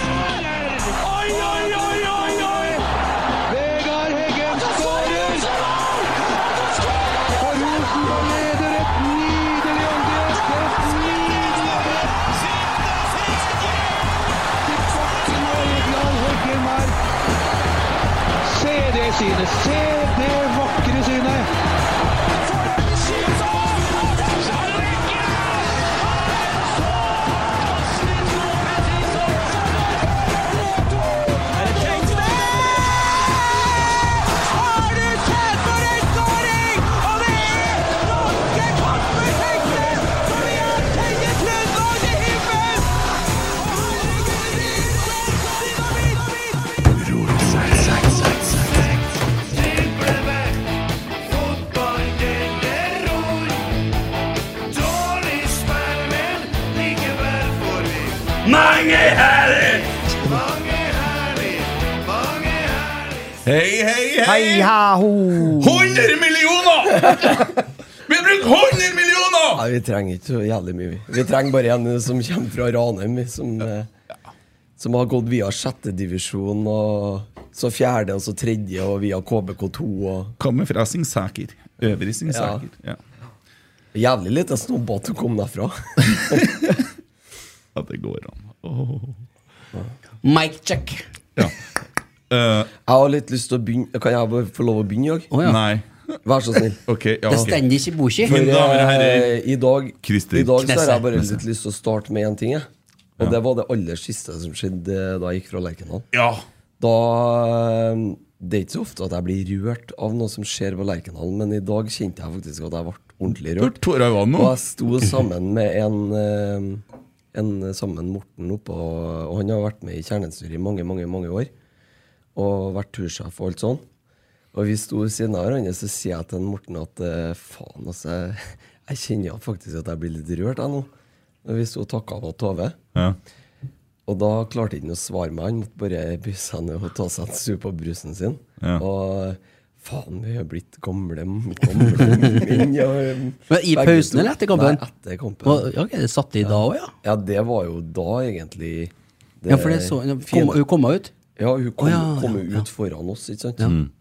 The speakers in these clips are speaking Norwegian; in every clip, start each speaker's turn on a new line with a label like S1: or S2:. S1: Oi, oi, oi, oi, oi! Vegard Heggen skårer! For Rosenborg leder et nydelig angrep! Et nydelig angrep! Til bakken og Egeland Heggen her. Se det synet! Se det vakre synet!
S2: Hei, hei, hei!
S3: Ja, ho.
S2: 100 millioner! Vi bruker 100 millioner!
S3: Nei, vi trenger ikke så jævlig mye. vi. Vi trenger bare en eh, som kommer fra Ranheim, vi, som, eh, som har gått via sjettedivisjon, og så fjerde, og så tredje, og via KBK2. Og
S2: Kommer fra Singsaker. Øvre Singsaker. Ja.
S3: jævlig lite snobb at du kom derfra.
S2: At det går an. Åh.
S4: Mic check.
S2: Ja. Eh,
S3: Jeg har litt lyst til å begynne Kan jeg bare få lov å begynne, jeg?
S4: Å ja.
S2: Nei.
S3: Vær så snill.
S2: Ok, ja,
S4: Det
S2: ok.
S4: stender ikke i boka.
S2: Mine damer og herrer.
S3: Eh, I dag,
S2: Christer
S3: i dag så har
S4: Knesse.
S3: jeg bare litt lyst til å starte med én ting. Jeg. Og det var det aller siste som skjedde eh, da jeg gikk fra Lerkendal.
S2: Ja.
S3: Da eh, Det er ikke så ofte at jeg blir rørt av noe som skjer på Lerkendal, men i dag kjente jeg faktisk at jeg ble ordentlig
S2: Du har
S3: rørt.
S2: tårer i vannet
S3: Og
S2: nå.
S3: jeg sto sammen med en, eh, en sammen Morten oppå Og han har vært med i kjernestyret i mange, mange mange år. Og vært tursjef og alt sånn. Og vi sto ved siden av hverandre, så sier jeg til Morten at eh, faen, altså. jeg- Jeg kjenner faktisk at jeg blir litt rørt, jeg nå. Når vi sto og takka av Tove.
S2: Ja.
S3: Og da klarte han ikke å svare meg. Han måtte bare bryse seg ned og ta seg en sup på brusen sin.
S2: Ja.
S3: Og faen, vi er blitt gamle, gamle menn. ja, um,
S4: Men i
S3: begge
S4: pausen
S3: to.
S4: eller etter kampen?
S3: Nei, etter kampen.
S4: Å, Ok, det satt i da òg, ja?
S3: Ja, det var jo da, egentlig.
S4: Ja, for det så
S3: fine-
S4: kom, Hun kom ut?
S3: Ja, hun kom,
S4: Å, ja,
S3: kom
S4: ja,
S3: jo ut
S4: ja.
S3: foran oss, ikke sant?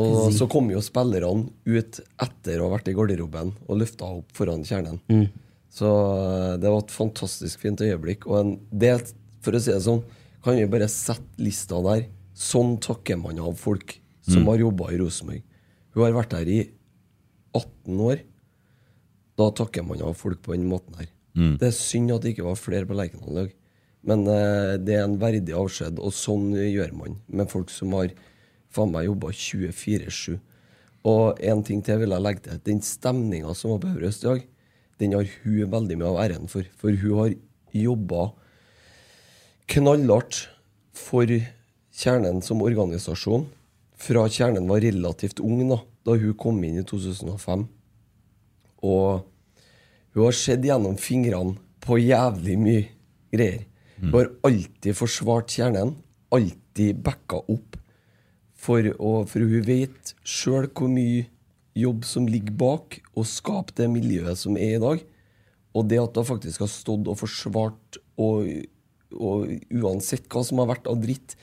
S3: Og så kom jo spillerne ut etter å ha vært i garderoben og løfta opp foran kjernen. Så eh, det var et fantastisk fint øyeblikk. Og en, det, for å si det sånn, kan vi bare sette lista der. Sånn takker man av folk som har jobba i Rosenborg. Hun har vært her i 18 år. Da takker man av folk på den måten her. Det er synd at det ikke var flere på Lerkendal i dag. Men eh, det er en verdig avskjed, og sånn gjør man med folk som har faen meg jobba 24-7. Og en ting til vil jeg legge til. Den stemninga som var på Øvre Østdag, den har hun veldig mye av æren for. For hun har jobba knallhardt for kjernen som organisasjon. Fra kjernen var relativt ung, da, da hun kom inn i 2005. Og hun har sett gjennom fingrene på jævlig mye greier. Hun har alltid forsvart kjernen, alltid backa opp. For, å, for hun vet sjøl hvor mye jobb som ligger bak å skape det miljøet som er i dag. Og det at hun faktisk har stått og forsvart, og, og uansett hva som har vært av dritt,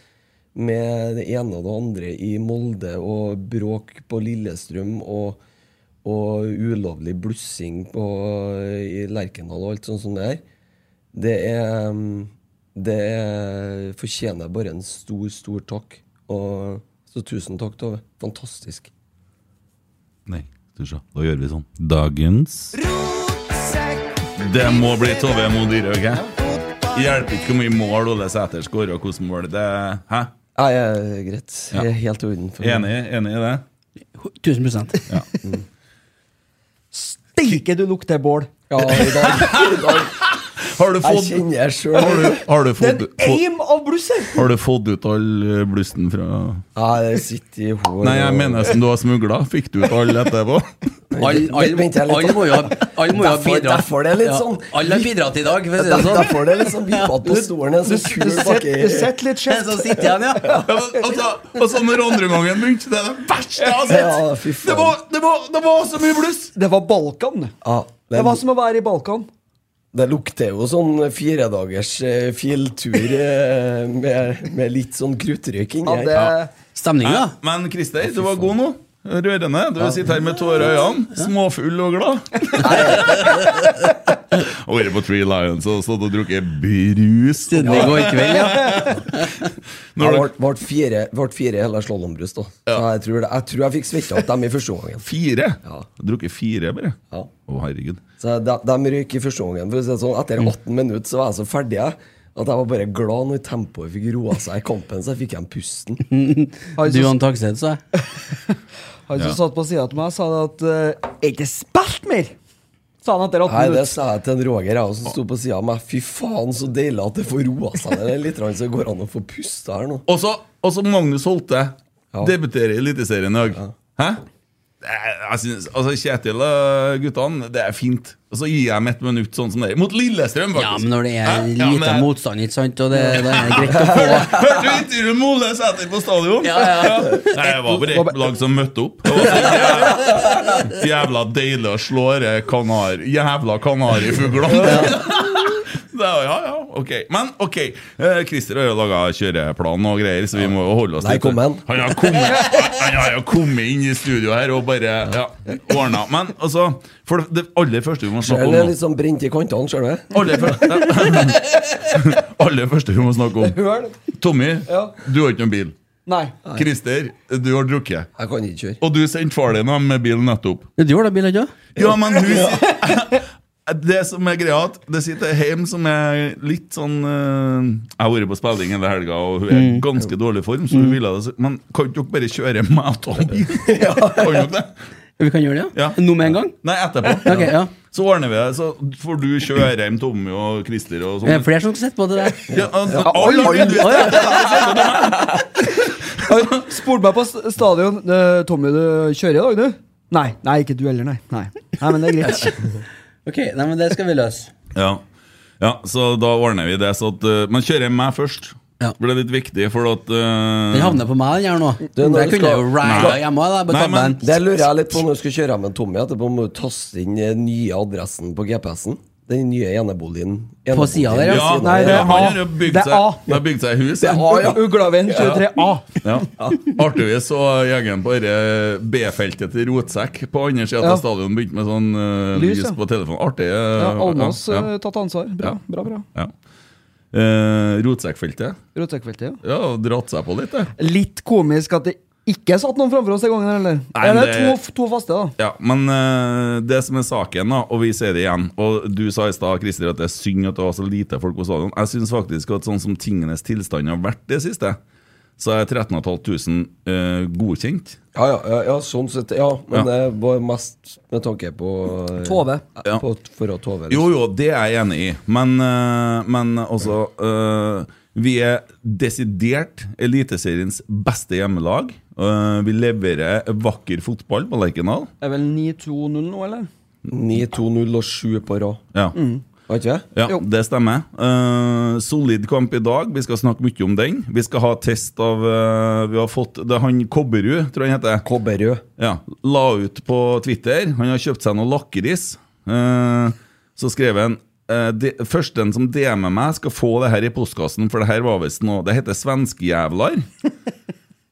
S3: med det ene og det andre i Molde og bråk på Lillestrøm og, og ulovlig blussing på, i Lerkendal og alt sånt som det er. Det er mm, Det er, fortjener bare en stor, stor takk. Og, så tusen takk, Tove. Fantastisk.
S5: Nei, skal vi se. Da gjør vi sånn. Dagens Det må bli Tove Modyrøg, hæ? Hjelper ikke hvor mye mål Ole Sæter skårer, og hvordan mål det er. Hæ?
S3: Nei, eh, greit. Jeg er helt i orden. for meg.
S5: Enig, enig i det?
S4: 1000
S5: Ja.
S6: Steike, du lukter bål!
S3: Ja, i dag, i dag
S5: Har du
S3: Jeg
S5: fått,
S3: kjenner jeg
S5: har
S3: sjøl.
S5: du, har du
S6: Det
S5: fått,
S6: er en
S5: fått,
S6: eim av blusser!
S5: har du fått ut all eh, blusten fra
S3: Nei, det sitter i hodet.
S5: Nei, jeg mener som du har smugla. Fikk du ut all etterpå?
S4: Alle
S3: Vent,
S4: alle-
S3: vent, jeg er litt- sånn-
S4: alle må jo ha alle må jo ha
S3: Derfor-
S4: bidratt.
S3: derfor det er litt sånn.
S4: Ja, alle har bidratt i dag, for å si det
S3: Der,
S4: sånn.
S3: der får det liksom vippet på stolen. En sånn
S6: Du
S3: kul
S6: sitter
S3: bakke
S6: du sitter litt
S4: Det er
S6: skjevt.
S4: sånn sitter igjen, ja.
S5: Ja, men, altså, altså, når andre gangen begynte, det er det verste jeg har
S3: Ja,
S5: sett!
S3: fy
S5: Det
S3: faen.
S5: var, det var, det var så mye bluss!
S6: Det var Balkan.
S3: Ja,
S6: Det
S3: det,
S6: var som å være i Balkan.
S3: det lukter jo sånn firedagers eh, fjelltur eh, med, med litt sånn kruttrøyk inni
S6: Ja, det,
S3: her.
S4: Stemninga.
S5: Ja, Men Christer, du var god nå. Rørende. Du sitter her med tårer i øynene, småfull og glad. Og vært på Three Lions og stått og drukket brus.
S4: Siden i går kveld, ja.
S5: Når
S3: Jeg
S5: du,
S3: ble, ble fire, ble fire hele slalåmbrus, da. Så jeg tror, det, jeg tror jeg fikk svetta opp dem i første omgangen.
S5: fire? Du har Drukket fire, bare? Å,
S3: Ja.
S5: herregud.
S3: Så de, de røyk i første omgangen. For å si det sånn,
S6: Mm.
S3: etter 18 minutter så var jeg så ferdig jeg, at jeg var bare glad når tempoet fikk roa seg i kampen, så jeg fikk igjen pusten.
S6: han
S4: Du
S6: som,
S4: og en Takseth, sa jeg.
S6: han som satt på sida av meg, sa det at eh, Er ikke spilt mer! Sa han etter 18
S3: Nei, det
S6: minutter.
S3: sa jeg til en Roger jeg, som sto på sida av meg. Fy faen, så deilig at det får roa seg. ned. Det er litt rann, så det går an å få puste her nå.
S5: Og så og så Magnus Holte. Debuterer i Eliteserien i dag. Hæ? Det er- Jeg synes, altså Kjetil og guttene, det er fint. Og så gir jeg dem et minutt sånn som det er. Mot Lillestrøm, faktisk.
S4: Ja, men når det er
S5: Hæ? Ja, men
S4: lite
S5: jeg-
S4: motstand, ikke sant, og det, det er greit å få
S5: Hørte du intervjuet med Ole Sæter på stadion?
S4: Ja, ja.
S5: Nei, jeg var bare ett lag som møtte opp. Det var så jævla- jævla deilig å slå de kanar, jævla kanarifuglene. Det var- Ja, ja, ok. Men ok, eh, Christer har jo laga kjøreplan og greier, så vi må jo holde oss
S3: Der
S5: litt
S3: kom han.
S5: Han har kommet, han har jo kommet inn i studio her og bare ja, ordna. Men altså, for det aller første vi må snakke om
S3: Eller
S5: nå-
S3: litt sånn brent i kantene, ser du det?
S5: Aller første, aller første vi må snakke om
S6: Høl?
S5: Tommy,
S6: Ja.
S5: du har ikke noen bil.
S6: Nei.
S5: Christer, du har drukket.
S3: Jeg kan ikke kjøre.
S5: Og du sendte far din hjem med bilen nettopp.
S4: Du har da bil, ikke sant?
S5: Ja, men hun Det som er greia, at det sitter hjem som er litt sånn eh, Jeg har vært på spilling hele helga, og hun er
S4: Mm.
S5: i ganske dårlig form, så hun ville det. så- Men kan dere bare kjøre meg og Tommy? Kan dere det?
S4: Vi kan gjøre det, ja?
S5: Ja.
S4: Nå med en gang?
S5: Nei, etterpå.
S4: Ok, ja.
S5: Så ordner vi det. Så får du kjøre hjem Tommy og Christer og
S4: Det er
S5: sånn.
S4: flere som sitter på det der.
S5: Ja, altså, alle, alle,
S4: Å, ja.
S6: Han spurte meg på s- stadion. eh, 'Tommy, du kjører i dag, du?' Nei. Nei, ikke du heller, nei. Nei, nei men det er greit.
S4: Ok, nei, men det skal vi løse.
S5: Ja. ja, så da ordner vi det. Så at, eh, men kjører jeg meg først?
S4: Ja.
S5: For det er litt viktig, for at eh,
S4: Den havner på meg, den her nå.
S3: Du, når
S4: Jeg
S3: du skal-
S4: kunne jo rida
S5: Nei.
S4: hjemme da, på
S5: Nei, men-
S4: tabben.
S3: Det lurer jeg litt på når du skal kjøre hjem med Tommy, etterpå må du taste inn eh, nye adressen på GPS-en. Den nye eneboligen.
S4: På siden der,
S5: ja,
S3: Siden
S6: Nei,
S3: der,
S6: det er
S5: ja, han
S6: A.
S5: har jo bygd
S6: Det er
S5: seg,
S6: A.
S5: han har bygd seg hus.
S6: Det er A, ja. Uglaven 23A.
S5: Ja. Artigvis så gjengen på dette B-feltet til Rotsekk på andre sida
S6: Ja.
S5: av stadion begynte med sånn eh,
S6: Lys,
S5: lys
S6: ja.
S5: på telefonen. Artig. eh,
S6: Ja, Almås
S5: ja,
S6: eh, tatt ansvar. Bra,
S5: Ja.
S6: bra. bra.
S5: ja. Eh, Rotsekkfeltet.
S6: Rotsekkfeltet, ja.
S5: Ja, dratt seg på litt, det.
S6: Litt komisk at det ikke satt noen framfor oss den gangen, eller?
S5: Nei,
S6: Eller
S5: det-
S6: to, to faste, da.
S5: Ja, men eh, det som er saken, da, og vi sier det igjen Og du sa i stad, Christer, at det er synd at det var så lite folk på stadion. Jeg syns faktisk at sånn som tingenes tilstand har vært det siste, så er 13 500 eh, godkjent.
S3: Ja, ja, ja, ja, sånn sett. Ja, men det var mest med tanke på eh,
S6: Tove.
S5: Ja.
S3: På, for å Tove. liksom.
S5: Jo, jo, det er jeg enig i, men, eh, men altså eh, Vi er desidert Eliteseriens beste hjemmelag. Eh, vi leverer vakker fotball på Lerkendal.
S6: Det er vel 9-2-0 nå, eller?
S3: 9-2-0 og 7 på rad.
S5: Ja.
S3: Var ikke det?
S5: Ja, det stemmer. Eh, solid kamp i dag. Vi skal snakke mye om den. Vi skal ha test av eh, Vi har fått det er han Kobberud, tror jeg han heter.
S3: Kobberud.
S5: Ja, La ut på Twitter. Han har kjøpt seg noe lakris. Eh, så skrev han eh, de, Førsten som DM-er meg, skal få det her i postkassen, for det her var visst noe Det heter svenskejævlar.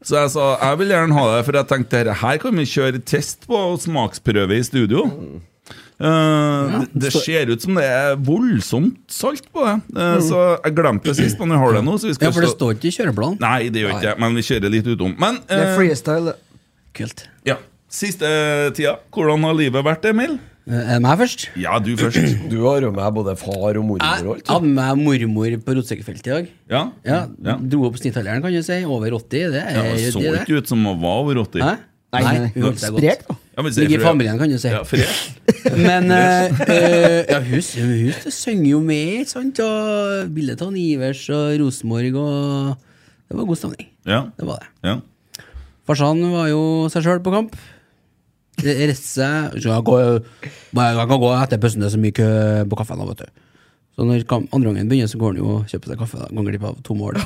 S5: Så jeg sa jeg vil gjerne ha det, for jeg tenkte dette her kan vi kjøre test på og smaksprøve i studio. Eh, det- det ser ut som det er voldsomt salt på det. Eh, Så jeg glemte det sist, men jeg har det nå. Så vi skal
S4: Mm. Ja, for det
S5: stå-
S4: står ikke i kjøreplanen.
S5: Nei, det gjør ikke jeg, men vi kjører litt utom. Men
S6: Det
S5: eh,
S6: er freestyle. det.
S4: Kult.
S5: ja. Siste eh, tida, hvordan har livet vært, Emil?
S4: Eh, Er det meg først?
S5: Ja, du først.
S3: Du har jo med både far og mormor og
S4: Jeg
S3: alt.
S4: hadde med meg mormor på rotsekkefeltet i dag.
S5: Ja.
S4: Ja,
S5: Ja.
S4: Dro opp snittalderen, kan du si. Over 80. Det
S5: Ja,
S4: er
S5: det så
S4: det er det.
S5: ikke ut som hun var over 80.
S4: Hæ? Nei,
S6: nei.
S4: hun holdt seg
S6: Sprek,
S4: godt.
S6: da.
S5: Ja, men se,
S4: Ligger i
S5: for-
S4: familien, kan du si.
S5: Ja, fred.
S4: Men eh, eh, ja, hun, s- hun s- synger jo med, ikke sant? Og bildet av han Ivers og Rosenborg og Det var god stemning.
S5: Ja.
S4: Det var det.
S5: ja.
S4: Farsan var jo seg sjøl på kamp. Reiste seg så jeg, går, bare, jeg kan gå etter pøssen, det er så mye kø på kaffen. da, vet du. Så når kam- andre gangen begynner, så går han jo og kjøper seg kaffe. da. Går glipp av to mål.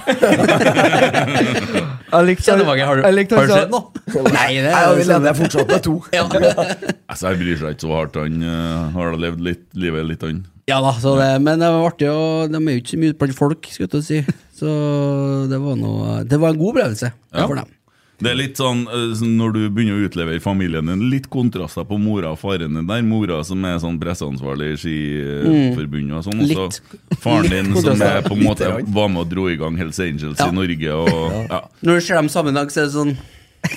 S6: Jeg likte
S4: Kjenner mange, har du-
S6: jeg likte
S4: har du
S6: han
S4: sett
S6: sa-
S4: Nei, det sånn-
S3: Nei, vi leder fortsatt med to.
S5: Altså, jeg bryr seg ikke så hardt. Han eh, har da levd litt, livet litt, han.
S4: Ja da, så det, men det var artig, og de er jo ikke så mye blant folk, skulle jeg til å si. Så det var noe Det var en god opplevelse
S5: Ja.
S4: for dem.
S5: Det er litt sånn eh, sånn når du begynner å utlevere familien din, litt kontraster på mora og faren din der. Mora som er sånn presseansvarlig i Skiforbundet og sånn. Og
S4: Litt-
S5: så faren din
S4: Mm. litt
S5: som
S4: kontraster.
S5: er på en måte var med og dro i gang Hells Angels
S4: Ja.
S5: i Norge og ja.
S4: Når du ser dem sammen i dag, så er det sånn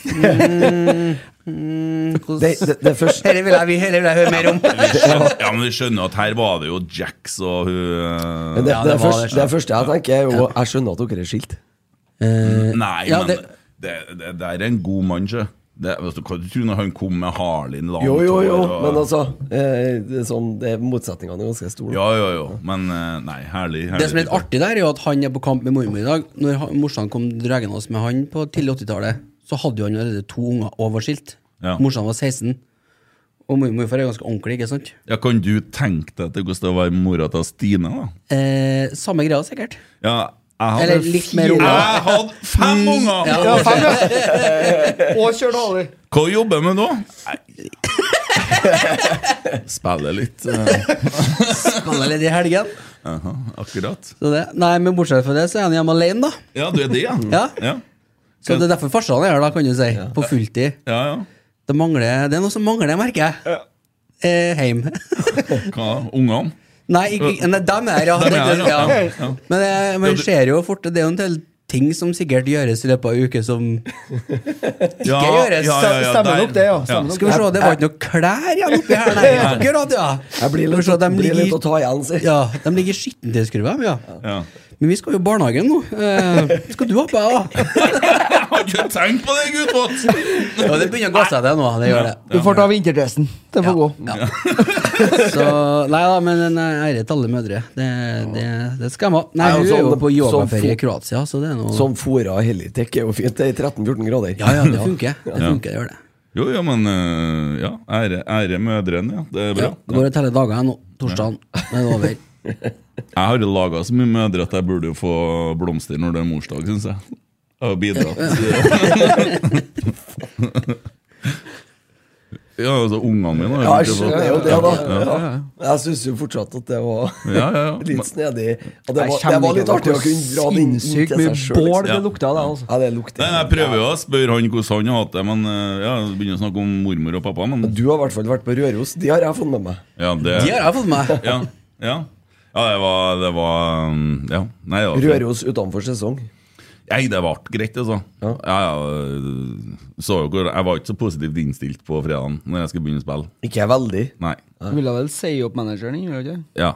S4: mm, mm,
S3: Det,
S4: hvordan-
S3: det, det første
S4: Dette vil, jeg- dette vil jeg høre mer om.
S5: ja, men vi skjønner at her var det jo Jacks og hun eh,
S3: Men det,
S4: Ja,
S3: det,
S4: det var
S3: første,
S4: det.
S3: det første jeg tenker, er jo Jeg skjønner at dere er skilt.
S4: Eh,
S5: Nei,
S4: ja,
S5: men det,
S4: det-
S5: det, det, er en god mann, sjø. Det, vet du, hva du tror når han kom med Harlin langt
S3: Jo, jo, jo,
S5: hår og-
S3: men altså eh, det er sånn, det, Motsetningene er ganske store.
S5: Ja, jo, jo. Men eh, nei, herlig. herlig
S4: Det som er litt artig der, er jo at han er på kamp med mormor i dag. Når han- morsan kom dragende oss med han på tidlig 80-tallet, så hadde jo han allerede to unger og var skilt.
S5: Ja.
S4: Morsan var 16. Og mor- morfar er ganske ordentlig, ikke sant?
S5: Ja, Kan du tenke deg at det koster å være mora til Stine, da?
S4: Eh, samme greia, sikkert.
S5: Ja, jeg hadde,
S4: Eller litt mer unger.
S5: jeg hadde fem unger!
S6: Ja, fem, ja. Og kjør daler.
S5: Hva jobber jeg med nå? Spiller litt. eh,
S4: Spiller litt i helgen.
S5: aha, akkurat.
S4: Så det. Nei, men bortsett fra det, så er han hjemme alene, da.
S5: Ja, du er det, ja?
S4: Ja.
S5: Ja,
S4: Så det er derfor farsan er her, da, kan du si. På fulltid.
S5: ja. ja.
S4: Det, mangler, det er noe som mangler, merker jeg. Eh, heim.
S5: Hva? Ungene?
S4: Nei, ikke, nei, dem er her, ja.
S5: Dem er her, ja.
S4: ja.
S5: Ja.
S4: Men eh,
S5: Ja,
S4: man
S5: du-
S4: ser jo fort Det er jo en del ting som sikkert gjøres i løpet av en uke som
S5: Ja,
S4: gjøres.
S6: Stemmer
S5: der.
S6: nok det, ja. Stemmer nok
S4: Skal vi se, det var ikke noe klær igjen oppi her, nei. Akkurat, ja.
S3: Jeg blir
S4: Skal vi
S3: litt, sånn-
S4: se, dem
S3: blir litt å
S4: ligger,
S3: ta igjen, sier
S4: ja, de ligger i skittentøyskurva, ja.
S5: Ja.
S4: Men vi skal jo i barnehagen nå. Eh, skal du ha på deg, da?
S5: Jeg har ikke tenkt på det, guttbåt!
S4: Ja, det begynner å gå seg, det nå. Det gjør det.
S6: Du får ta vinterdressen. Den får gå.
S4: Ja. Så, nei da, men en ære til alle mødre. Det, det, det skal jeg ha. Nei,
S3: Nei,
S4: hun
S3: altså,
S4: er jo på
S3: som
S4: yogaferie i
S3: fo-
S4: Kroatia, så det er noe
S3: Som fôra Helitek er jo fint. Det er 13-14 grader.
S4: Ja, ja, det funker. Det funker, det gjør det.
S5: Jo, ja, men eh, ja, ære, ære mødrene, ja. Det er bra.
S4: Ja, det går og teller dager her nå. Torsdagen det er over.
S5: Jeg har laga så mye mødre at jeg burde jo få blomster når det er morsdag, syns jeg. Jeg har bidratt. ja, altså, ungene mine har
S3: Ja, jeg
S5: ikke fått-
S3: skjønner jo det, da.
S5: Ja,
S3: Ja. Jeg syns jo fortsatt at det var
S5: ja, ja, ja.
S3: litt
S5: Men-
S3: snedig. Og det
S6: Jeg
S3: var,
S6: kjenner
S3: det var litt
S6: ikke
S3: artig å
S6: hvor
S3: kunne dra det inn inn
S6: Sinnssykt
S3: til
S6: mye
S3: seg sjøl.
S6: bål
S3: liksom.
S6: det lukta av det, altså.
S3: Ja, det lukter
S5: Nei, jeg prøver jo å spørre han hvordan han har hatt det, men eh, ja, jeg begynner å snakke om mormor og pappa. Men
S3: Du har i hvert fall vært på Røros. De har jeg fått med meg.
S5: ja, det
S4: De har jeg fått med meg.
S5: Ja, ja. ja det var, det var mm, Ja. Nei, det var fint.
S3: Røros utenfor sesong.
S5: Nei, det ble greit, altså. Ja.
S3: Ja.
S5: ja, så jo hvor- jeg var ikke så positivt innstilt på fredagen når jeg skulle begynne å spille.
S3: Ikke jeg veldig.
S5: Nei.
S6: Du ville vel si opp manageren din, gjorde du ikke?
S5: Ja.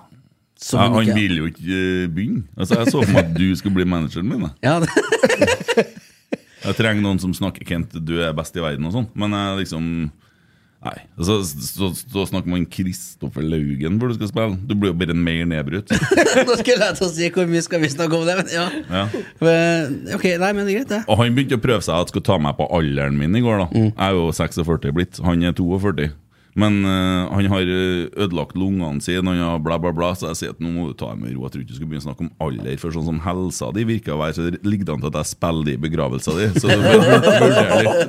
S4: Som
S5: ja, han
S4: ikke-
S5: øh, ville jo ikke eh, begynne. Altså, jeg så for meg at du skulle bli manageren min. jeg.
S4: Ja, det-
S5: Jeg trenger noen som snakker Kent, du er best i verden og sånn. Men jeg liksom Nei. Så, så, så snakker man Kristoffer Laugen hvor du skal spille. Du blir jo bare mer nedbrutt.
S4: Nå skulle jeg til å si hvor mye skal vi snakke om det, men ja.
S5: Ja.
S4: Men, ok, nei, men det er greit, det.
S5: Og han begynte å prøve seg at skulle ta meg på alderen min i går. da Jeg er jo 46 blitt, han er 42. Men eh, han har eh, ødelagt lungene sine, han har bla, bla, bla, så jeg sier at nå må du ta det med ro. Jeg tror ikke du skal begynne å snakke om alder, for sånn som helsa di virker å være, så det ligger det an til at jeg spiller i begravelsen din. Så du bør vur- vurdere litt,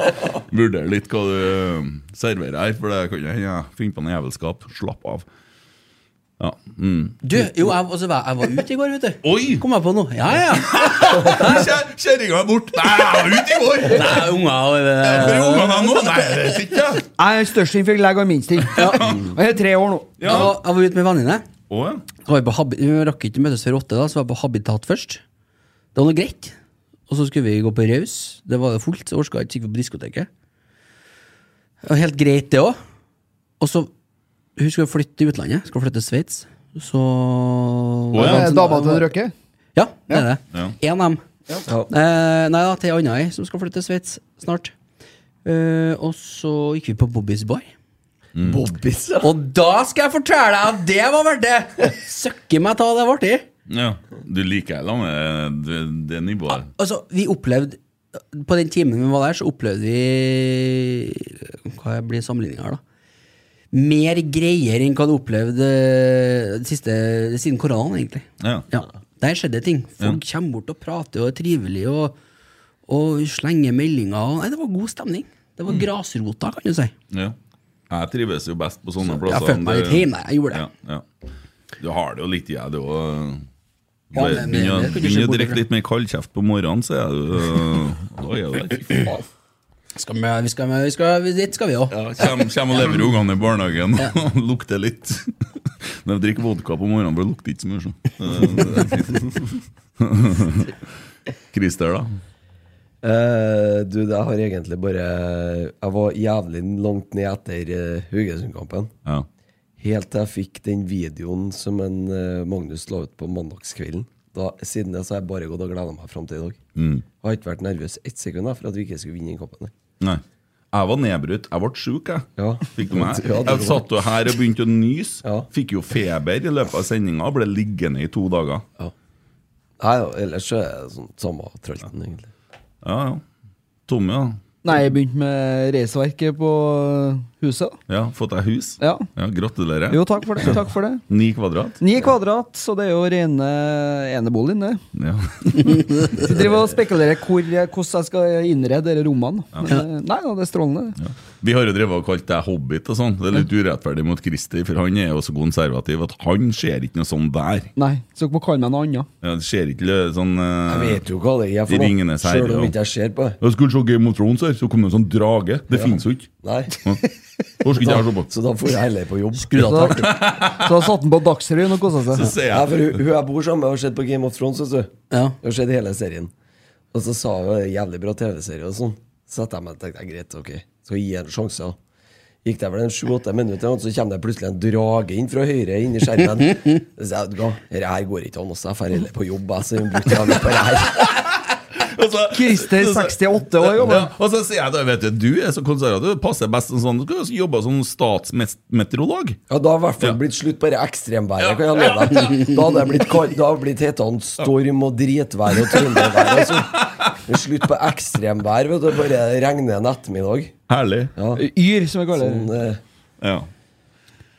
S5: vurdere litt hva du eh, serverer her, for det kan jo hende jeg finner på noe jævelskap. Slapp av. Ja. Mm.
S4: Du, jo, jeg, altså, jeg var ute i går, vet du.
S5: Oi!
S4: Kom jeg på nå. Ja, ja.
S5: Kjer- Kjerringa er borte! Nei, jeg var ute i går!
S4: Nei, unger og det
S5: Hvor er ungene nå? Nei, jeg vet ikke.
S6: Jeg er størst innfylt legg og minst ting. Og jeg er tre år nå.
S5: Ja.
S4: Jeg, var, jeg var ute med venninne.
S5: Å, ja.
S4: Så var vi på habi- Vi rakk ikke møtes før åtte, da, så var jeg på Habitat først. Det var noe greit. Og så skulle vi gå på Raus. Det var jo fullt, så orka ikke gikk vi på diskoteket. Det var helt greit, det òg. Og så Hun skal flytte til utlandet. Skal flytte til Sveits. Så
S5: ja.
S6: Eh, Dama til Røkke.
S4: Ja, det er det.
S5: Ja.
S4: En av dem.
S3: Ja.
S4: Eh, nei da, til ei anna ei som skal flytte til Sveits snart. Eh, og så gikk vi på Bobbys bar.
S3: Bobbys, ja.
S4: Og da skal jeg fortelle deg at det var verdt det! Søkke meg ta det var artig.
S5: Ja, du liker heller med det, det nivået.
S4: Altså, vi opplevde På den timen vi var der, så opplevde vi Hva blir sammenligninga her, da? Mer greier enn hva du opplevde eh, siste, siden koronaen, egentlig.
S5: Ja.
S4: Der skjedde ting. Folk kommer bort og prater og er trivelige og, og slenger meldinger. Og, nei, det var god stemning. Det var grasrota, kan du si.
S5: Ja. Jeg trives jo best på sånne
S4: Jeg
S5: plasser.
S4: følte meg litt hjemme. Jeg gjorde det.
S5: Ja, ja. Du har det jo litt i deg, du òg.
S4: Ja, men- eh,
S5: Begynner å-
S4: det kan du ikke se
S5: begynner å
S4: bort
S5: drikke
S4: ifra.
S5: litt mer kaldkjeft på morgenen, så er du øh, Da er du der.
S4: Skal vi, vi skal, vi skal, vi- dit skal vi òg.
S5: Kjem, kjem og leverer ungene i barnehagen og lukter litt. De drikker vodka på morgenen, for det lukter ikke så mye. så. Det er fint. Christer, da?
S3: Eh, du, jeg har egentlig bare Jeg var jævlig langt ned etter eh, Haugesund-kampen.
S5: Ja.
S3: Helt til jeg fikk den videoen som en eh, Magnus la ut på mandagskvelden. Da, siden det så har jeg bare gått og gleda meg fram til i dag. Jeg har ikke vært nervøs ett sekund jeg, for at vi ikke skulle vinne den kampen. her.
S5: Nei. Jeg var nedbrutt. Jeg ble sjuk, jeg.
S3: Ja.
S5: Fikk du meg?
S3: Ja, det var-
S5: jeg satt jo her og begynte å nyse.
S3: Ja.
S5: Fikk jo feber i løpet av sendinga og ble liggende i to dager.
S3: Nei, ja, ellers så er det sånn samme tralten, egentlig.
S5: Ja, ja. Tommy, ja.
S6: Nei, jeg begynte med reisverket på eh, huset.
S5: ja. Fått deg hus?
S6: Ja.
S5: Gratulerer.
S6: Jo, takk for det. Takk for det.
S5: Ni kvadrat?
S6: Ni kvadrat, så det er jo rene eneboligen, det.
S5: Ja.
S6: Så jeg driver og spekulerer hvor, eh, hvordan jeg skal innrede disse rommene. Men, eh, Nei da, det er strålende.
S5: Ja. Vi har jo drevet og kalt deg hobbit og sånn. Det er litt urettferdig mot Christer, for han er jo så konservativ at han ser ikke noe sånn der.
S6: Nei, så dere må kalle meg noe annet.
S5: Ja, det ser ikke lø- sånn eh,
S3: Jeg vet jo hva det er for noe,
S5: Ringenes herre,
S3: sjøl om
S5: ja.
S3: ikke jeg ser på det.
S5: Jeg skulle se Game of Thrones her, så kom det en sånn drage. Det finnes jo ikke.
S3: Nei.
S5: Ja. Orker ikke jeg å se på.
S3: Så da får jeg heller på jobb.
S4: Skru av
S6: Så, så satte han på Dagsrevyen og kosa
S5: Så
S6: seg.
S5: ser
S3: Ja,
S5: jeg
S3: for hun, hun jeg bor sammen med, har sett på Game of Thrones. Vet du.
S4: Ja.
S3: Hun har sett hele serien. Og så sa hun "Det er jævlig bra TV-serie og sånn. Så satte jeg meg og tenkte "Ja, greit, ok, skal gi henne en sjanse. da." Gikk det vel en sju-åtte minutter, og så kommer det plutselig en drage inn fra høyre inn i skjermen. Så jeg, vet du hva, Dette her går ikke an, også. jeg drar heller på jobb. Jeg, så jeg brukte jævlig på det her.
S5: Og så-
S6: Christer,
S5: så- så-
S6: 68 år, jobber.
S5: Ja, og så sier jeg da, vet du, du er så konservativ, du passer best som sånn, du skulle jo jobbe som statsmeteorolog.
S3: Ja, da har i hvert fall blitt slutt på det ekstremværet, kan jeg love deg. Da hadde det blitt kald, da hadde det blitt hetende storm og dritvær og trøndervær. Altså. Slutt på ekstremvær, vet du. Bare regner en ettermiddag.
S5: Herlig.
S3: Ja.
S6: Yr, som jeg kaller
S3: Sånn,
S6: det.
S3: eh,
S5: Ja.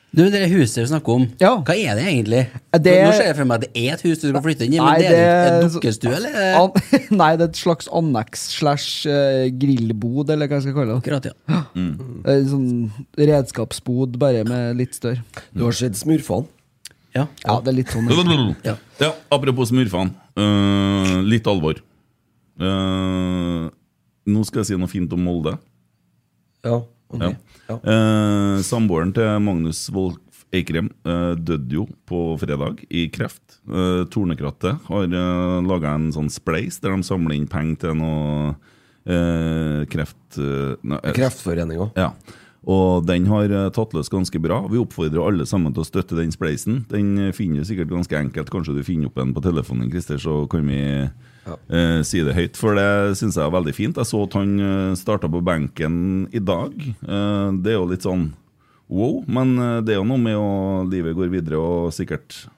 S4: Du, det er huset du snakker om,
S6: Ja.
S4: hva er det egentlig?
S6: Er det-
S4: Nå nå ser jeg for meg at det er et hus du skal flytte inn i, men
S6: Nei,
S4: det er et
S6: det-
S4: dukkestue, eller?
S6: An nei, det er et slags anneks slash eh, grillbod, eller hva jeg skal kalle det.
S4: Akkurat, ja.
S6: Eh, Sånn redskapsbod, bare med litt større.
S3: Du har sett Smurfene?
S4: ja.
S6: Ja, det er litt sånn.
S5: Ja. apropos smurfene. Eh, litt alvor. Eh, nå skal jeg si noe fint om Molde.
S3: Ja. ok.
S5: Ja.
S3: Ja.
S5: Eh, samboeren til Magnus Wolff Eikrem eh, døde jo på fredag i kreft. Eh, Tornekrattet har eh, laga en sånn spleis der de samler inn penger til noe eh, kreft... eh, nei, eh,
S3: Kreftforeninga.
S5: Ja. Og den har eh, tatt løs ganske bra. Vi oppfordrer alle sammen til å støtte den spleisen. Den eh, finner du sikkert ganske enkelt. Kanskje du finner opp den på telefonen, Christer, så kan vi Eh, si det høyt, for det syns jeg er veldig fint. Jeg så at han uh, starta på benken i dag. Eh, det er jo litt sånn wow, men eh, det er jo noe med å livet går videre og sikkert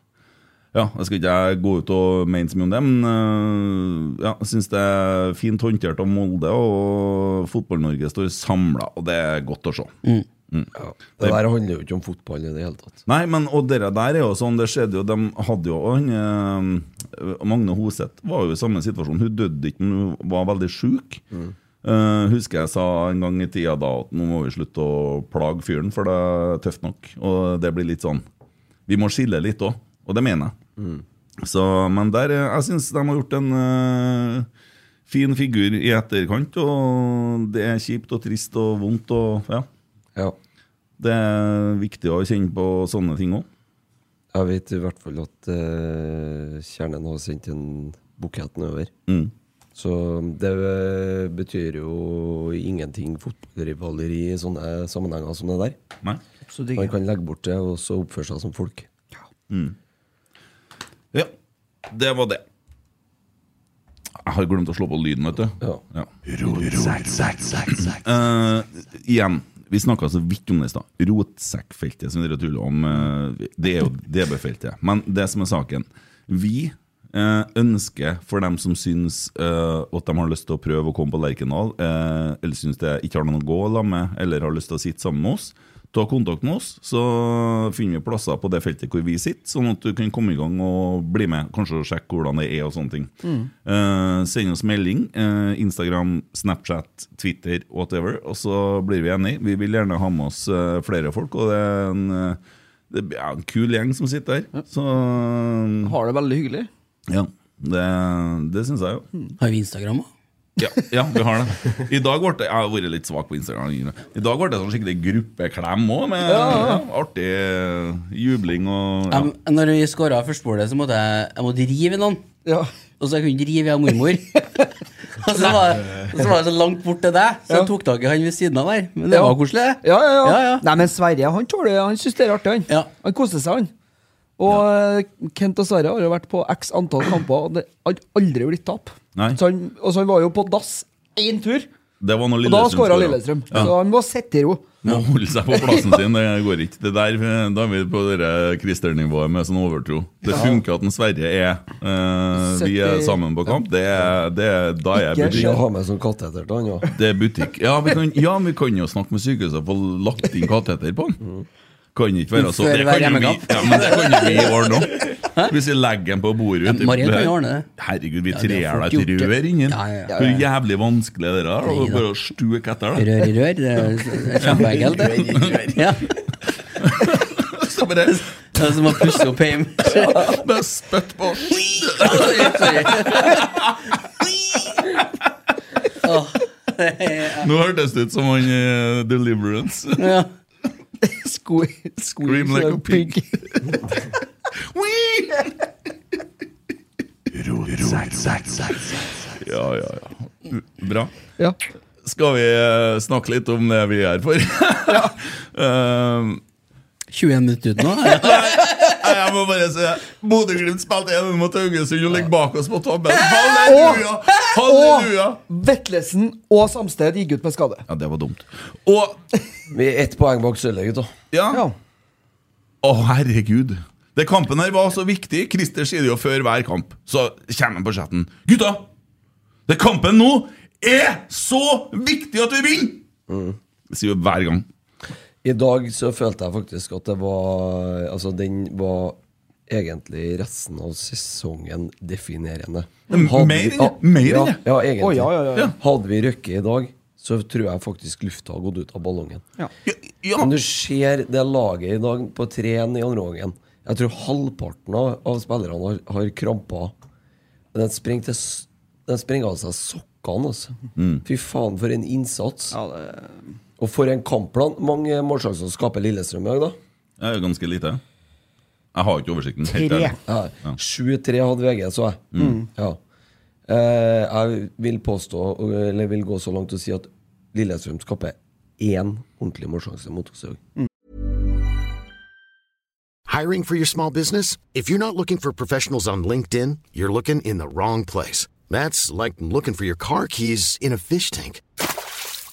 S5: ja, Jeg skal ikke jeg gå ut og mene så mye om det, men eh, ja, jeg syns det er fint håndtert av Molde. Og Fotball-Norge står samla, og det er godt å se.
S3: Mm.
S5: Ja.
S3: Det der handler jo ikke om fotball i det hele tatt.
S5: Nei, men og dere der er jo sånn, det skjedde jo, de hadde jo og han, eh, Magne Hoseth var jo i samme situasjon, hun døde ikke, men hun var veldig syk. Eh, husker jeg sa en gang i tida da at nå må vi slutte å plage fyren, for det er tøft nok. Og det blir litt sånn, vi må skille litt òg, og det mener jeg. Så, men der, eh, jeg syns de har gjort en eh, fin figur i etterkant, og det er kjipt og trist og vondt og ja. Det er viktig å kjenne på sånne ting òg.
S3: Jeg vet i hvert fall at eh, kjernen har sendt en bukett nedover.
S5: Mm.
S3: Så det eh, betyr jo ingenting fotballrivaleri i sånne sammenhenger som det der.
S5: Nei.
S4: Så digg.
S3: Man kan legge bort det og så oppføre seg som folk.
S5: Mm. Ja, det var det. Jeg har glemt å slå på lyden, vet du. Ja. Eh, igjen, vi snakka så vidt om det i stad. Rotsekkfeltet som dere tuller om, eh, det er jo DB-feltet. Men det som er saken Vi eh, ønsker for dem som syns eh, at de har lyst til å prøve å komme på Lerkendal, eh, eller syns det ikke har noen å gå sammen med, eller har lyst til å sitte sammen med oss, ta kontakt med oss, så finner vi plasser på det feltet hvor vi sitter, sånn at du kan komme i gang og bli med. Kanskje sjekke hvordan det er og sånne ting.
S7: Mm.
S5: Eh, send oss melding. eh, Instagram, Snapchat, Twitter, whatever. Og så blir vi enige. Vi vil gjerne ha med oss eh, flere folk, og det er en, eh, det er en kul gjeng som sitter her. Så eh,
S6: Har det veldig hyggelig.
S5: ja, det, det syns jeg jo.
S4: Har vi Instagram òg?
S5: Ja, ja, vi har det. I dag ble det, Jeg har vært litt svak på Instagram. I dag ble det sånn skikkelig gruppeklem òg, med
S4: Ja, ja.
S5: ja, artig eh, jubling og ja.
S4: Jeg- Når vi skåra førstemålet, så måtte jeg, jeg måtte rive i noen. Og så jeg kunne ikke rive av mormor. og, så var, og så var det så langt bort til deg, så jeg tok tak i han ved siden av der. Men det
S6: Ja.
S4: var koselig. det.
S6: Ja, ja, ja.
S4: Ja, ja.
S6: Nei, men Sverre han tåler Han syns det er artig, han. Han koser seg, han. Og eh, Kent og Sverre har jo vært på x antall kamper, og det har aldri blitt tap.
S5: Nei.
S6: Så han, og så han var jo på dass én tur,
S5: Det var når
S6: og da
S5: Lillestrøm
S6: skåra
S5: scoret.
S6: Lillestrøm.
S5: Ja.
S6: Så han må sitte i ro.
S5: Må holde seg på plassen sin, det går ikke. Det der, eh, da er vi på det der kristernivået med sånn overtro. Det
S6: Ja.
S5: funker at en Sverre er eh, Vi er
S3: 70
S5: sammen på kamp. Det, er- det, er- da er jeg
S3: Ikke skjønn.
S5: butikk.
S3: ha med sånn katteter til han, ja.
S5: Det er butikk. Ja, vi kan, ja, vi kan jo snakke med sykehuset og få lagt inn kateter på den. Kan ikke være så
S4: Før
S5: Det
S4: hver
S5: kan jo vi,
S4: hjemmekamp.
S5: ja, men det kan jo vi ordne òg. Hvis vi legger den på bordet ute i-
S4: Marianne kan jo ordne det.
S5: Herregud, vi
S4: Ja, det har
S5: trer
S4: folk
S5: deg et
S4: gjort det.
S5: rør inn.
S4: Ja, ja, ja.
S5: Hvor jævlig vanskelig er det der?
S4: Nei
S5: Og
S4: da.
S5: Bare å stuke etter det.
S4: Rør i rør. Det er det er kjempeekkelt, det. Ja.
S5: Så bare
S4: Det er som å pusse opp hjemme.
S5: Bare spytt på
S4: Åh, det er-
S5: Nå hørtes det ut som han eh, Deliverance.
S4: Ja.
S5: Scream like a pig. Ja, ja, ja. Bra. Skal vi eh, snakke litt om det vi er her for? Eh,
S4: 21 minutter ut nå. ja.
S5: Nei, jeg må bare si Bodø-Glimt spilte 1-0 mot Haugesund og ligger bak oss på tabben. Halleluja! Halleluja!
S6: Og Vetlesen og Samsted gikk ut med skade.
S5: Ja, det var dumt. Og
S3: Vi er ett poeng bak sølvet, gutta.
S5: Ja. Å, herregud. Det kampen her var så viktig. Christer sier det jo før hver kamp. Så kommer han på chatten. Gutta! Det kampen nå er så viktig at vi vinner! Det sier vi hver gang.
S3: I dag så følte jeg faktisk at det var Altså, den var egentlig resten av sesongen definerende.
S5: Men
S3: Hadde
S5: mer
S3: vi-
S5: enn det, mer enn
S3: ja,
S5: det.
S3: Ja, egentlig.
S5: Å, ja, ja, ja, ja.
S3: Hadde vi røkket i dag, så tror jeg faktisk lufta har gått ut av ballongen.
S6: Ja.
S3: Men du ser det laget i dag på 3-1 i andre omgangen. Jeg tror halvparten av, av spillerne har, har kramper. Den sprengte s- den sprenger av seg sokkene, altså.
S5: Mm.
S3: Fy faen, for en innsats. Og for en kampplan. Mange målsjanser skaper Lillestrøm i dag, da.
S5: Det er jo ganske lite. Jeg har ikke oversikten. helt
S3: Tre.
S5: ærlig.
S3: Ja, 7-3 hadde VG, så jeg.
S5: Mm.
S3: Ja. Eh, jeg vil påstå, eller vil gå så langt og si at Lillestrøm skaper én ordentlig målsjanse mot oss i dag.
S8: Hiring for your small business? If you're not looking for professionals on LinkedIn, you're looking in the wrong place. That's like looking for your car keys in a fish tank.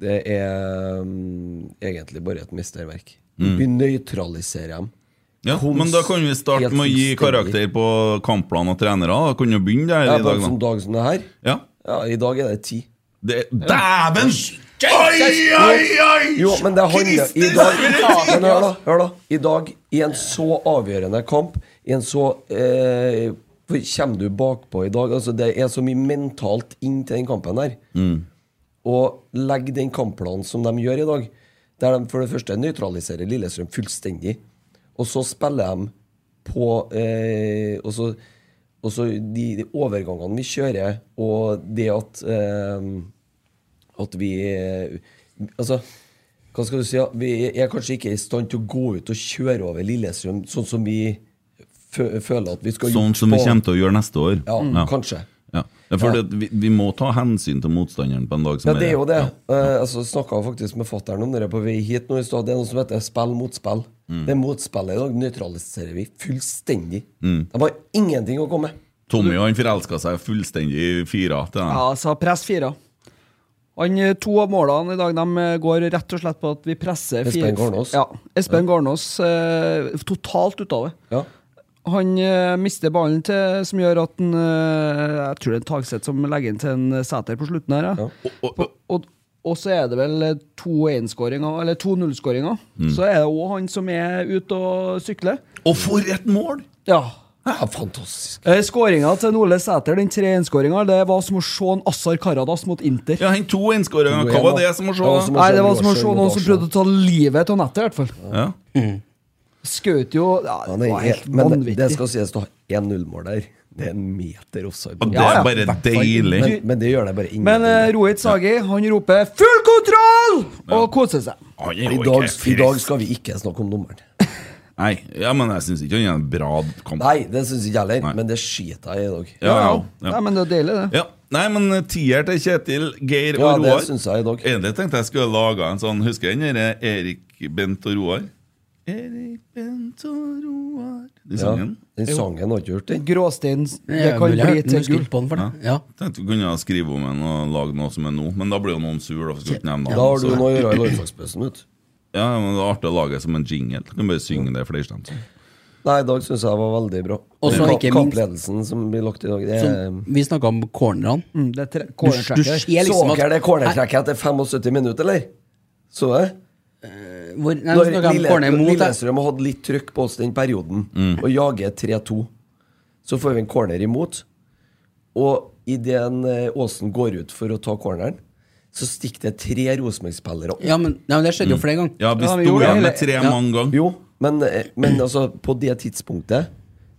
S3: Det er mm, egentlig bare et mesterverk.
S9: Mm.
S3: Vi nøytraliserer dem.
S9: Ja, men da kan vi starte
S3: Helt
S9: med å gi
S3: fullstendig.
S9: karakter på kampplan og trenere. Da kan jo begynne der
S3: Ja,
S9: i
S3: på
S9: dag,
S3: en sånn
S9: da.
S3: dag som det her?
S9: Ja.
S3: I dag er det ti.
S9: Dæven! Oi, oi, oi!
S3: Jo, men det handler i
S9: Kristus,
S3: dag,
S9: vil jeg si!
S3: men hør da, hør da. I dag, i en så avgjørende kamp I en så eh, hvor Kommer du bakpå i dag? Altså, det er så mye mentalt inn til den kampen her.
S9: Mm.
S3: Og legge den kampplanen som de gjør i dag, der de for det første nøytraliserer Lillestrøm fullstendig, og så spiller de på eh, og, så, og så de, de overgangene vi kjører, og det at eh, at vi eh, Altså, hva skal du si? ja, Vi er kanskje ikke i stand til å gå ut og kjøre over Lillestrøm sånn som vi fø føler at vi skal
S9: Sånn
S3: gjort
S9: som vi
S3: på-
S9: kommer til å gjøre neste år.
S3: Ja, kanskje.
S9: Ja. Ja, for
S3: Ja.
S9: det- vi, vi må ta hensyn til motstanderen på en dag som
S3: Ja, det er jo det. Eh, altså, Snakka faktisk med fatter'n om det på vei hit nå i stad. Det er noe som heter spill mot spill.
S9: Mm.
S3: Det motspillet i dag nøytraliserer vi fullstendig.
S9: Mm.
S3: De har ingenting å komme med.
S9: Tommy han forelska seg fullstendig i fyra til den.
S6: Ja, altså press fire. Han, eh, to av målene i dag de eh, går rett og slett på at vi presser
S3: Espen
S6: fire-
S3: Garnås.
S6: Ja, Espen Garnås eh, totalt ut av det.
S3: Ja.
S6: Han eh, mister ballen til, som gjør at han eh, Jeg tror det er Tagseth som legger inn til en Sæter på slutten her. Ja.
S9: Og,
S6: og, og så er det vel eh, to 1-skåringer, eller to 0-skåringer.
S9: Mm.
S6: Så er det òg han som er ute og sykler.
S9: Og for et mål!
S6: Ja.
S3: fantastisk.
S6: Skåringa til Ole Sæter, den 3-1-skåringa, det var som å se en Assar Karadas mot Inter.
S9: Ja, han to 1-skåringa, hva var det som å se?
S6: Nei, det var som å se noen som prøvde å ta livet av nettet, i hvert fall.
S9: Ja.
S6: Skjøt jo ja,
S3: Ja,
S6: Det
S3: det
S6: var
S3: er,
S6: helt
S3: men det, det
S6: vanvittig.
S3: skal sies, da. 1-0-mål der. Det er en meter offside.
S9: Og det er Ja, ja. bare deilig.
S3: Men, men det gjør det bare
S6: Men
S3: ingenting.
S6: eh, Rohit Sagi han roper 'full kontroll!' og koser seg.
S9: er
S3: I
S9: jo
S3: dag,
S9: ikke
S3: I dag skal vi ikke snakke om dommeren.
S9: Nei, ja, men jeg syns ikke han er en bra kamp.
S3: Nei, det syns ikke jeg heller, men det skiter jeg i i dag.
S9: Ja, ja, ja.
S6: Nei, men det er deilig, det.
S9: Ja. Nei, men eh, tier til Kjetil, Geir
S3: Ja,
S9: og
S3: det
S9: Roar.
S3: synes jeg i dag.
S9: Egentlig tenkte jeg skulle lage en sånn Husker jeg den der Erik, Bent og Roar? Erik Bent og Roar Den sangen?
S3: Ja, den sangen har ikke gjort den.
S6: Gråstein det kan bli til gull.
S9: Ja. Tenkte vi kunne skrive om den og lage noe som er nå, men da blir jo noen sur. Da, for skal ikke nevne
S3: Da
S9: navn,
S3: har du
S9: så-
S3: noe å gjøre i landslagspausen, vet du.
S9: Ja, men det er artig å lage det som en jingle. Du kan bare synge det flerstemt.
S3: Nei, i dag syns jeg var veldig bra.
S9: Og så
S3: Ka-
S9: ikke minst-
S3: Kampledelsen som blir lagt i dag, det er
S4: Sånn, vi snakka om cornerne.
S6: Mm, det er tre-
S4: Du- du
S3: Cornertrekket.
S4: ser liksom
S3: Så
S4: at-
S3: dere det cornertrekket etter 75 minutter, eller? Så jeg?
S4: Hvor, nei,
S3: Når
S4: snakker jeg om
S3: Lille-
S4: corner mot, jeg.
S3: Lillestrøm har hatt litt trykk på oss den perioden,
S4: Mm.
S3: og jager 3-2. Så får vi en corner imot, og idet Åsen eh, går ut for å ta corneren, så stikker det tre Rosenborg-spillere opp.
S4: Ja, men, nei, men det skjedde jo
S3: Mm.
S4: flere ganger.
S9: Ja, vi
S3: men
S9: sto
S3: gjorde
S9: igjen
S3: det.
S9: med tre
S3: Ja.
S9: mange ganger.
S3: Jo, men, men altså, på det tidspunktet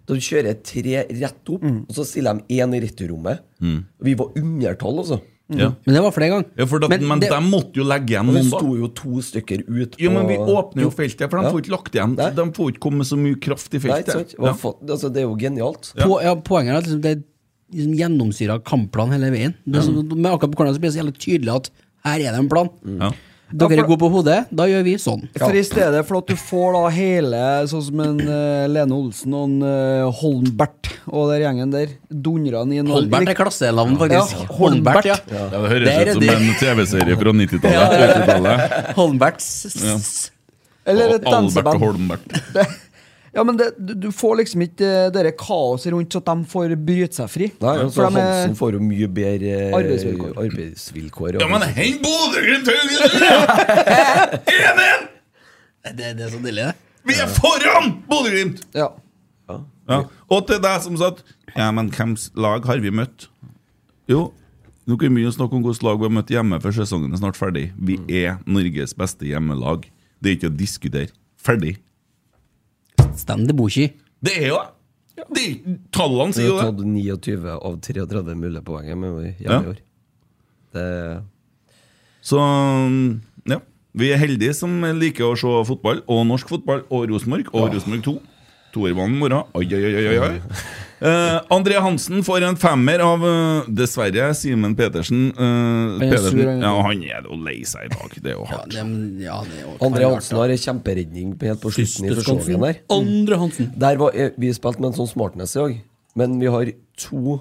S3: Da du kjører tre rett opp, og så stiller de én i returrommet.
S9: Mm.
S3: Vi var undertall, altså.
S9: Ja.
S4: Men det var flere ganger.
S9: Ja, for da, men de måtte jo legge igjen
S5: Mm.
S3: Og det
S9: noen, da.
S3: sto jo to stykker ut
S9: Jo, men vi åpner jo
S3: Jo.
S9: feltet, for de får ikke lagt igjen. De får ikke komme så mye kraft i
S3: Nei, ikke
S9: feltet.
S3: sant? Det var fa- altså, det er jo genialt.
S4: På, ja, poenget er at liksom det, liksom, gjennomsyra kampplan hele veien. Det, som- Med akkurat på corner så blir det så jævlig tydelig at her er det en plan.
S5: Mm.
S4: Dere
S6: Ja,
S4: er
S6: for-
S4: gode på hodet, da gjør vi sånn.
S6: For i stedet for at du får da hele sånn som en eh, Lene Olsen og en eh, Holmbert og der gjengen der dundrende i en
S4: Holmbert er klassenavn, faktisk.
S6: Ja,
S4: Holmbert,
S6: Holmbert,
S4: ja.
S5: Ja, det høres
S4: Der er
S5: ut som
S4: de.
S5: en TV-serie fra 90-tallet. 80-tallet.
S4: Holmberts
S5: Ja.
S6: Eller et
S5: Al- Albert og
S6: danseband.
S5: Holmbert.
S6: Ja, men det, du, du får liksom ikke eh, dere kaoset rundt så at de får bryte seg fri.
S3: Nei, altså,
S6: For de er-
S3: Hansen får jo mye bedre eh,
S6: Arbeidsvilkår.
S3: arbeidsvilkår
S5: Ja, men hei, Bodø-Glimt!
S4: Det, det er så deilig, det.
S5: Vi er foran Bodø-Glimt!
S6: Ja.
S5: Ja. Og til deg som satt Ja, men hvilket lag har vi møtt? Jo, nå kan vi begynne å snakke om hvilket lag vi har møtt hjemme, for sesongen er snart ferdig. Vi er Norges beste hjemmelag. Det er ikke å diskutere. Ferdig.
S4: Stand the boshi.
S5: Det er jo det. Tallene
S3: Vi
S5: sier jo
S3: har
S5: det.
S3: tatt 29 av 33 mulige poeng med vår
S5: Ja.
S3: hjemme i år. Det
S5: Så mm, ja. Vi er heldige som liker å se fotball, og norsk fotball, og Rosenborg, og Rosenborg 2. Toerbanen i morgen. Oi, oi, oi, oi, oi. Eh, André Hansen får en femmer av eh, dessverre Simen Petersen. eh,
S3: er
S5: Pedersen.
S3: sur, han.
S5: ja, han er jo lei seg i dag. Det er jo hardt.
S3: André Hansen har en kjemperedning på- helt på slutten i
S5: Første
S3: første omgangen der.
S5: sjansen. Andre
S3: Hansen. Der var, eh, vi spilte med en sånn smartness i dag, men vi har to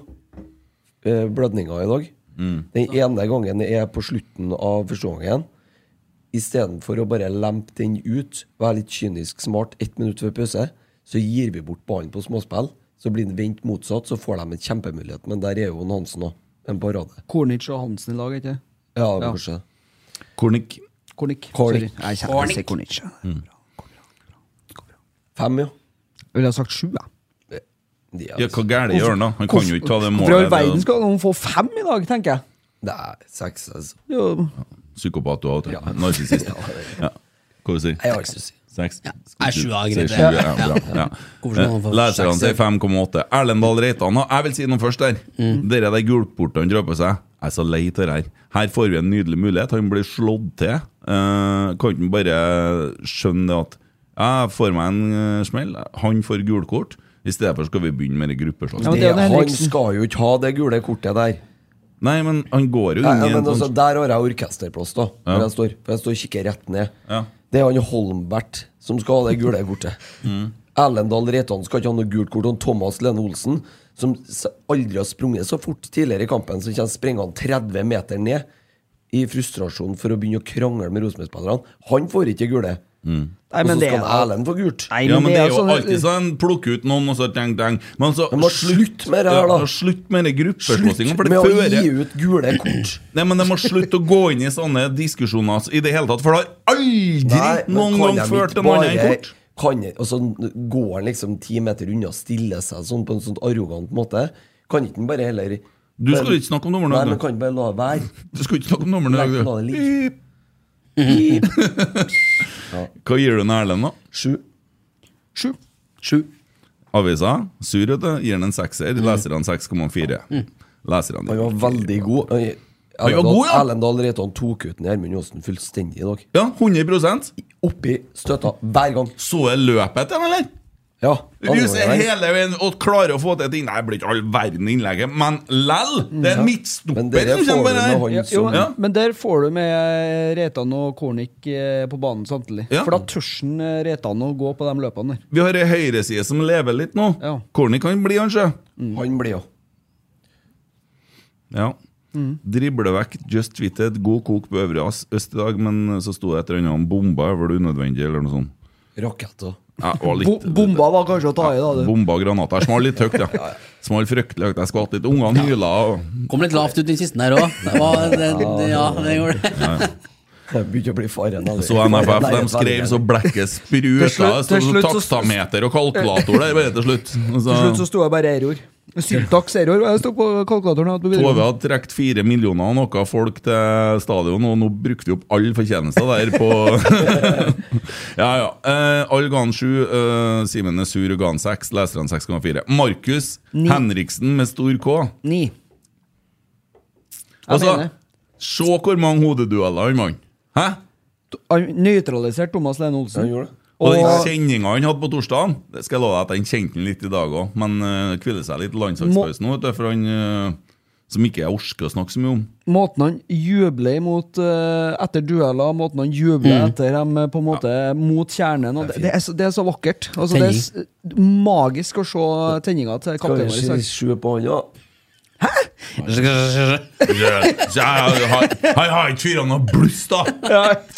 S3: eh, blødninger i dag.
S5: Mm.
S3: Den ene gangen er på slutten av første omgangen. Istedenfor å bare lempe den ut, være litt kynisk smart ett minutt før pause, så gir vi bort ballen på småspill. Så blir den vendt motsatt, så får de en kjempemulighet. Men der er jo en Hansen òg. En parade.
S6: Kornic og Hansen i lag, ikke
S3: Ja, kanskje.
S5: Kornik.
S6: Kornic.
S3: Kornic.
S6: Sorry. Nei, jeg kjenner- jeg sier Kornic.
S5: Mm.
S3: Fem, ja. altså-
S6: Jeg ville ha sagt sju, jeg.
S5: Ja, hva gærent gjør han, da? Han kan jo ikke ta det
S6: Hvorfor i all
S5: målet.
S6: verden
S5: Det
S6: skal han få fem i dag, tenker jeg?
S3: Nei, seks, altså.
S6: Det er jo-
S5: er Psykopat og alt. Narsissist. Ja. Hva sier du?
S3: Jeg har ikke lyst
S5: Seks?
S4: Nei, sju er
S5: Sier
S4: greit, det.
S5: sju, ja,
S4: Ja.
S5: bra, ja.
S4: Hvorfor skal man få
S5: Eh, Leserne
S4: seks, ja?
S5: sier 5,8. Erlend Dahl Reitan har- Jeg vil si noe først der.
S4: Mm.
S5: Dere de gulportene drar på seg. Jeg er så lei av det her. Her får vi en nydelig mulighet. Han blir slått til. Eh, kan ikke bare skjønne det at jeg får meg en eh, smell, han får gult kort. I stedet for skal vi begynne med det gruppeslagsmål.
S3: det, han skal jo ikke ha det gule kortet der.
S5: Nei, men han går jo
S3: Nei,
S5: inn i
S3: ja,
S5: en
S3: men altså,
S5: sånn
S3: Der har jeg orkesterplass, da.
S5: Ja.
S3: Hvor jeg står, for jeg står og kikker rett ned.
S5: Ja.
S3: Det er han Holmbert som skal ha det gule kortet.
S5: Mm.
S3: Erlend Dahl Reitan skal ikke ha noe gult kort. Og Thomas Lene Olsen, som s- aldri har sprunget så fort tidligere i kampen, så kommer sprengende 30 meter ned i frustrasjon for å begynne å krangle med Rosenborg-spillerne. Han får ikke gule.
S5: Nei,
S3: og
S5: men
S3: så
S5: det er
S3: skal
S5: jo-
S3: Erlend få gult.
S5: ja, men det er jo alltid sånn plukke ut noen og så teng, teng. Men så
S3: må slutt med det her, da.
S5: Ja, slutt med det gruppeslåssinga.
S3: Slutt med å gi ut gule kort.
S5: Nei, men De må slutte å gå inn i sånne diskusjoner altså, i det hele tatt, for det har aldri noen gang ført til noe annet enn kort.
S3: Kan, og så går han liksom ti meter unna og stiller seg sånn på en sånn arrogant måte. Kan ikke han bare heller
S5: Du skulle ikke snakke om dommeren,
S3: Nei,
S5: du.
S3: men kan bare la være.
S5: Du skulle ikke snakke om dommeren, du.
S3: La det ligge.
S5: Hva gir du den Erlend, da?
S3: Sju.
S6: Sju.
S4: Sju.
S5: Avisa, sur, vet du, gir den en sekser. Leserne 6,4.
S3: Mm.
S5: Leserne
S3: Mhm. Han var veldig god. Han-
S5: Han var
S3: Erlend Dahl-
S5: god, ja.
S3: Erlend Dahl Reitan tok ut den Gjermund Aasen fullstendig i dag.
S5: Ja, 100
S3: Oppi støtta hver gang.
S5: Så jeg løpet til han, eller?
S3: Ja.
S5: Ruser hele veien og klarer å få til ting. Nei, det blir ikke all verden innlegget, men lell! Det er en midtstopper som kommer bare her.
S6: Ja, jo, men, men der får du med eh, Reitan og Kornik eh, på banen samtidig.
S5: Ja.
S6: For da tør han, eh, Reitan å gå på de løpene der.
S5: Vi har ei høyreside som lever litt nå. Corny kan bli, han, sjø.
S3: Mm. Han blir jo.
S5: Ja.
S3: Mm.
S5: Drible vekk Just Fitted, god kok på Øvre Ass- Øst i dag, men så sto det et eller annet om bomba, var det unødvendig, eller noe sånt?
S3: Raketter.
S5: Ja, det var litt,
S6: Bo bomba var kanskje å ta i, da. Du.
S5: bomba og granater. Smal litt høyt, ja. Smal fryktelig høyt. Jeg skvatt litt. Ungene hyla. Og...
S4: Kom litt lavt ut den siste der òg. Ja, det gjorde det.
S3: Jeg begynte å bli faren. av det.
S5: Så NFF de
S3: Nei, det er
S5: skrev så blekket
S6: Til
S5: spruta. Så
S6: slutt- til slutt så-
S5: takstameter og kalkulator der bare til slutt. Og
S6: Til slutt
S5: Så,
S6: så sto jeg bare error. Syntax error. Jeg sto på kalkulatoren. og hadde på
S5: Tove
S6: videregående.
S5: hadde trukket fire millioner og noe folk til stadion, og nå brukte vi opp all fortjeneste der på Ja, ja. Eh, Algan 7, eh, Simen er sur, Gan 6, leserne 6,4. Markus
S6: Ni.
S5: Henriksen med stor K.
S6: Ni. Jeg
S5: Altså,
S6: mener.
S5: se hvor mange hodedueller han vant. Hæ?
S6: Han nøytraliserte Thomas Lene Olsen.
S3: gjorde det.
S5: Og den
S6: Og-
S5: kjenninga han hadde på torsdagen, det skal jeg love deg at han kjente den litt i dag òg, men uh, hviler seg litt i landslagspausen nå, vet du, for han eh, som ikke jeg orker å snakke så mye om.
S6: Måten han jubler imot eh, etter dueller, måten han jubler
S5: Mm.
S6: etter dem eh, på en måte mot kjernen og det, det, er så, det er så vakkert. Altså, det er s-
S3: Tenning.
S6: magisk å se tenninga til
S3: Skal
S6: kapteinen
S3: vi
S6: vår. i dag.
S3: se sju på han, ja?
S5: Jeg har jeg har ikke fyra noe bluss, da!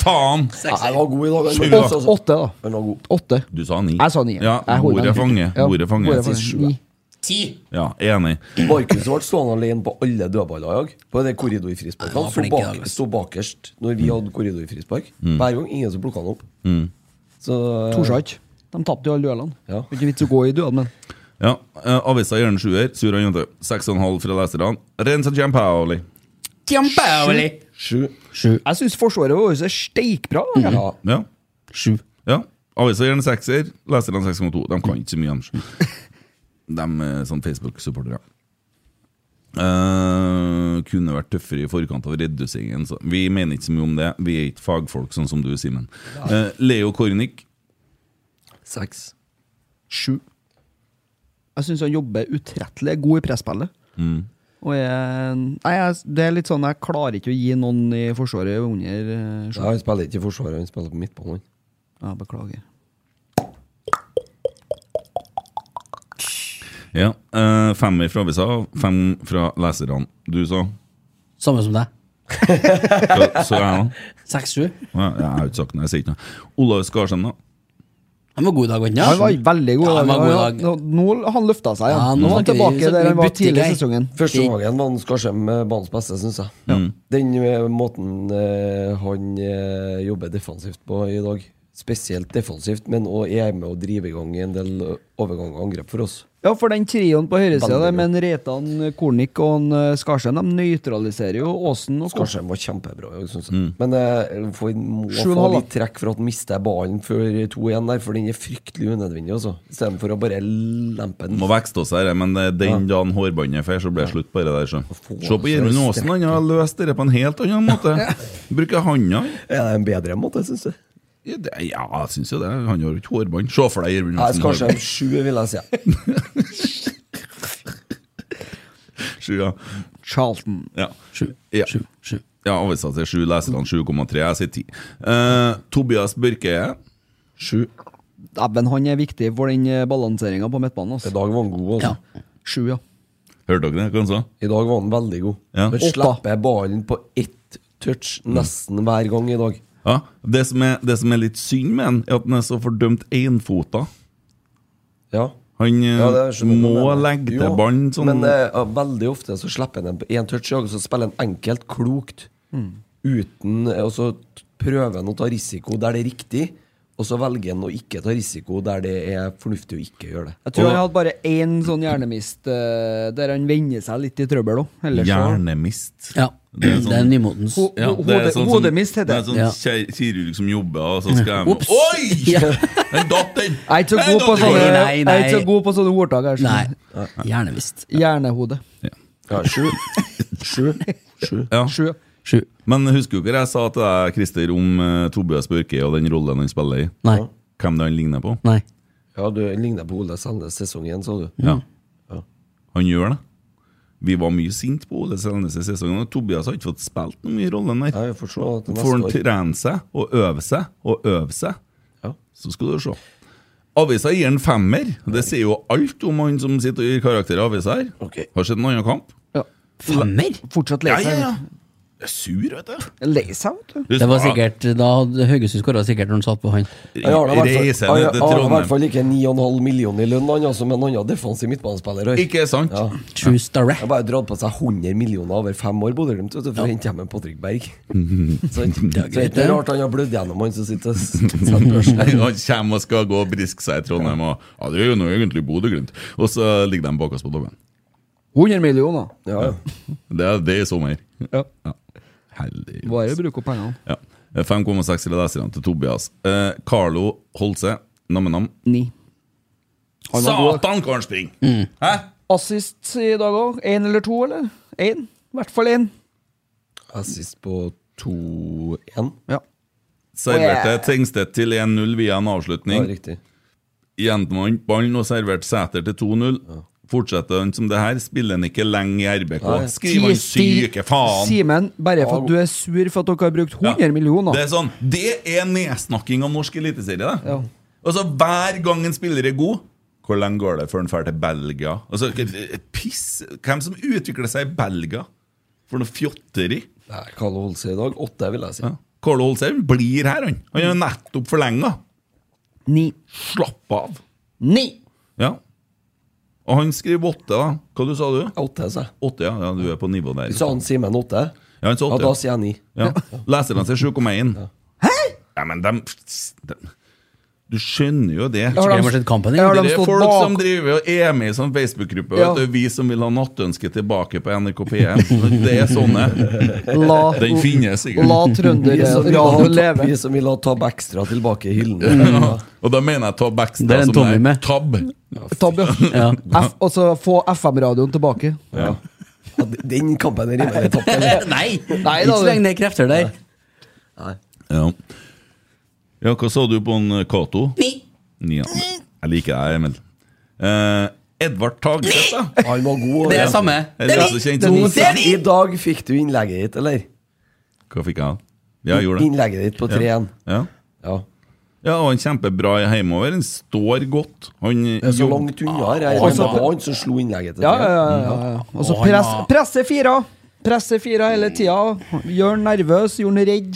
S5: Faen!
S3: Nei, han var god i dag.
S5: Sju,
S3: han.
S5: da.
S3: Åtte,
S6: Åtte, da.
S3: Han var god.
S6: Åtte.
S5: Du sa ni.
S3: Jeg sa ni, ja.
S5: Ja,
S3: Jeg holder
S5: ordet
S3: den.
S5: fange.
S3: Ja,
S5: Ordet fange.
S3: ordet fange. Ni.
S5: Ja, enig.
S3: Markus ble stående alene på alle dødballer i dag. På det korridorfrisparket.
S5: Han
S3: Han
S5: var
S3: sto,
S5: flink i dag,
S3: bak,
S5: ass.
S3: sto bakerst når vi hadde korridorfrispark.
S5: Mm.
S3: Hver gang. Ingen som plukka han opp.
S5: Mm.
S3: Så eh,
S6: Torde ikke. De tapte jo alle duellene. Det er Ikke vits å gå i duell, men
S5: Ja, eh, Avisa gir den sjuer. Sur og jente. Seks og en halv fra leserne. Rensa Giampaoli.
S6: Giampaoli.
S5: Sju.
S6: Jeg syns forsvaret vårt er steikbra. da.
S5: Ja. Sju. Ja. Avisa gir den sekser. Leserne 6,2. De kan ikke så mye, de. De er sånn Facebook-supportere. Eh, kunne vært tøffere i forkant av reduseringen. Så. Vi mener ikke så mye om det. Vi er ikke fagfolk, sånn som du, Simen. Eh, Leo Kornic.
S3: Seks.
S6: Sju. Jeg syns han jobber utrettelig, er god i presspillet.
S5: Mm.
S6: Og jeg, nei, jeg, det er litt sånn Jeg klarer ikke å gi noen i Forsvaret under eh, sju.
S3: Ja, han spiller ikke i Forsvaret, han spiller på midtbanen.
S6: Ja, beklager.
S5: Ja. eh, femmer fra avisa, fem fra leserne. Du sa?
S4: Samme som deg.
S5: Så, så jeg, da?
S4: Seks-sju.
S5: Ja, jeg har ikke sagt noe. Jeg sier ikke noe. Olav Skarsheim, da?
S4: Han var god i dag, var han ikke?
S6: Han var veldig god.
S4: Ja, han var god i
S6: Ja,
S4: dag.
S6: Nå, nå- han løfta seg.
S4: Ja,
S6: Ja,
S4: nå
S6: nå er han
S4: snakker vi-
S6: tilbake der han var
S4: bytter
S6: tidlig i
S4: greier.
S6: sesongen.
S3: Første gangen var han Skarsheim eh, banens beste, syns jeg.
S5: Mm.
S3: Den eh, måten eh, han eh, jobber defensivt på i dag, spesielt defensivt, men òg er med å drive i gang en del eh, overgang og angrep for oss.
S6: Ja, for den trioen på høyresida
S3: Veldig
S6: der med en Reitan, Kornik og en eh, Skarsheim, de nøytraliserer jo Åsen og Kopp.
S3: Skarsheim var kjempebra. Jeg synes.
S5: Mm.
S3: Men eh, får- må
S6: Sju og en
S3: få
S6: halv, da.
S3: litt trekk for at han mister ballen før 2-1 der, for den er fryktelig unødvendig, altså. Istedenfor å bare lempe den.
S5: Må vekste oss her, men eh, den dagen hårbåndet fer, så blir det slutt på det der. Så. Se på Gjermund Aasen, han har løst det på en helt annen måte. Bruker handa.
S3: Er det en bedre måte, syns du?
S5: Ja, det, ja, jeg syns jo det. Han har jo ikke hårbånd. Se for deg Gjermund
S3: Nei,
S5: Aasen.
S3: Skarsheim sju, vil jeg si.
S5: Sju, ja.
S6: Charlton.
S5: Ja. Sju. Ja. Ja, avisa til sju, leserne 7,3. Jeg sier ti. Eh, Tobias Børke. Sju.
S6: Dæven, han er viktig for den eh, balanseringa på midtbanen. Altså.
S3: I dag var han god, altså.
S6: Sju, ja.
S5: Hørte dere det? Hva han sa?
S3: I dag var han veldig god.
S5: Ja.
S3: Han slipper ballen på ett touch nesten hver gang i dag.
S5: Ja, det som, er, det som er litt synd med han, er at han er så fordømt énfota.
S3: Ja.
S5: Han eh,
S3: Ja, det skjønner jeg
S5: må
S3: hva du mener.
S5: legge
S3: Jo,
S5: til bånd sånn
S3: Men eh, ja, veldig ofte så slipper han den på én touch, og så spiller han enkelt, klokt.
S5: Mm.
S3: Uten eh, Og så t- prøver han å ta risiko der det er riktig, og så velger han å ikke ta risiko der det er fornuftig å ikke gjøre det.
S6: Jeg tror
S3: Og-
S6: han hadde bare én sånn hjernemist eh, der han vender seg litt i trøbbel òg.
S5: Hjernemist. Det er, sånn,
S6: Det er
S4: nymotens.
S6: Ho-
S5: Ja,
S6: ho-
S5: det er
S6: hode-
S5: sånn som-
S6: hodemist heter
S5: det.
S6: det.
S5: er sånn
S6: Ja.
S5: kjær- kirurg som jobber, og så skal jeg
S6: Ops!
S5: Oi! Den datt, den!
S6: Jeg er ikke så
S5: Den datt
S6: god på
S5: i
S6: sånne,
S5: går.
S6: jeg er ikke så god på sånne ordtak. her skjønner du.
S4: Hjernevisst.
S6: Hjernehode.
S3: Ja, sju. Sju. Sju.
S5: Ja.
S4: Sju.
S5: Men husker du hva jeg sa til deg, Christer, om eh, Tobias Børke og den rollen han spiller i?
S4: Nei.
S5: Hvem det han ligner på?
S4: Nei.
S3: Ja, du ligner på Ole Selnes sesong igjen, sa du.
S6: Mhm.
S5: Ja.
S3: Ja.
S5: Han gjør det. Vi var mye sint på Ole Selnes i sesongen, og Tobias har ikke fått spilt noe mye i rollen der.
S3: Ja, jeg får se at neste
S5: Får han
S3: år-
S5: trene seg og øve seg og øve seg, så skal du se. Avisa gir en femmer. Det sier jo alt om han som sitter og gir karakter i avisa her. Har sett en annen kamp?
S4: Femmer?
S6: Fortsatt
S5: Ja,
S6: leser
S5: ja, ja. Jeg er sur, vet du.
S6: Leser, vet du.
S4: Det var sikkert, Da hadde Haugesund skåra sikkert når han satt på han.
S3: Han har da i hvert fall-
S5: Reise
S3: han
S5: ned
S3: har-
S5: til
S3: han har i
S5: Trondheim.
S3: hvert fall ikke 9,5 millioner i lønn, han altså, men han har defensiv midtbanespiller. her.
S5: Ikke sant?
S3: Ja.
S4: Han
S3: har bare dratt på seg 100 millioner over fem år, Bodø-Glimt, vet du, for å hente hjem en Patrick Berg. Så så det er
S5: greit,
S3: ikke
S5: det.
S3: rart han har blødd gjennom, han som sitter og s- setter børsen her.
S5: Han kommer og skal gå og briske seg i Trondheim. Og, ja, det er jo noe egentlig Bodø-Glimt. Og så ligger de bak oss på dommen.
S6: 100 millioner.
S5: Det er det er i sommer.
S6: Ja.
S5: Heldig.
S6: Bare bruk opp pengene.
S5: Ja. Eh, 5,6 til leserne til Tobias. Eh, Carlo Holse, nam-nam.
S6: Ni. Han var god. Mm.
S5: Satan, hvor han springer!
S6: Assist i dag òg. Én eller to, eller? Én. I hvert fall én.
S3: Assist på 2-1.
S6: Ja.
S5: serverte
S10: Yeah.
S5: Tengstedt til 1-0 via en avslutning. Gjenvant ballen og serverte Sæter til 2-0. Fortsetter han som det her, spiller han ikke lenge i RBK.
S6: Ja, ja.
S5: Skriver han syke faen!
S6: Simen, bare for at du er sur for at dere har brukt 100 millioner.
S5: Det er sånn, det er nedsnakking av norsk eliteserie. det. Og så Hver gang en spiller er god Hvor lenge går det før han drar til Belgia? Altså, k- piss! Hvem som utvikler seg i Belgia? For noe fjotteri!
S3: Nei, Karl Holse i dag. Åtte, vil jeg si.
S5: Karl Holse blir her, han. Han er nettopp forlenga.
S6: Ni.
S5: Slapp av.
S6: Ni!
S5: Ja. Og han skriver åtte, da. Hva du sa du?
S3: Åtte, sa jeg.
S5: Åtte, ja. ja, du er på nivå der.
S3: Sa han Simen åtte?
S5: Ja, han sa åtte.
S3: Ja, da sier jeg ni.
S5: Ja. Leserne sier 7,1. Ja, men dem dem- Du skjønner jo det.
S4: Har de- Ikke sett kampen,
S5: det
S4: eller? Har de
S5: er
S4: stått
S5: folk
S4: bak?
S5: som driver og er med i sånn Facebook-gruppe.
S4: Ja.
S5: og Det er vi som vil ha nattønske tilbake på NRK P1. Det er sånn, sånne.
S3: La-
S5: Den finnes sikkert.
S3: La trønder-
S5: Vi som vil
S3: radio
S5: ha-
S3: leve. Vi som vil ha Tab Extra tilbake i hyllene.
S5: Ja. Og da mener jeg Tab Baxter.
S3: Mm. Det er en
S5: som
S3: Tommy med.
S5: Tab.
S6: Tab, ja. F, og så få FM-radioen tilbake.
S5: Ja.
S3: Den kampen er rimelig tapt, eller?
S4: Eh, Nei!
S6: Nei,
S4: ikke
S6: da,
S4: så lenge det er krefter der.
S5: Ja. ja, hva sa du på en eh, Cato?
S4: Ni.
S5: Ni, ja. Jeg liker deg, Emil. Eh, Edvard Tagseth, da.
S3: Han var god.
S5: Det er
S3: ja.
S5: samme. Det er vi. Det er vi. Det er vi.
S3: I dag fikk du innlegget ditt, eller?
S5: Hva fikk jeg? Ja, jeg gjorde det.
S3: Innlegget ditt på 3-1.
S5: Ja.
S3: Ja.
S5: ja, og han er kjempebra hjemover. Han står godt. Han
S3: Det er så langt unna
S6: Ah,
S3: her. Jeg
S5: Og
S3: regner med
S5: så-
S3: at det var han som slo innlegget til
S6: Ja, ja,
S3: 3-1.
S6: ja, ja, ja. Og så press, presse fire. Presse fire hele tida. Gjør han nervøs, gjør han redd.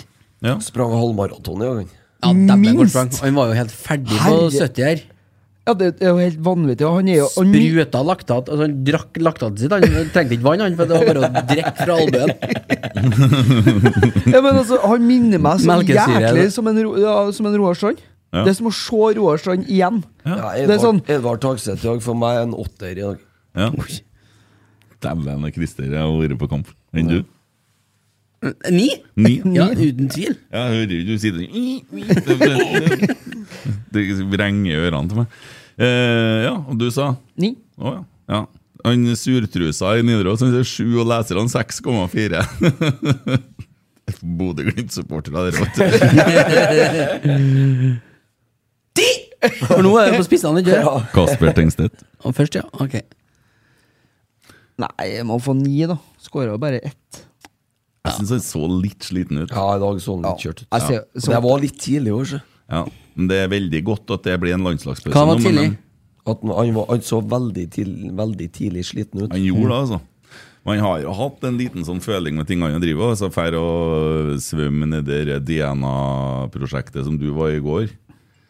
S3: Sprang halvmaraton i gang.
S4: Ja, dæven, hvor
S6: Minst.
S4: sprang. Han var jo helt ferdig på
S6: Herre-
S4: 70 her.
S6: Ja, det er jo helt vanvittig. og Han er jo han,
S4: Spruta laktat. Altså, han drakk laktatet sitt. Han trengte ikke vann, han, for det var bare å drikke fra albuen.
S6: ja, men altså, han minner meg så
S4: Melkesyre,
S6: jæklig
S4: det.
S6: som en, Ro- ja, som en Roar Strand.
S3: Ja.
S6: Det er som å se Roar Strand igjen.
S3: Ja,
S6: Det er
S3: Edvard,
S6: sånn
S3: Edvard Tagseth i dag for meg en åtter i dag.
S5: Ja. Dæven, Christer, jeg har vært på kamp. Enn du?
S4: Ni?
S5: Ni.
S4: Ja, uten tvil.
S5: Ja, jeg hører jo du sier det Det- Det vrenger i ørene til meg. Eh, ja, og du sa?
S6: Ni.
S5: Å, ja. ja. Han surtrusa i Nidaros han sier sju, og leserne 6,4. Bodø-Glimt-supportere, dere, vet du.
S4: For nå er det på spissene, ikke
S5: Ja. Kasper Tengstedt.
S4: Og Først, ja. Ok.
S6: Nei, jeg må få ni, da. Skåra jo bare ett.
S5: Jeg syns han så litt sliten ut.
S3: Ja, i dag så han litt kjørt ut.
S6: Jeg ser-
S3: Og Det var litt tidlig i år, så.
S5: Ja, men det er veldig godt at det blir en landslagspause.
S3: Hva var
S5: nå, men
S3: tidlig?
S5: den-
S3: At han, han, var, han så veldig, til, veldig tidlig sliten ut.
S5: Han
S4: Mm.
S5: gjorde det, altså. Man har jo hatt en liten sånn føling med ting han driver med. Altså, Fær å svømme nedi det DNA-prosjektet som du var i går.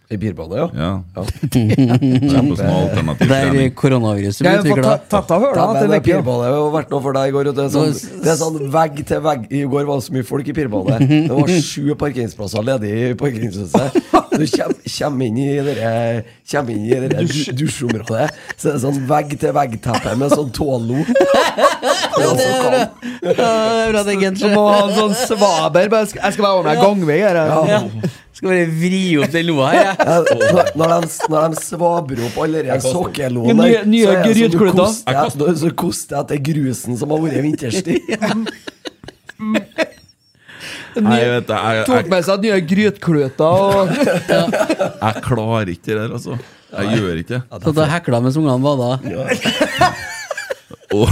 S3: I bilbadet, ja. Mm.
S5: Ja. Kjempe som alternativ trening.
S4: koronaviruset
S5: blir utviklet.
S3: Tetta
S5: Ja,
S3: hører da, at
S5: men
S3: det
S5: det er
S3: pirbadet har jo vært noe for deg i går. og Det er sånn, det er sånn vegg til vegg. I går var det så mye folk i pirbadet. Det var sju parkeringsplasser ledig i parkeringshuset. Du kommer kjem inn i det der- kjem inn i det der dusj- dusjområdet, så er det sånn vegg til vegg-teppe med sånn tålo.
S6: Jeg må ha en sånn svaber. bare skal- Jeg skal være over meg gangvei her. jeg.
S3: Ja.
S4: Skal bare vri opp den loa her, jeg.
S3: Ja, når- når, de, når de svabrer opp alle de sokkeloene
S6: Nye- nye
S3: så er det som du
S6: grytkludder.
S3: koster- Så koster jeg etter grusen som har vært vinterstid.
S5: Nei, jeg vet det, jeg, jeg,
S6: Tok med seg nye grytkløter og
S5: jeg, klarer ikke det der, altså. Jeg gjør ikke det.
S4: Så da hekla mens ungene bada.
S5: Åh.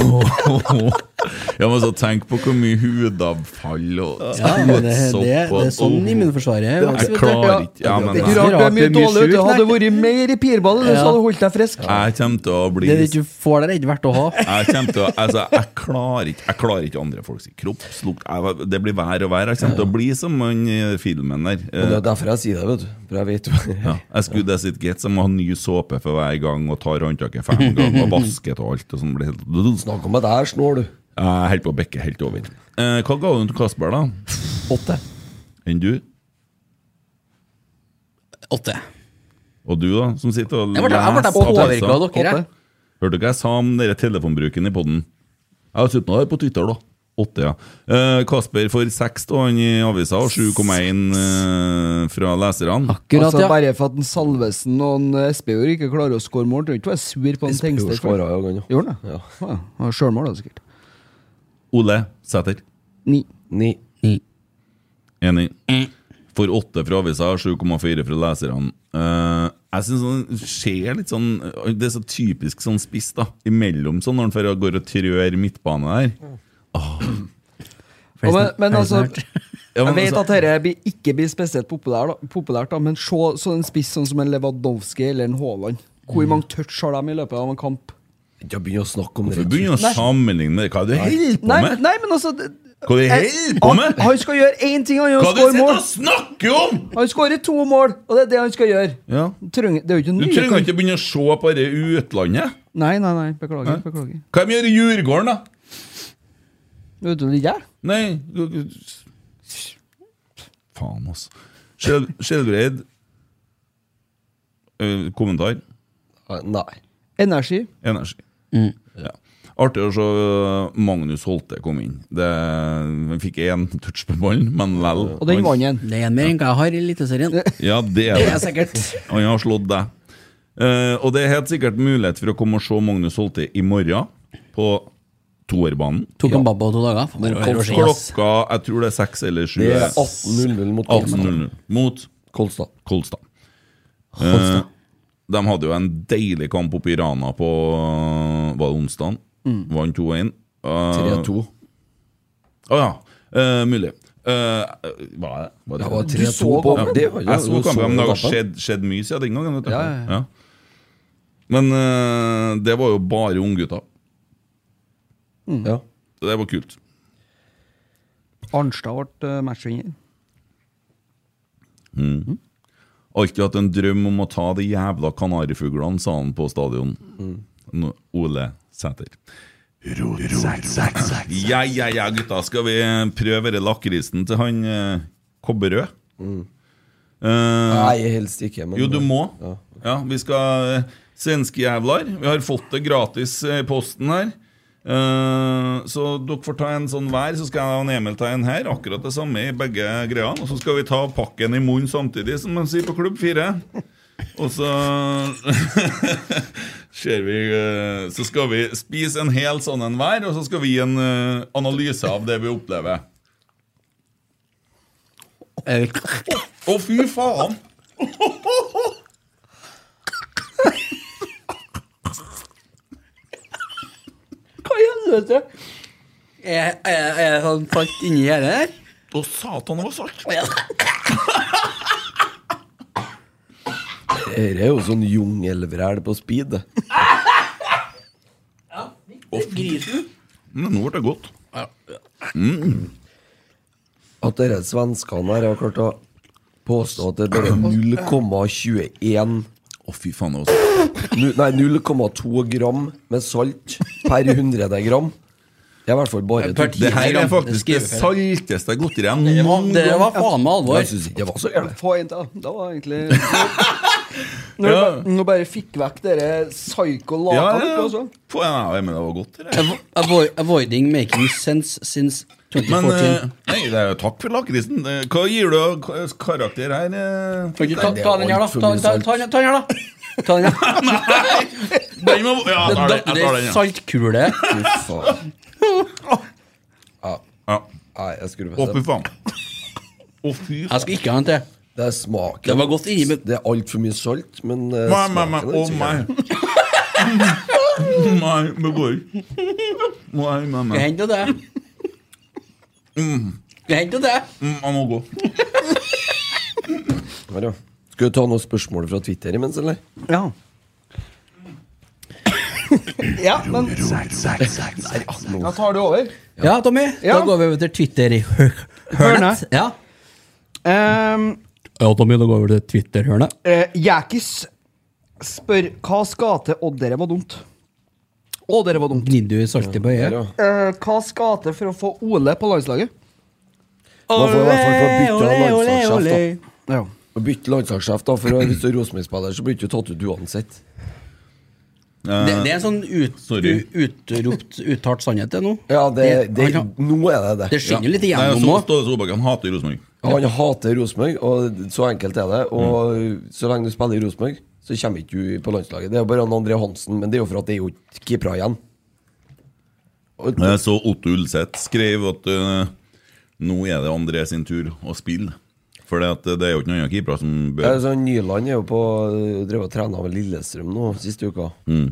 S5: Ja, men så tenk på hvor mye hudavfall og
S4: Ja, men det, det, det er sånn immunforsvaret er.
S5: Jeg klarer ikke ja, men,
S6: Det er ikke rart du er mye dårlig ute. Hadde det vært mer i pirball, så
S4: Ja.
S6: hadde du holdt deg frisk.
S5: Jeg kommer til å bli
S4: Det du ikke får der, er ikke verdt å ha.
S5: jeg kommer til å, altså, jeg klarer ikke Jeg klarer ikke andre folks kroppslukt. Jeg- Det blir vær og vær. Jeg kommer til å bli som han i filmen der.
S3: Og det er
S5: Eh,
S3: derfor jeg sier det, vet du. For jeg vet jo
S5: Ja, jeg skulle det sitt gett, så jeg må ha ny såpe for hver gang og tar håndtaket fem ganger og vasket og alt. Og sånn blir helt...
S3: Snakk om at jeg snår, du.
S5: Jeg holder på å bikke helt over. Eh, hva ga du til Kasper, da?
S3: Åtte.
S5: Enn du?
S4: Åtte.
S5: Og du, da? Som sitter og
S4: Jeg ble- jeg ble
S5: leser
S4: påvirket
S5: avisa.
S4: av dere, jeg.
S5: Hørte du hva jeg sa om dere telefonbruken i podden? Jeg har sett noe her på Twitter, da. Åtte, ja. Eh, Kasper får seks da, han i avisa, og 7,1 eh, fra leserne.
S6: altså, Bare for at en Salvesen og en Espejord ikke klarer å skåre mål, tror jeg ikke du er sur på en Tengstedt. for det.
S3: jo,
S6: Gjorde han det? Ja. Ja, Sjølmål, da, sikkert.
S5: Ole Sæter.
S6: Ni.
S3: Ni.
S5: Enig. For åtte fra avisa, 7,4 fra leserne. Eh, jeg syns han ser litt sånn Det er så typisk sånn spiss, da. Imellom sånn, når han fer- går og trør midtbane der.
S6: Ja, men, men altså
S5: Ja, men
S6: Jeg vet
S5: altså-
S6: at dette blir- ikke blir spesielt populært, da, populært da, men se så en spiss sånn som en Lewandowski eller en Haaland. Hvor mange touch har de i løpet av en kamp?
S3: Ikke begynn å snakke om det.
S5: Hvorfor begynner du å
S6: Nei.
S5: sammenligne det? Hva er det du holder på
S6: Nei,
S5: med?
S6: men- nei, men altså det- Eh,
S5: Hva er det du holder på med?
S6: Han, han skal gjøre én ting, han gjør
S5: Hva
S6: å
S5: er det du
S6: skåre
S5: sitter
S6: mål.
S5: og snakker om?!
S6: Han skårer to mål, og det er det han skal gjøre.
S5: Ja.
S6: Trenger, det er jo ikke
S5: Du
S6: nye
S5: trenger
S6: kamp-
S5: ikke begynne å se på det i utlandet.
S6: Nei, nei, nei, beklager.
S5: Hæ?
S6: beklager.
S5: Hva de gjør i Djurgården, da?
S6: Vet du det ikke jeg?
S5: Nei du- du- Faen, altså. Skjel- Skjelbreid Eh, Kommentar?
S3: Nei.
S6: Energi.
S5: Energi. Ja. Artig å se eh, Magnus Holte komme inn. Det, han fikk én touch på ballen, men lell.
S6: Og den vant han.
S4: Det er en mer enn hva jeg har i Eliteserien.
S5: Ja, det er
S4: Det
S5: det.
S4: er sikkert.
S5: Og han har slått deg. Eh, og det er helt sikkert mulighet for å komme og se Magnus Holte i morgen, på toerbanen.
S4: Tok en babba og to dager. Faen, det var rart å si, ass.
S5: Klokka jeg tror det er seks eller sju.
S3: Det er 18.00 mot
S5: 18.00 mot
S3: Kolstad.
S5: Kolstad.
S3: Kolstad.
S5: Eh, de hadde jo en deilig kamp oppe i Rana på eh, Var det onsdag?
S3: Mm.
S5: Vant 2-1. Eh,
S3: 3-2.
S5: Å ja. Eh, mulig. Eh, var det var
S3: Ja, var det
S5: Du
S3: 3-2
S5: så
S3: på-
S5: kampen?
S3: det var- ja,
S5: Jeg så
S3: du så
S5: kampen, men det har
S3: kampen.
S5: skjedd, skjedd mye siden den gangen. vet du.
S3: Ja, ja, ja.
S5: Ja. Men eh, det var jo bare unggutter.
S3: Ja.
S5: Så Det var kult.
S6: Arnstad ble eh, matchvinner.
S5: Mm. Alltid hatt en drøm om å ta de jævla kanarifuglene, sa han på stadion.
S3: Mm.
S5: Nå, Ole Sæter.
S3: Ro, ro, ro.
S5: Ja, ja, ja, gutta, skal vi prøve denne lakrisen til han eh, Kobberød?
S3: Mm.
S5: Eh,
S3: Nei, helst ikke. Men
S5: jo, du må. Ja,
S3: Ja.
S5: vi skal eh, Svenske jævlar. Vi har fått det gratis eh, i posten her. Eh, så dere får ta en sånn hver, så skal jeg og Emil ta en her. Akkurat det samme i begge greiene. Og så skal vi ta pakken i munnen samtidig, som man sier på Klubb 4. Og så ser vi eh, Så skal vi spise en hel sånn en hver, og så skal vi gi en eh, analyse av det vi opplever. Å, fy faen!
S6: Hva i helvete?
S4: Er er- er det sånn salt inni gjerdet der?
S5: Å, satan, det var salt!
S3: Dette er jo sånn jungelvrel på speed. det.
S4: Grisen?
S5: Men Mm, nå ble det godt.
S3: At dere svenskene her har klart å påstå at det er bare 0,21
S5: Å, fy faen. det var salt.
S3: Nu- Nei, 0,2 gram med salt per 100 gram. Det er i hvert fall bare
S5: Per ti Det her er gram. faktisk Det skriver det jeg. salteste jeg har gått i gang noen
S4: Det var faen meg alvor.
S3: Jeg synes ikke det var så gærent.
S6: Få en til. Det var egentlig Når du bare, når du bare fikk vekk dere altså. psyko-lata
S4: Ja, ja, ja.
S5: Få en av dem, men det var godt. det der.
S4: Avo- avo- Avoiding making sense since
S5: Men
S4: 2014.
S5: eh, nei, det er jo takk for lakrisen. Eh, Hva gir du av k- karakter her? eh?
S4: Kan ikke ta, ta den her, da. Ta, ta, ta, den- ta den her, da. Ta den her.
S5: Den må, ja, jeg tar den, jeg tar den,
S4: er
S5: ja.
S4: saltkule.
S5: Ja.
S3: Nei, jeg skulle
S5: Å, fy faen. Å, fy
S4: Jeg skal ikke ha en til.
S3: Det er smaken.
S4: Det var godt inni, men
S3: Det er altfor mye salt, men eh,
S5: Nei, nei, nei,
S3: smaken er
S5: å,
S3: ikke
S5: nei.
S3: gæren.
S5: Nei, det går ikke. Nei, nei,
S4: Skal
S5: nei.
S4: jeg hente det?
S5: Mm,
S4: Skal jeg hente det?
S5: mm, jeg må gå.
S3: Her, ja. Skal vi ta noen spørsmål fra Twitter imens, eller?
S6: Ja. ja, men
S3: altså.
S6: Da tar du over.
S4: Ja, Tommy.
S6: Ja.
S4: Da går vi over til Twitter-hørnet. Ja.
S6: Ehm,
S4: ja, Tommy, da går vi over til Twitter-hørnet.
S6: eh, Jakis spør hva skal til Å, dere var dumt. Å, dere var dumt.
S4: Gnidde du i saltet på øyet?
S6: Eh, hva skal til for å få Ole på landslaget?
S3: Man får i hvert fall få bytta
S4: Ole, ole,
S3: landslagssjef, da.
S6: Ja.
S3: Å bytte landslagssjef, da, for hvis du er Rosenborg-spiller, så blir du ikke tatt ut uansett.
S4: Det, det er en sånn ut,
S5: Sorry.
S4: u- utropt, uttalt sannhet, det nå.
S3: Ja, det, det,
S4: han kan-
S3: nå er det det.
S4: Det skinner litt
S5: Nei,
S4: igjennom
S5: så
S4: òg.
S5: står det Solbakken, Han hater Rosenborg.
S3: Ja, Han hater Rosenborg, og så enkelt er det. Og så lenge du spiller i Rosenborg, så kommer ikke du på landslaget. Det er jo bare han André Hansen, men det er jo for at det er jo ikke keepere igjen. Og,
S5: Jeg så Otto Ulseth skrev at eh, nå er det André sin tur å spille. For det, at det er jo ikke noen andre keepere som bør
S3: Ja, altså, så Nyland er jo på drev og trena med Lillestrøm nå siste uka.
S5: Mm.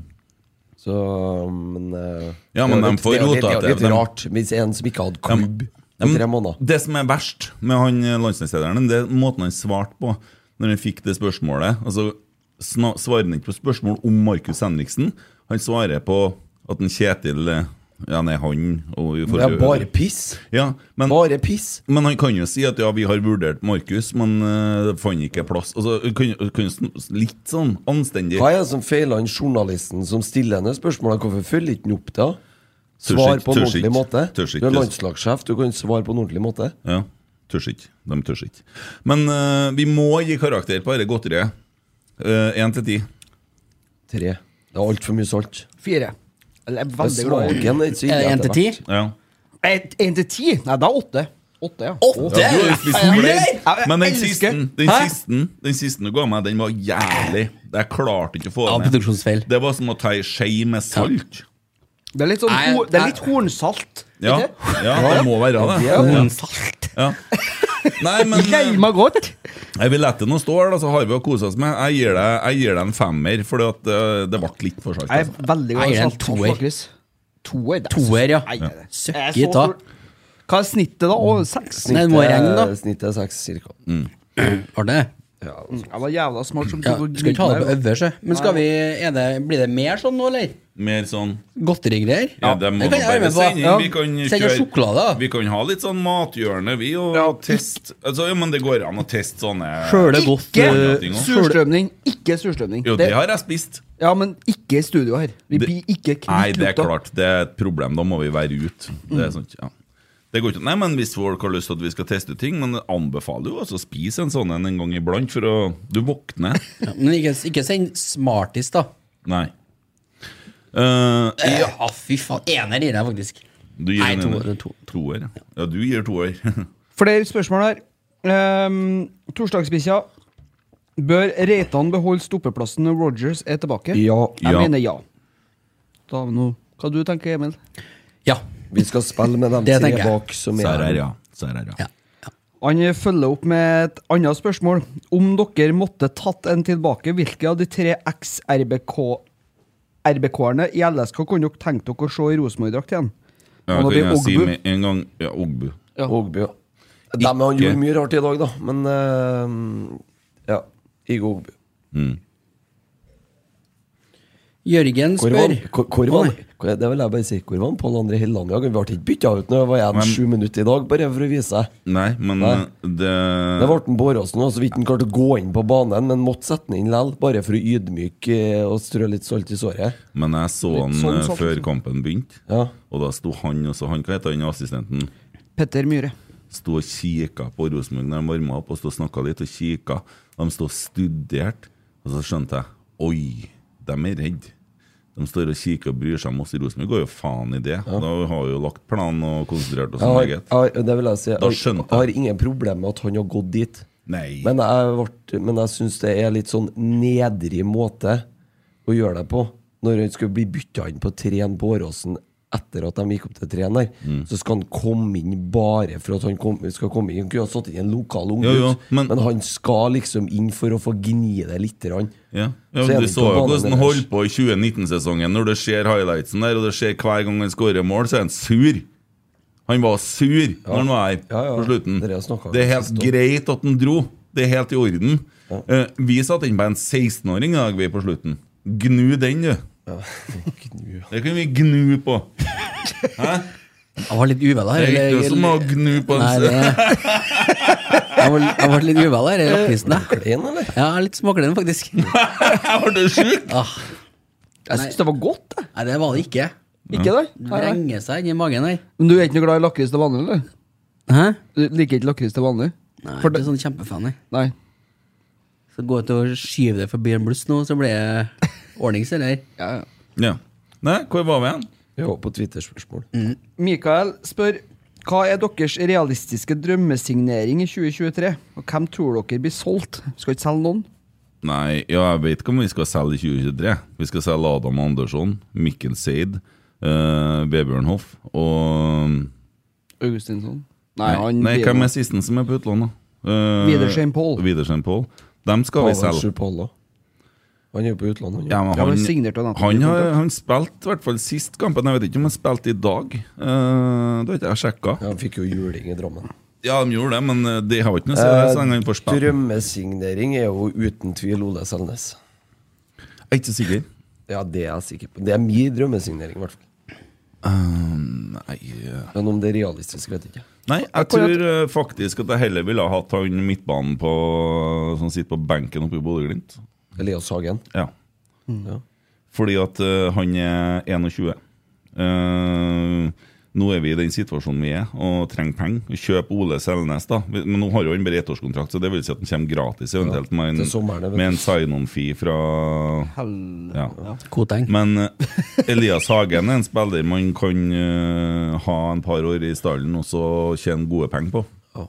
S3: Så, men eh,
S5: Ja,
S3: det
S5: men
S3: er jo
S5: de
S3: litt-
S5: får
S3: det er jo
S5: rota
S3: litt- Det er jo
S5: til-
S3: litt
S5: de-
S3: rart hvis en som ikke hadde klubb
S5: Ja,
S3: i
S5: men
S3: tre måneder
S5: Det som er verst med han eh, landslagslederen, det er måten han svarte på når han fikk det spørsmålet. Altså, sna- svarer han ikke på spørsmål om Markus Henriksen. Han svarer på at en Kjetil eh, Ja, nei, han og, i
S3: Det er
S5: forhold-
S3: bare piss.
S5: Ja, men,
S3: bare piss.
S5: Men han kan jo si at ja, vi har vurdert Markus, men eh, det fant ikke plass. Altså, kan, kan jo sn- litt sånn anstendig
S3: Hva er det som feiler han journalisten som stiller henne spørsmålet? Hvorfor følger ikke han opp da?
S5: Tørs
S3: Svar
S5: ikke,
S3: på en
S5: tørs
S3: ordentlig
S5: ikke,
S3: måte.
S5: tørs ikke.
S3: Du er landslagssjef, du kan svare på en ordentlig måte.
S5: Ja, tørs ikke. De tørs ikke. Men eh, vi må gi karakter på dette godteriet. Én til ti.
S3: Tre. Det er altfor mye salt.
S6: Fire. Eller jeg er veldig glad i-
S3: Smaken er ikke så ille.
S4: Eh,
S3: etter hvert.
S5: Ja.
S6: Et- En til ti? Nei, da er åtte. Åtte, ja. Åtte?
S5: Ja, du er jo spist
S6: Ja, ja,
S5: flere.
S6: ja. Jeg-
S5: Men den
S6: jeg
S5: siste,
S6: elsker.
S5: den,
S6: Hæ?
S5: siste, den siste du ga meg, den var jævlig. Jeg klarte ikke å få
S4: Ja,
S5: den ned. Det var som å ta ei skje med salt.
S6: Det er litt sånn
S5: Nei,
S6: ho- det er
S5: nei.
S6: litt hornsalt.
S5: Ja,
S6: ikke?
S5: ja det må være det.
S6: Ja, ja.
S5: Ja. Nei, men eh,
S6: meg godt.
S5: Jeg vil lette noe stå her, da, så har vi å kose oss med. Jeg gir deg, jeg gir deg en femmer, for det ble litt for salt. altså.
S6: Jeg er veldig glad i
S5: Jeg gir den
S6: salt.
S5: toer.
S6: faktisk. Toer, det er-
S5: Toer, ja.
S6: Nei,
S5: Ja.
S6: det er-
S5: Søkk
S6: Jeg er
S5: i
S6: så
S5: ta.
S6: stor- Hva er snittet, da? Å, seks?
S3: Snittet-
S6: Snittet-
S3: Eh, Snittet er seks, cirka.
S4: Var det?
S3: Ja.
S6: Jeg var jævla smart som
S4: Ja,
S6: tok og
S4: skal vi ta det på
S6: grilla meg.
S4: øvers, jeg. men skal vi, er det, blir det mer sånn nå, eller?
S5: Mer sånn
S4: Godterigreier?
S5: Ja, det må
S4: Det
S5: du
S4: kan
S5: bare
S4: jeg være med på.
S5: sende inn. Vi kan
S4: Ja. Send oss sjokolade,
S5: Vi kan ha litt sånn mathjørne, vi, og teste altså, ja, Men det går an å teste sånne
S6: Ikke surstrømning. Ikke surstrømning.
S5: eh, Jo, det har jeg spist.
S6: Ja, men ikke i studio her. Vi
S5: Det-
S6: blir ikke
S5: Nei,
S6: kvitt
S5: det er
S6: lukta.
S5: klart. Det er et problem. Da må vi være ute. Det er sant, ja. Det går ikke. Nei, men Hvis folk har lyst til at vi skal teste ting Men jeg anbefaler jo også å spise en sånn en en gang iblant, for å Du våkner.
S4: Ja, men ikke, ikke send Smarties, da.
S5: Nei. Eh,
S4: Ja, fy faen. Ener gir jeg faktisk.
S5: du gir
S4: Nei,
S5: en-
S4: toer,
S5: toer. ja. Ja, du gir toer.
S6: Flere spørsmål her. Um, Torsdagsbikkja. Bør Reitan beholde stoppeplassen når Rogers er tilbake?
S3: Ja.
S6: Jeg
S3: Ja.
S6: mener ja. Da har vi noe Hva du tenker Emil?
S3: Vi skal spille med dem
S6: Det
S3: tre
S6: tenker jeg.
S3: bak som er
S6: Sær er
S5: ja. Sær er
S3: ja.
S6: Han følger opp med et annet spørsmål. Om dere måtte tatt en tilbake, hvilke av de tre eks-RBK-erne i LSK kunne dere tenkt dere å se i Rosenborg-drakt igjen?
S5: Ja, kan
S6: Han hadde
S5: jeg si
S6: Ogbu.
S5: med en gang Ja, Ogbu.
S6: Ja.
S3: Ogbu, ja. Dem har han gjort mye rart i dag, da, men eh, Ja. Igo Ogbu.
S4: Jørgen
S3: Hvor var,
S4: spør
S3: hvor, hvor var, hvor, det vil jeg bare si, hvor var han Pål André Helland i dag? Vi ble ikke bytta ut når det var igjen sju minutter i dag, bare for å vise seg.
S5: Nei, men
S3: Nei.
S5: eh, det
S3: Det ble en Båråsen, og så vidt han klarte å gå inn på banen, men måtte sette den inn likevel, bare for å ydmyke eh, og strø litt salt i såret.
S5: Men jeg så
S3: Litt
S5: han
S3: sånn
S5: eh,
S3: salt,
S5: før
S3: liksom.
S5: kampen begynte, og da sto han også Han, hva heter han assistenten?
S6: Petter Myhre.
S5: Sto og kikka på Rosenborg når de varma opp, og sto og snakka litt og kikka. De sto og studerte, og så skjønte jeg Oi, de er redde. De står og kikker og bryr seg om oss i Rosenborg. Går jo faen i det. Da har vi jo lagt planen og konsentrert oss
S3: Jeg
S5: om
S3: har,
S5: eget.
S3: jeg har, det vil jeg si.
S5: Da
S3: Jeg, jeg
S5: skjønte
S3: har ingen problem med at han har gått dit.
S5: Nei.
S3: Men jeg, ble, men jeg syns det er litt sånn nedrig måte å gjøre det på. Når han skulle bli bytta inn på tren på Åråsen etter at de gikk opp til tren der,
S5: Mm.
S3: så skal han komme inn bare for at han kom, skal komme inn. Han kunne ha satt inn en lokal unggutt,
S5: Jo, jo,
S3: men, han skal liksom inn for å få gni det lite grann.
S5: Ja. Ja,
S3: Så er
S5: du
S3: det
S5: så jo
S3: på banen
S5: hvordan han
S3: ellers.
S5: holdt på i 2019-sesongen. Når du ser highlightsen der, og det skjer hver gang han skårer mål, så er han sur. Han var sur når han var her på slutten.
S3: om
S5: Det er
S3: det
S5: helt
S3: sist også.
S5: greit at han dro. Det er helt i orden. Eh, vi satt inn på en 16-åring i dag vi på slutten. Gnu den, du. Det kan vi gnu på. Hæ?
S4: Jeg var litt uvel her.
S5: Det er ikke som å gnu på en
S4: Nei, det- Jeg var- jeg ble litt uvel her i lakkrisen. jeg.
S3: Klein, eller?
S4: Ja, litt småklein, faktisk.
S5: Ble du sjuk?
S6: Jeg syns det var godt. jeg.
S4: Ah, Nei, det var det ikke.
S6: Ikke det? Nei, nei.
S4: Vrenger seg inn i magen her.
S6: Men du er ikke noe glad i lakris til vanlig, eller?
S4: Hæ?
S6: Du liker ikke lakris til vanlig?
S4: Nei,
S6: For
S4: ikke sånn kjempefan, jeg.
S6: Nei.
S4: Så gå ut og skyve det forbi en bluss nå, så blir det ordnings, eller?
S6: Ja, ja.
S5: Ja. Nei, hvor var vi hen?
S3: Vi var på Twitter-spørsmål.
S5: Mm.
S6: Mikael spør hva er deres realistiske drømmesignering i 2023? Og hvem tror dere blir solgt? Skal ikke selge noen?
S5: Nei, ja, jeg vet ikke om vi skal selge i 2023. Vi skal selge Adam Andersson, Mikkel Seid, eh, Vebjørn Hoff og
S6: Augustinsson?
S5: Nei,
S6: han
S5: nei
S6: blir
S5: hvem
S6: jo-
S5: er sisten som er på utlån, da? Eh,
S6: Wiedersheim Paul.
S5: Wiedersheim Paul. Dem skal vi
S3: Pavel
S5: selge.
S3: Paul også. Han er jo på utlandet.
S5: Ja, men
S3: Ja, men
S5: han,
S3: signert av Napoli
S5: han, har,
S3: kontrakt.
S5: han spilte i hvert fall sist kampen. Jeg vet ikke om han spilte i dag. Eh, det har ikke jeg sjekka.
S3: Ja, han fikk jo juling i Drammen.
S5: Ja, de gjorde det, men eh, det har jo ikke noe å si. det er så lenge han får spille.
S3: Drømmesignering er jo uten tvil Ole Selnes.
S5: Jeg er ikke sikker.
S3: Ja, det er jeg sikker på. Det er min drømmesignering, i hvert fall.
S5: Eh, nei eh,
S3: Men om det er realistisk, vet jeg ikke.
S5: Nei, jeg tror eh, faktisk at jeg heller ville ha hatt han midtbanen på, som sitter på benken oppe i Bodø-Glimt.
S3: Elias Hagen?
S5: Ja.
S3: Mm. Ja.
S5: Fordi at eh, han er 21. Eh, nå er vi i den situasjonen vi er, og trenger penger. Kjøp Ole Selnes, da. Men nå har jo han bare ettårskontrakt, så det vil si at han kommer gratis eventuelt med en,
S3: til sommeren, det vet
S5: med
S3: du.
S5: en sign-on-fee fra
S3: Hell-
S5: ja.
S3: ja.
S5: Men eh, Elias Hagen er en spiller man kan eh, ha en par år i stallen og så tjene gode penger på.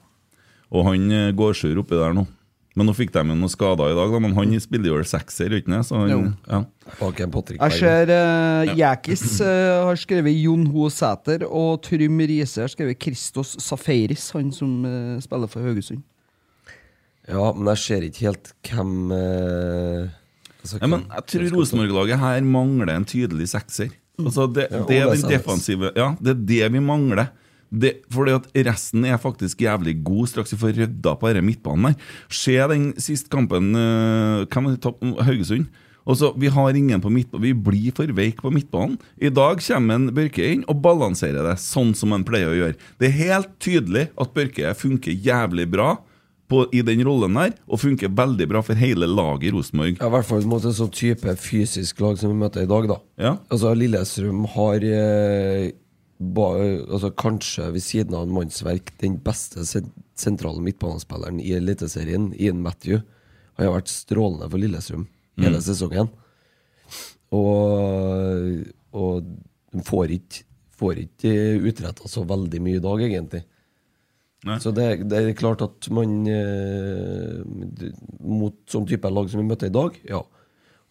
S5: Og han eh, går sur oppi der nå. Men nå fikk de jo noen skader i dag, da, men han spiller jo vel sekser, gjør han ikke det? Så han,
S6: Jo.
S5: ja.
S3: Bak en Patrick
S6: Jeg ser uh, Jakis eh, har skrevet Jon Ho Sæter, og Trym Riise har skrevet Kristos Safaris, han som eh, spiller for Haugesund.
S3: Ja, men jeg ser ikke helt hvem eh, altså,
S5: Ja, men
S3: hvem-
S5: jeg tror Rosenborg-laget her mangler en tydelig sekser.
S3: Mm.
S5: Altså det,
S3: Ja,
S5: det er
S3: Ole
S5: den
S3: Selnes.
S5: defensive Ja, det er det vi mangler. Det, fordi at resten er faktisk jævlig god straks vi får rydda på denne midtbanen her. Se den siste kampen eh, Hvem var det tapt mot Haugesund? Og så, Vi har ingen på midtbanen. Vi blir for veike på midtbanen. I dag kommer en Børke inn og balanserer det, sånn som han pleier å gjøre. Det er helt tydelig at Børke funker jævlig bra på, i den rollen der, og funker veldig bra for hele laget i Rosenborg.
S3: Ja, I hvert fall mot en sånn type fysisk lag som vi møter i dag, da. Altså, Lillestrøm har eh, ba, altså, kanskje ved siden av en mannsverk den beste sen sentrale midtbanespilleren i Eliteserien, Ian Matthew. Han har vært strålende for Lillestrøm hele
S5: Mm.
S3: sesongen. Og, og de får ikke, får ikke utretta så veldig mye i dag, egentlig. Så det, det er klart at man eh, d- Mot sånn type lag som vi møtte i dag, ja.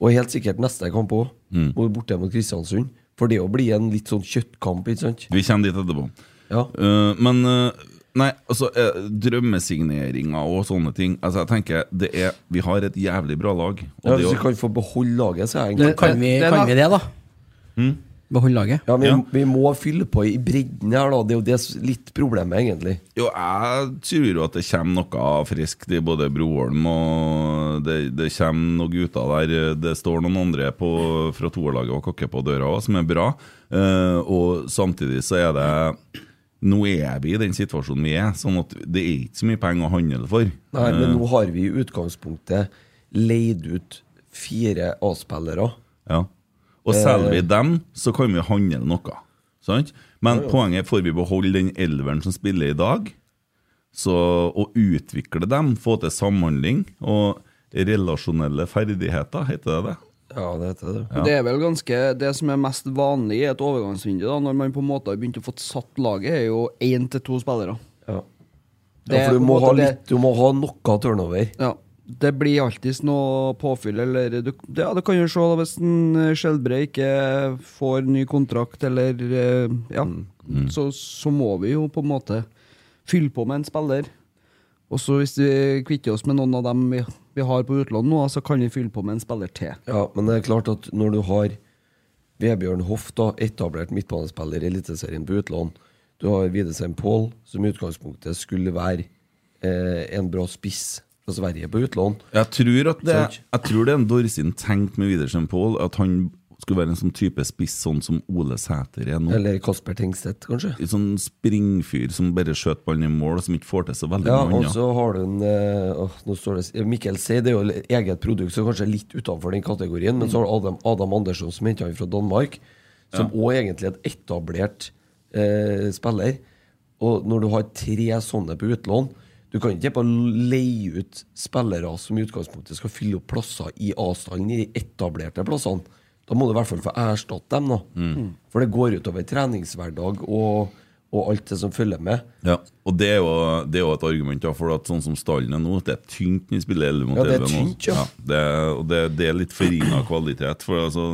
S3: Og helt sikkert neste kamp òg,
S5: Mm.
S3: borte mot Kristiansund. For det å bli en litt sånn kjøttkamp, ikke sant?
S5: Vi kommer dit etterpå. Eh, men eh, Nei, altså, eh, drømmesigneringer og sånne ting Altså, jeg tenker det er Vi har et jævlig bra lag. Og
S3: Ja,
S5: det
S3: hvis
S5: å-
S3: vi kan få beholde laget, så er
S5: Det- kan vi- kan vi det, da? Mm.
S4: Hmm?
S3: Beholde laget? Ja, men
S5: Ja.
S3: vi må fylle på i bredden her, da. Det er jo det som er litt problemet, egentlig.
S5: Jo, jeg tror jo at det kommer noe friskt i både Broholm og Det, det kommer noen gutter der. Det står noen andre på, fra toerlaget og kokker på døra også, som er bra. Eh, og samtidig så er det Nå er vi i den situasjonen vi er, sånn at det er ikke så mye penger å handle for.
S3: Nei, men
S5: Eh,
S3: nå har vi i utgangspunktet leid ut fire A-spillere.
S5: Ja. Og
S3: Eh,
S5: selger vi dem, så kan vi handle noe. Sant? Men
S3: Ja, ja.
S5: poenget er får vi beholde den elveren som spiller i dag, så å utvikle dem, få til samhandling og relasjonelle ferdigheter, heter det det?
S3: Ja, det heter det.
S6: Det er vel ganske Det som er mest vanlig i et overgangsvindu, da, når man på en måte har begynt å få satt laget, er jo én til to spillere.
S3: Ja.
S6: Det er
S3: for
S6: på
S3: du
S6: en
S3: må,
S6: måte
S3: ha
S6: det-
S3: litt, du må ha noe turnover.
S6: Ja. Det blir alltid noe påfyll, eller du, ja, du kan jo se da, hvis en eh, Skjelbre ikke får ny kontrakt, eller eh, Ja, Så, så må vi jo på en måte fylle på med en spiller. Og så hvis vi kvitter oss med noen av dem vi, vi har på utlån nå, så kan vi fylle på med en spiller til.
S3: Ja, men det er klart at når du har Vebjørn Hoff, da, etablert midtbanespiller i Eliteserien på utlån, du har Widesheim Pål, som i utgangspunktet skulle være eh, en bra spiss fra Sverige på utlån.
S5: Jeg tror, at det,
S3: Sant.
S5: jeg tror det er en Dorsin tenkt med Widersen Pål, at han skulle være en sånn type spiss sånn som Ole Sæter er nå.
S3: Eller Kasper Tengstedt, kanskje.
S5: En sånn springfyr som bare skjøt ballen i mål, og som ikke får til så veldig
S3: Ja,
S5: mye
S3: og
S5: annet.
S3: så har du en eh, åh, nå står det, Mikkel Sei, det er jo et eget produkt, så kanskje litt utenfor den kategorien. Men så har du Adam, Adam Andersson, som henta han fra Danmark, som
S5: Ja.
S3: også egentlig er en etablert eh, spiller. Og når du har tre sånne på utlån Du kan ikke bare leie ut spillere som i utgangspunktet skal fylle opp plasser i avstanden, i de etablerte plassene. Da må du i hvert fall få erstatte dem, da.
S5: Mm.
S3: For det går utover treningshverdag og, og alt det som følger med.
S5: Ja, og det er jo, det er jo et argument, ja, for at sånn som stallen er nå, det er tynt når vi spiller 11 mot
S3: Ja, det er
S5: 11 nå.
S3: tynt, ja.
S5: det, er- og det, det er litt forringa kvalitet, for altså,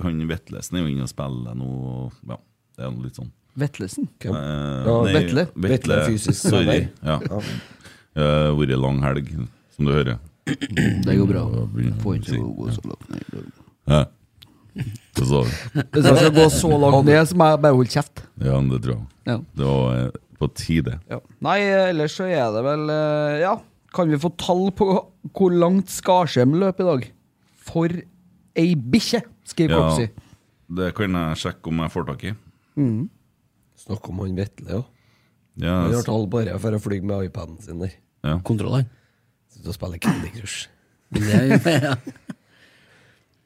S5: han Vetlesen er jo inne og spiller nå, og ja, det er noe litt sånn.
S6: Vetlesen?
S5: Eh,
S6: Ja,
S5: nei,
S6: Vetle.
S5: Vetle,
S6: Vetle er fysisk
S5: sorry.
S6: trener.
S5: Ja.
S6: Ja.
S5: Det har vært lang helg, som du hører.
S6: Det går bra.
S5: Jeg
S6: får ikke gå så langt ned.
S5: Hæ? Hva sa du?
S6: Hvis jeg skal gå så langt ned, så må jeg bare holde kjeft.
S5: Ja, men det tror jeg.
S6: Ja.
S5: Det var eh, på tide.
S6: Nei, ellers så er det vel eh, Ja, kan vi få tall på hvor langt Skarsheim løp i dag? For ei bikkje, skriver Kopsi.
S5: det kan jeg sjekke om jeg får tak i.
S6: Mm.
S3: Snakk om han Vetle, jo.
S5: Ja,
S3: han
S5: s-
S3: har tall bare for å fly med iPaden sin der.
S5: Ja.
S4: Kontrolleren.
S3: Sitter og spiller Candy Crush.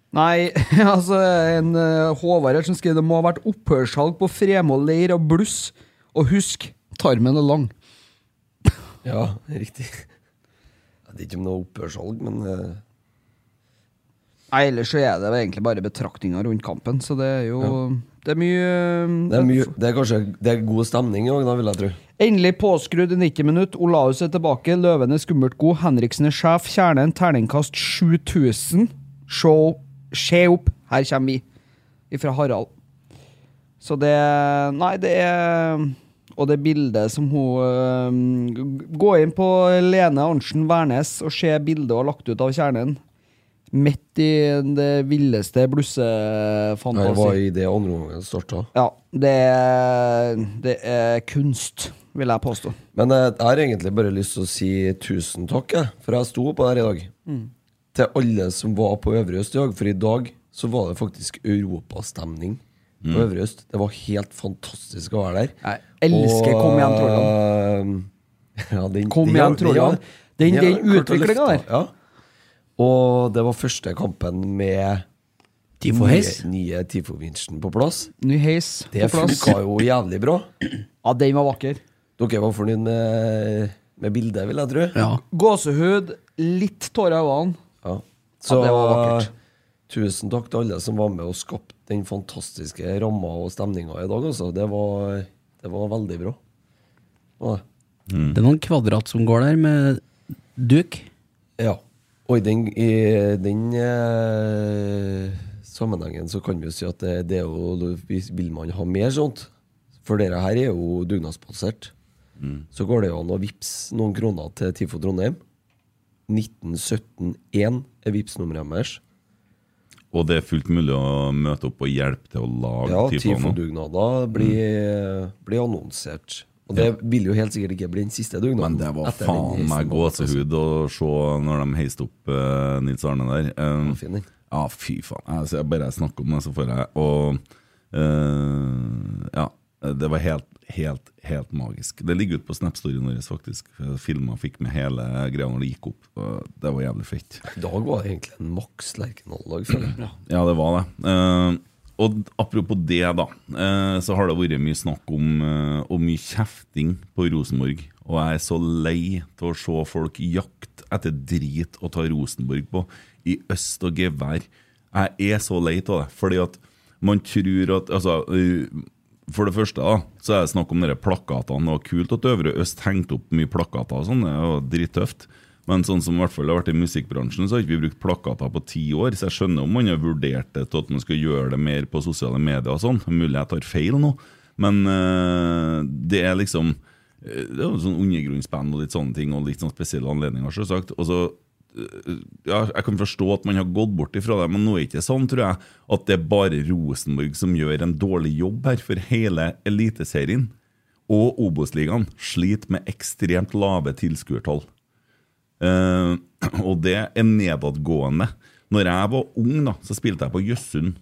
S6: Nei, altså en eh, Håvard her som skriver det må ha vært opphørssalg på Fremold leir og bluss. Og husk, tarmen er lang.
S3: ja, riktig. Jeg vet ikke om det er opphørssalg, men eh,
S6: Nei, ellers så er det vel egentlig bare betraktninger rundt kampen, så det er jo Det er mye eh,
S3: det, er mye, det er kanskje det er god stemning i dag, da, vil jeg tro.
S6: Endelig påskrudd i 90 minutt. Olaus er tilbake. Løven er skummelt god. Henriksen er sjef. Kjernen terningkast 7000. Se se opp. Her kommer vi. Ifra Harald. Så det Nei, det er Og det bildet som hun øhm, Gå inn på Lene Arntzen Wærnes og se bildet hun har lagt ut av kjernen. Midt i det villeste
S3: Jeg var
S6: blussefantasi.
S3: i det andre omgangen starta.
S6: Ja, det er, det er kunst, vil jeg påstå.
S3: Men eh, jeg har egentlig bare lyst til å si tusen takk, jeg, for jeg sto på der i dag.
S6: Mm.
S3: Til alle som var på Øvre Øst i dag, for i dag så var det faktisk europastemning på
S6: Mm.
S3: Øvre Øst. Det var helt fantastisk å være der.
S6: Jeg elsker
S3: Og,
S6: Kom igjen,
S3: eh, ja, den,
S6: Kom
S3: den
S6: igjen,
S3: har- den
S6: Trollan.
S3: har-
S6: Den-
S3: har
S6: den
S3: klart å
S6: utviklingen
S3: løfte, Ja. Og det var første kampen med
S6: Tifo
S3: nye-
S6: Heis.
S3: nye Tifo-vinsjen på plass.
S6: Ny heis
S3: Det
S6: på plass.
S3: funka jo jævlig bra.
S6: Ja, den var vakker.
S3: Dere var fornøyd med, med bildet, vil jeg tro?
S6: Gåsehud, litt tårer i øynene.
S3: Ja.
S6: Ja, det var vakkert.
S3: tusen takk til alle som var med og skapte den fantastiske ramma og stemninga i dag. Altså. Det, var, det var veldig bra. Ja.
S4: Det er noen kvadrat som går der med duk.
S3: Ja. Og i den, i den eh, sammenhengen så kan vi jo si at det, det er jo hvis- Vil man ha mer sånt? For dere her er jo dugnadsbasert.
S5: Mm.
S3: Så går det jo an å vippse noen kroner til TIFO Trondheim. 1917-1 er vippsnummeret deres.
S5: Og det er fullt mulig å møte opp og hjelpe til å lage TIFO
S3: Ja,
S5: nå. Mm.
S3: TIFO-dugnader blir, blir annonsert. Og det vil jo helt sikkert ikke bli den siste dugnaden. Men det
S5: var faen meg gåsehud å se når de heiste opp eh, Nils Arne der. Um, ja, fy faen. Altså, jeg bare snakker om det, så får jeg Og eh, ja. Det var helt, helt, helt magisk. Det ligger ute på Snap-storyen vår, faktisk. Filma fikk med hele greia når det gikk opp. og Det var jævlig fett.
S3: I dag var det egentlig en maks Lerkendal-dag, føler jeg.
S5: Ja, det var det. Eh, og apropos det, da, eh, så har det vært mye snakk om eh, og mye kjefting på Rosenborg. Og jeg er så lei til å se folk jakte etter drit å ta Rosenborg på i øst og gevær. Jeg er så lei av det, fordi at man tror at altså, eh, For det første da, så er det snakk om dere plakatene. Det var kult at Øvre Øst hengte opp mye plakater og sånn. Det var drittøft. Men sånn som i hvert fall det har vært i musikkbransjen, så har ikke vi brukt plakater på ti år. Så jeg skjønner om man har vurdert det til at man skal gjøre det mer på sosiale medier og sånn. Mulig jeg tar feil nå, men eh, det er liksom eh, Det er jo sånn undergrunnsband og litt sånne ting, og litt sånn spesielle anledninger, selvsagt. Og så eh, ja, jeg kan forstå at man har gått bort ifra det, men nå er det ikke sånn, tror jeg, at det er bare Rosenborg som gjør en dårlig jobb her, for hele Eliteserien og Obos-ligaen sliter med ekstremt lave tilskuertall. Eh, og det er nedadgående. Når jeg var ung, da, så spilte jeg på Jøssund.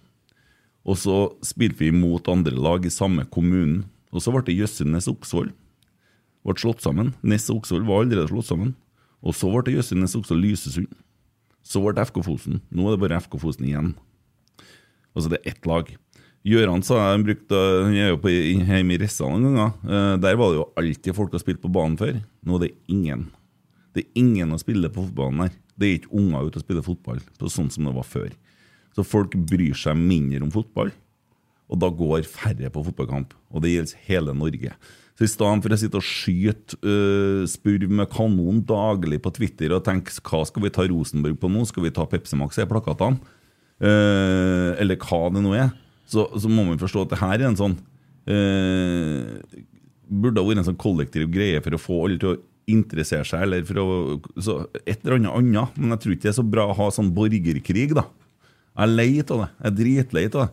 S5: Og så spilte vi mot andre lag i samme kommunen. Og så ble det Jøssundnes Oksvoll. Ble slått sammen. Ness og Oksvoll var allerede slått sammen. Og så ble det Jøssundnes Oksvoll Lysesund. Så ble det FK Fosen. Nå er det bare FK Fosen igjen. Altså det er ett lag. Gjøran sa han brukte Han er jo på, hjemme i Rissa noen ganger. Eh, der var det jo alltid folk som spilte på banen før. Nå er det ingen. Det er ingen å spille på fotballen her. Det er ikke unger ute og spiller fotball på sånn som det var før. Så folk bryr seg mindre om fotball, og da går færre på fotballkamp. Og det gjelder hele Norge. Så i stedet for å sitte og skyte øh, spurv med kanon daglig på Twitter og tenke hva skal vi ta Rosenborg på nå, skal vi ta Pepsi Max i plakatene, Eh, eller hva det nå er, så, så må man forstå at det her er øh, en sånn eh, burde ha vært en sånn kollektiv greie for å få alle til å interessere seg, eller for å så Et eller annet annet. Men jeg tror ikke det er så bra å ha sånn borgerkrig, da. Jeg er lei av det. Jeg er dritlei av det.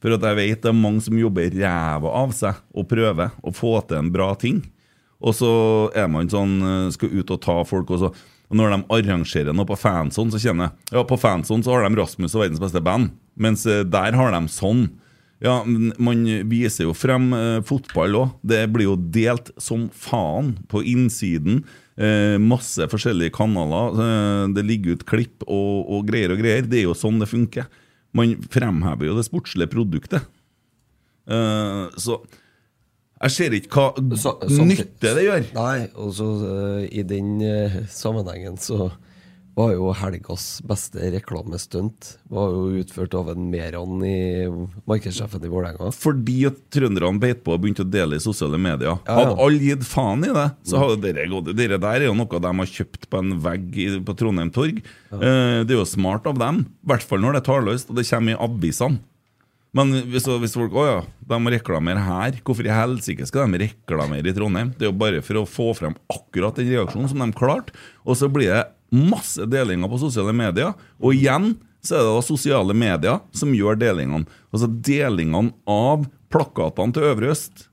S5: For at jeg vet det er mange som jobber ræva av seg og prøver å få til en bra ting. Og så er man sånn eh, Skal ut og ta folk, og så og Når de arrangerer noe på fanzone, så kjenner jeg Ja, på fanzone så har de Rasmus og verdens beste band, mens eh, der har de sånn. Ja, men Man viser jo frem eh, fotball òg. Det blir jo delt som faen på innsiden. Eh, masse forskjellige kanaler. Eh, det ligger ut klipp og, og greier og greier. Det er jo sånn det funker. Man fremhever jo det sportslige produktet. Eh, så jeg ser ikke hva
S3: sånn
S5: nytte det gjør.
S3: Nei, og så eh, i den eh, sammenhengen så var jo helgas beste reklamestunt var jo utført av en Meran i markedssjefen i Vålerenga.
S5: Fordi at trønderne beit på og begynte å dele i sosiale medier.
S3: Ja, Mm. ja.
S5: Hadde alle gitt faen i det, så hadde dere gått Dere der er jo noe de har kjøpt på en vegg i, på Trondheim torg. Eh, det er jo smart av dem, i hvert fall når det er talløst, og det kommer i avisene. Men hvis, hvis folk Å ja, de reklamerer her. Hvorfor i helsike skal de reklamere i Trondheim? Det er jo bare for å få frem akkurat den reaksjonen som de klarte. Og så blir det masse delinger på sosiale medier. Og igjen så er det da sosiale medier som gjør delingene. Altså delingene av plakatene til Øvre Øst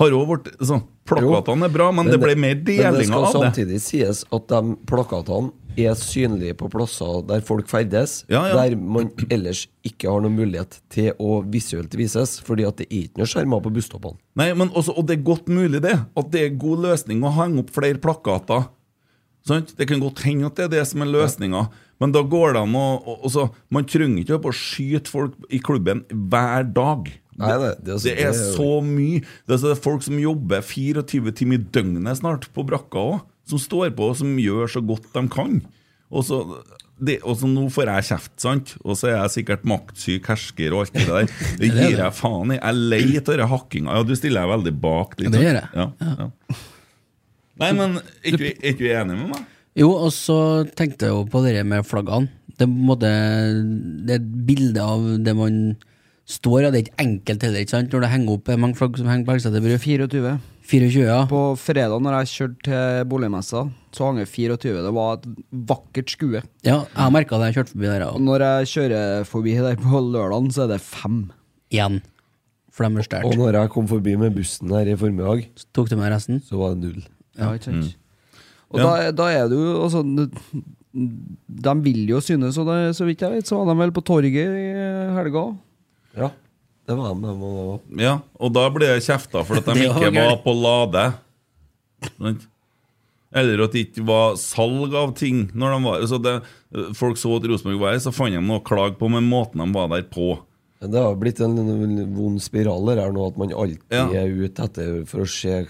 S5: har òg vært sånn Plakatene er bra, men, det ble mer
S3: Men det
S5: delinger
S3: skal
S5: av det.
S3: samtidig sies at de plakatene er synlige på plasser der folk ferdes,
S5: Ja, ja.
S3: der man ellers ikke har noen mulighet til å visuelt vises, fordi at det er ikke noe skjermer på busstoppene.
S5: Nei, men også, og det er godt mulig det, at det er god løsning å henge opp flere plakater. Sant? Det kan godt hende at det er det som er løsninga, men da går det an å og, og så, Man trenger ikke opp å skyte folk i klubben hver dag.
S3: Nei, nei, det er så-
S5: det er
S3: det er jo-
S5: så mye. Det er, så det er folk som jobber 24 timer i døgnet snart på brakka òg, som står på og som gjør så godt de kan. Og så, det, og så nå får jeg kjeft, sant? Og så er jeg sikkert maktsyk hersker og alt det der. Det
S4: Ja, det er
S5: gir
S4: det.
S5: jeg faen i. Jeg er lei av denne hakkinga. Ja, du stiller deg veldig bak.
S4: Ja, det gjør jeg.
S5: Ja, ja. Nei, men er ikke vi- er ikke du enig med meg?
S4: Jo, og så tenkte jeg jo på det med flaggene. Det, er på en måte, det er et bilde av det man står av. Det er ikke enkelt heller, ikke sant? Når det henger opp det er mange flagg som henger på Elgseter bru.
S6: 24.
S4: 24, ja.
S6: På fredag når jeg kjørte til boligmessa, så hang det 24. Det var et vakkert skue.
S4: Ja, jeg merka det jeg kjørte forbi der.
S6: Og når jeg kjører forbi der på lørdagen, så er det fem.
S4: Igjen. For de er sterkt.
S3: Og når jeg kom forbi med bussen her i formiddag,
S4: tok du med resten?
S3: Så var det null.
S6: Ja, ikke sant?
S3: Mm.
S6: Og da, da er det jo altså, De vil jo synes, og det, så vidt jeg vet, så var de vel på torget i helga.
S3: Ja, det var de. de var.
S5: Ja, og da blir jeg kjefta for at de
S3: Det var
S5: ikke var
S3: gøy.
S5: på Lade. Sant? Eller at det ikke var salg av ting. Når de var, så det, folk så at Rosenborg var her, så fant de noe å klage på med måten de var der på.
S3: Det har blitt en vond spiral der nå, at man alltid
S5: Ja.
S3: er ute etter for å se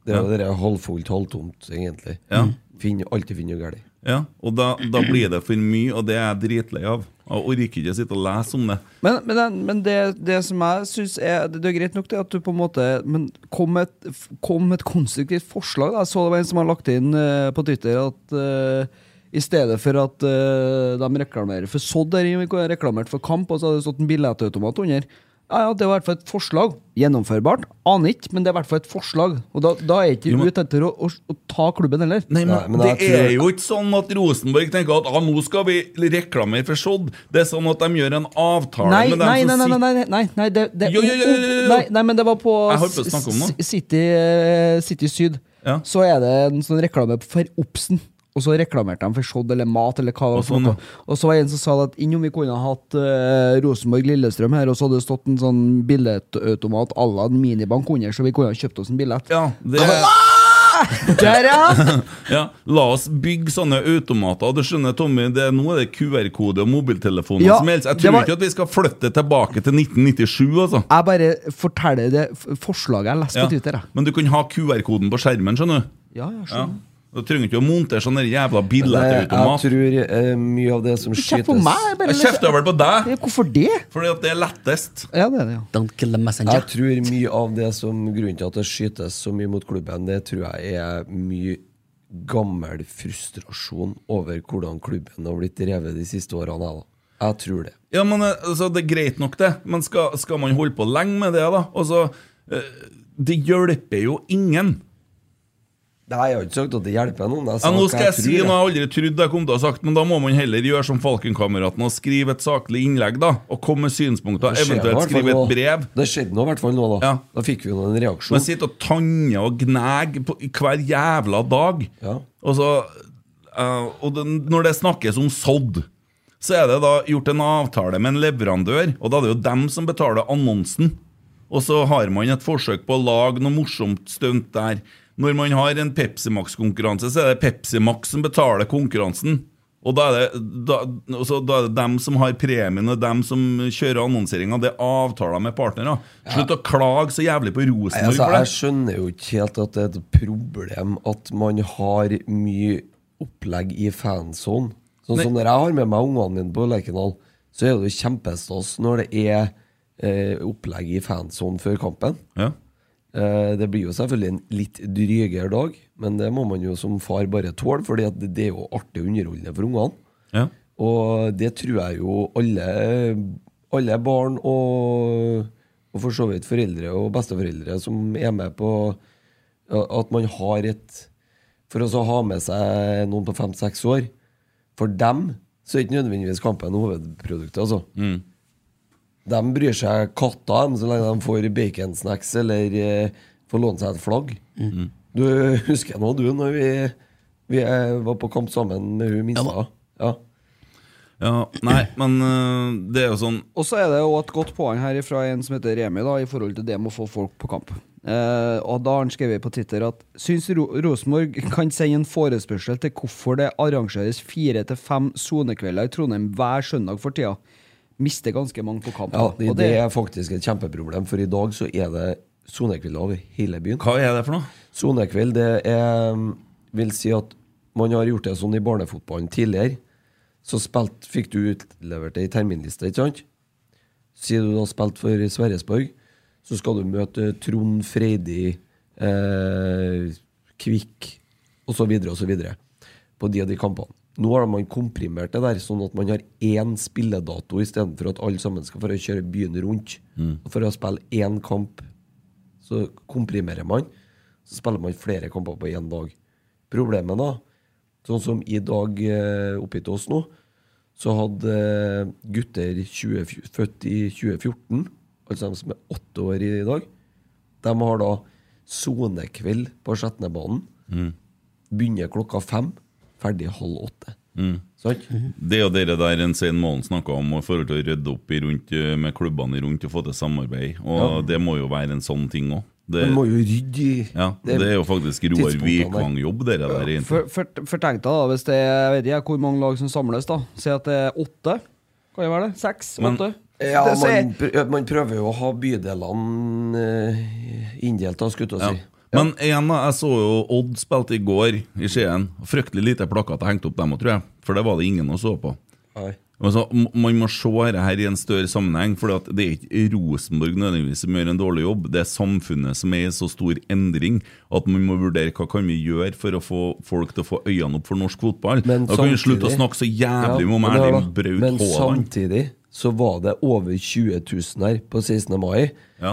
S3: Det er
S5: Ja.
S3: jo det der halvfullt, halvtomt, egentlig.
S5: Ja.
S3: Finn, alltid finner noe galt.
S5: Ja, og da, da blir det for mye, og det er jeg dritlei av. Jeg orker ikke å sitte og lese om det.
S6: Men, men, den- men det, det som jeg syns er Det er greit nok det at du på en måte Men kom med et, f- kom med et konstruktivt forslag. Da. Jeg så det var en som har lagt inn eh, på Twitter at eh, i stedet for at eh, de reklamerer for Sodd, der de har reklamert for Kamp, og så hadde det stått en billettautomat under. Ja, ja, Det er i hvert fall et forslag. Gjennomførbart? Aner ikke, men det er i hvert fall et forslag. Og da, da er ikke
S5: Jo,
S6: du
S5: men-
S6: ute etter å, å, å ta klubben heller.
S5: Nei, men, det er jo ikke sånn at Rosenborg tenker at ah, nå skal vi reklamere for Sodd. Det er sånn at de gjør en avtale
S6: Nei,
S5: med dem
S6: nei,
S5: som
S6: nei, nei,
S5: sitter
S6: nei, nei, nei, nei, det, det
S5: sånn Jo, jo, jo, jo, jo, jo.
S6: Nei, nei, men det var på,
S5: Jeg holdt på å snakke om noe.
S6: S- City, eh, City Syd. Så er det en sånn reklame for Obsen. Og så reklamerte de for Shod eller mat eller hva. det var for
S5: sånn,
S6: noe. Og så var det en som sa at innom vi kunne ha hatt eh, Rosenborg-Lillestrøm her, og så hadde det stått en sånn billettautomat à la en minibank under, så vi kunne ha kjøpt oss en billett.
S5: Ja, det...
S6: Der, ja!
S5: ja, la oss bygge sånne automater. Du skjønner, Tommy, det er, nå er det QR-kode og mobiltelefoner
S6: Ja,
S5: som helst. Jeg
S6: det
S5: tror
S6: var-
S5: ikke at vi skal flytte tilbake til 1997, altså.
S6: Jeg bare forteller det f- forslaget jeg leste
S5: Ja.
S6: på Twitter. jeg.
S5: Men du kan ha QR-koden på skjermen, skjønner du.
S6: Ja, jeg skjønner.
S5: Du trenger ikke å montere sånn der jævla
S3: Jeg, jeg
S5: billettautomat.
S3: tror eh, mye av det som
S6: Kjeft på
S3: skytes
S6: meg! jeg bare-
S5: Jeg kjefter vel på deg,
S6: Hvorfor det?
S5: fordi at det er lettest.
S6: Ja, det er det, ja.
S4: Don't kill the messenger.
S3: Jeg tror mye av det som grunnen til at det skytes så mye mot klubben, det tror jeg er mye gammel frustrasjon over hvordan klubben har blitt drevet de siste årene. jeg, da. Jeg tror det.
S5: Ja, men eh, altså, Det er greit nok, det, men skal, skal man holde på lenge med det, da? Altså, eh, det hjelper jo ingen.
S3: Nei, jeg har ikke sagt at det hjelper noen. jeg
S5: Ja,
S3: sa
S5: nå
S3: altså, hva
S5: skal jeg si
S3: tror,
S5: noe jeg aldri trodde jeg kom til å ha sagt, men da må man heller gjøre som Falkenkameraten og skrive et saklig innlegg, da. Og komme med synspunkter,
S3: Det skjer i
S5: eventuelt
S3: hvert fall
S5: skrive et
S3: nå.
S5: brev.
S3: Det skjedde nå i hvert fall nå, da. Da fikk vi jo en reaksjon.
S5: Men sitte og tanne og gnage på- hver jævla dag. Og så eh, Og det, når det snakkes om sodd, så er det da gjort en avtale med en leverandør, og da er det jo dem som betaler annonsen. Og så har man et forsøk på å lage noe morsomt stunt der. Når man har en Pepsi Max-konkurranse, så er det Pepsi Max som betaler konkurransen. Og da er, det, da, og så da er det dem som har premien, og dem som kjører annonseringa. Det er avtaler med partnere. Slutt å klage så jævlig på
S3: Nei,
S5: Rosenborg
S3: altså,
S5: for det.
S3: jeg skjønner jo ikke helt at det er et problem at man har mye opplegg i fansonen. Sånn som
S5: Nei.
S3: når jeg har med meg ungene mine på Lerkendal, så er det jo kjempestas når det er eh, opplegg i fansonen før kampen. Eh, det blir jo selvfølgelig en litt drygere dag, men det må man jo som far bare tåle, for det det er jo artig og underholdende for ungene.
S5: Ja.
S3: Og det tror jeg jo alle, alle barn og, og for så vidt foreldre og besteforeldre som er med på ja, at man har et For også å ha med seg noen på fem-seks år For dem så er ikke nødvendigvis kampen hovedproduktet, altså. De bryr seg katta dem så lenge de får baconsnacks eller eh, får låne seg et flagg.
S5: Mhm.
S3: Du husker nå, du, når vi, vi eh, var på kamp sammen med hun minste. Ja.
S5: Ja, nei, men øh, det er jo sånn
S6: Og så er det jo et godt poeng her fra en som heter Remi, da, i forhold til det med å få folk på kamp. Eh, og da har han skrevet på Twitter at syns Ro Rosenborg kan sende en forespørsel til hvorfor det arrangeres fire til fem sonekvelder i Trondheim hver søndag for tida. Mister ganske mange på kamp.
S3: Ja,
S6: da.
S3: det,
S6: Og
S3: det er faktisk et kjempeproblem, for i dag så er det sonekveld over hele byen.
S5: Hva er det for noe?
S3: Sonekveld det er, mm, vil si at man har gjort det sånn i barnefotballen tidligere. Så spilt, fikk du utlevert ei terminliste, ikke sant? Sier du da spilt for Sverresborg, så skal du møte Trond Freidig, eh, Kvikk osv. osv. på de og de kampene. Nå har man komprimert det der, sånn at man har én spilledato istedenfor at alle sammen skal for å kjøre byen rundt.
S5: Mm.
S3: Og for å spille én kamp, så komprimerer man. Så spiller man flere kamper på én dag. Problemet, da, sånn som i dag eh, oppe til oss nå, så hadde eh, gutter 20, født i 2014, altså de som er åtte år i dag, de har da sonekveld på Skjetnebanen.
S5: Mm.
S3: Begynner klokka fem, ferdig halv åtte.
S5: Mm.
S3: Sant?
S5: Det er jo dere der en Svein Målen snakka om, og i forhold til å rydde opp i rundt, øh, med klubbene i rundt og få til samarbeid. Og
S3: Ja.
S5: det må jo være en sånn ting òg.
S3: Man må jo rydde i
S5: ja, det, er jo faktisk Roar
S3: tidspunktene der.
S5: Vikvang-jobb, dere der. egentlig.
S6: For, for, for tenk deg da, hvis det er jeg vet ikke jeg hvor mange lag som samles, da. Si at det er åtte. Kan det være det? Seks?
S3: Men-
S6: åtte?
S3: Ja,
S6: det, så er-
S3: man, pr- man prøver jo å ha bydelene eh, inndelt, da, skulle jeg til å
S5: Ja.
S3: si.
S5: Men igjen, da, jeg så jo Odd spilte i går i Skien. Fryktelig lite plakater hengte opp dem òg, tror jeg. For det var det ingen å så på.
S3: Nei.
S5: Altså, m- man må se dette her i en større sammenheng, for det er ikke Rosenborg nødvendigvis som gjør en dårlig jobb. Det er samfunnet som er i så stor endring at man må vurdere hva kan vi gjøre for å få folk til å få øynene opp for norsk fotball. da kan vi slutte å snakke så jævlig om
S3: men hør
S5: Erling
S3: da, Men
S5: Braut Haaland.
S3: samtidig så var det over 20 000 her på 16. mai,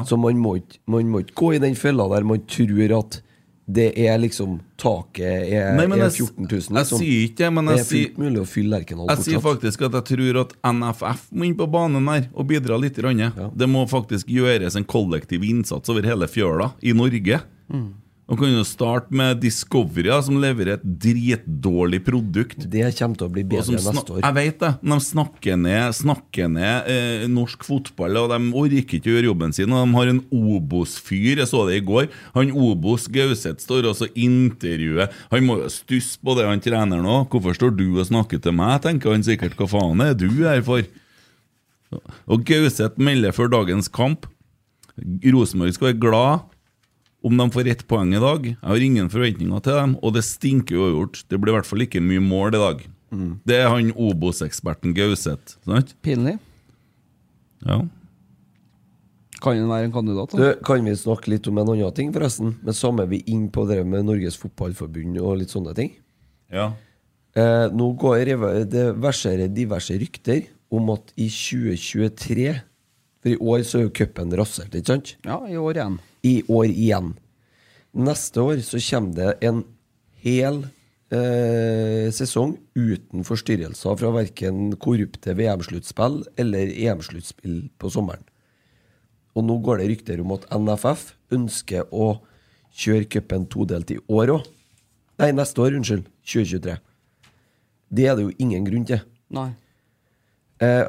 S3: så man må, ikke- man må ikke gå i den fella der man tror at det er liksom Taket er,
S5: Nei, men
S3: er
S5: jeg s-
S3: 14 000, liksom.
S5: jeg sier ikke det, men jeg
S3: det er fullt
S5: sier-
S3: mulig å fylle Lerkendal
S5: Jeg sier
S3: fortsatt.
S5: faktisk at jeg tror at NFF må inn på banen her og bidra litt. grann. Det må faktisk gjøres en kollektiv innsats over hele fjøla i Norge.
S3: Mm.
S5: Man kan jo starte med Discovery, da, som leverer et dritdårlig produkt.
S3: Det kommer til å bli bedre neste år.
S5: Jeg vet det. men De snakker ned, snakker ned eh, norsk fotball, og de orker ikke å gjøre jobben sin. Og de har en Obos-fyr, jeg så det i går. Han Obos Gauseth står også og intervjuer. Han må jo stusse på det han trener nå. Hvorfor står du og snakker til meg, tenker han sikkert. Hva faen er du her for? Og Gauseth melder før dagens kamp. Rosenborg skal være glad om de får ett poeng i dag. Jeg har ingen forventninger til dem, og det stinker uavgjort. Det blir i hvert fall ikke mye mål i dag.
S6: Mm.
S5: Det er han Obos-eksperten Gauseth. Sant?
S6: Pinlig.
S5: Ja.
S6: Kan han være en kandidat?
S3: Du,
S6: da?
S3: kan vi snakke litt om en annen ting, forresten? Men samme vi inn på det med Norges Fotballforbund og litt sånne ting.
S5: Ja.
S3: Eh, nå går reva- det verserer diverse rykter om at i 2023 For i år så er jo cupen rasert, ikke sant?
S6: Ja, i år igjen.
S3: I år igjen. Neste år så kommer det en hel eh, sesong uten forstyrrelser fra verken korrupte VM-sluttspill eller EM-sluttspill på sommeren. Og nå går det rykter om at NFF ønsker å kjøre cupen todelt i år òg. Nei, neste år, unnskyld. 2023. Det er det jo ingen grunn til.
S6: Nei.
S3: Eh,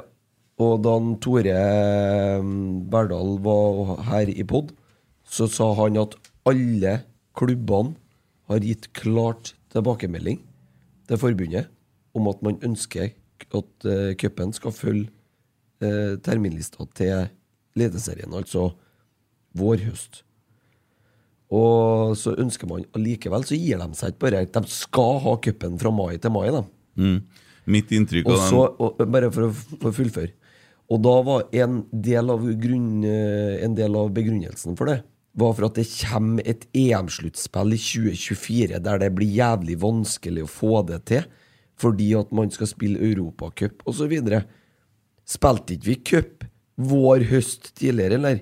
S3: og da han Tore eh, Berdal var her i pod, så sa han at alle klubbene har gitt klart tilbakemelding til forbundet om at man ønsker at eh, cupen skal følge eh, terminlista til ledeserien, altså vår-høst. Og så ønsker man allikevel, så gir de seg ikke bare. De skal ha cupen fra mai til mai, de.
S5: Mm. Mitt inntrykk
S3: Og
S5: av
S3: så,
S5: dem
S3: og, bare for å f- for å fullføre Og da var en del av, grunn, eh, en del av begrunnelsen for det Var for at det kommer et EM-sluttspill i 2024 Der det blir jævlig vanskelig å få det til Fordi at man skal spille Europacup og så videre Spilte ikke vi cup vår høst tidligere, eller?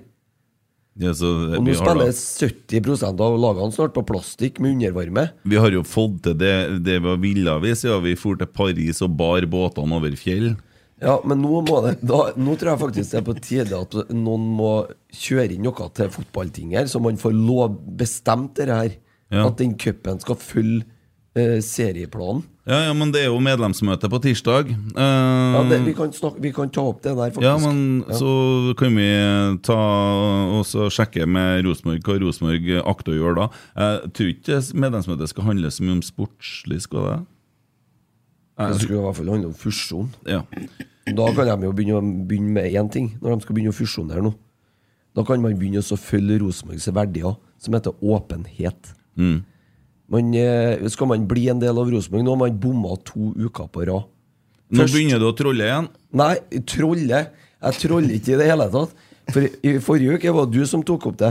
S5: ja, så,
S3: Og nå
S5: vi, har da,
S3: spiller 70% av lagene snart på plastikk med undervarme
S5: vi har jo fått til det, det vi ville vi siden vi for til Paris og bar båtene over fjell.
S3: Ja, men nå må det da, Nå tror jeg faktisk det er på tide at noen må kjøre inn noe til fotballting her, så man får lov bestemt det her.
S5: Ja.
S3: At den cupen skal følge eh, serieplanen.
S5: Ja, ja, men det er jo medlemsmøte på tirsdag. Eh,
S3: Ja, det, vi, kan snakke, vi kan ta opp det der, faktisk.
S5: Ja, men
S3: Ja.
S5: så kan vi ta og så sjekke med Rosenborg hva Rosenborg akter å gjøre da. Jeg tror ikke medlemsmøtet skal handle så mye om sportslig, skal det?
S3: Det skulle i hvert fall handle om fusjon.
S5: Ja.
S3: Da kan de jo begynne, å- begynne med én ting, når de skal begynne å fusjonere nå. Da kan man begynne å følge Rosenborgs verdier, som heter åpenhet.
S5: Mm.
S3: Man, eh, skal man bli en del av Rosenborg nå, har man bomma to uker på rad.
S5: Nå begynner du å trolle igjen.
S3: Nei, trolle Jeg troller ikke i det hele tatt. For i- i forrige uke var det du som tok opp det.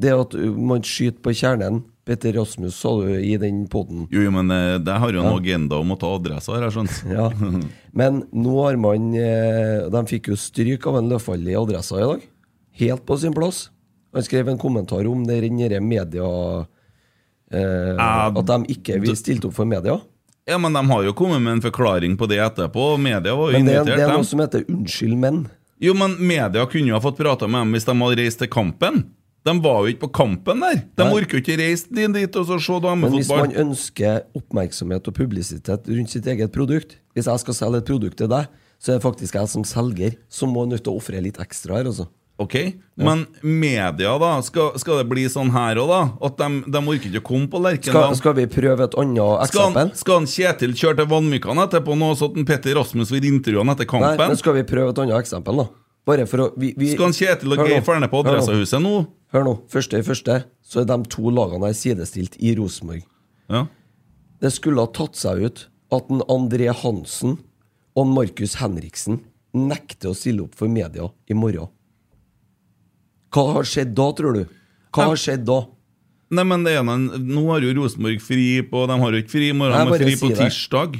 S3: Det at uh, man skyter på kjernen. Petter Rasmus sa du i den poden.
S5: Jo, jo, men eh, det har jo en
S3: Ja.
S5: agenda om å ta adressa her, jeg skjønner.
S3: Ja. Men nå har man eh, De fikk jo stryk av en Løfald i Adressa i dag. Helt på sin plass. Han skrev en kommentar om det i den derre media eh, At de ikke vil stilte opp for media.
S5: Ja, men de har jo kommet med en forklaring på det etterpå. Media var jo
S3: Men det, er-
S5: invitert,
S3: det er
S5: dem.
S3: noe som heter 'unnskyld, menn'.
S5: Jo, men media kunne jo ha fått prata med dem hvis de hadde reist til kampen. De var jo ikke på kampen der. De orker jo ikke reise din dit og så se
S3: Men hvis man
S5: damefotball.
S3: ønsker oppmerksomhet og publisitet rundt sitt eget produkt Hvis jeg skal selge et produkt til deg, så er det faktisk jeg som selger som må nødt til å ofre litt ekstra her. Altså.
S5: Ok, Men media, da? Skal, skal det bli sånn her òg, da? At de, de orker ikke å komme på
S3: Skal,
S5: Lerkendal?
S3: skal vi prøve et annet
S5: Skal
S3: eksempel?
S5: han, skal han Kjetil kjøre til Vanvikan etterpå nå, så at en Petter Rasmus får intervjue han etter kampen?
S3: Nei, men skal vi prøve et annet eksempel, da? Bare for å vi, vi,
S5: Skal han Kjetil og
S3: Hør
S5: Geir
S3: nå,
S5: Ferne på
S3: hør nå.
S5: Adressehuset nå?
S3: Hør nå. Første i første, så er de to lagene her sidestilt i Rosenborg.
S5: Ja.
S3: Det skulle ha tatt seg ut at en André Hansen og en Markus Henriksen nekter å stille opp for media i morgen. Hva har skjedd da, tror du? Hva har skjedd da?
S5: Nei, men det ene, Nå har jo Rosenborg fri på De har jo ikke fri i morgen,
S3: Nei,
S5: de
S3: bare
S5: har fri på
S3: si det.
S5: tirsdag.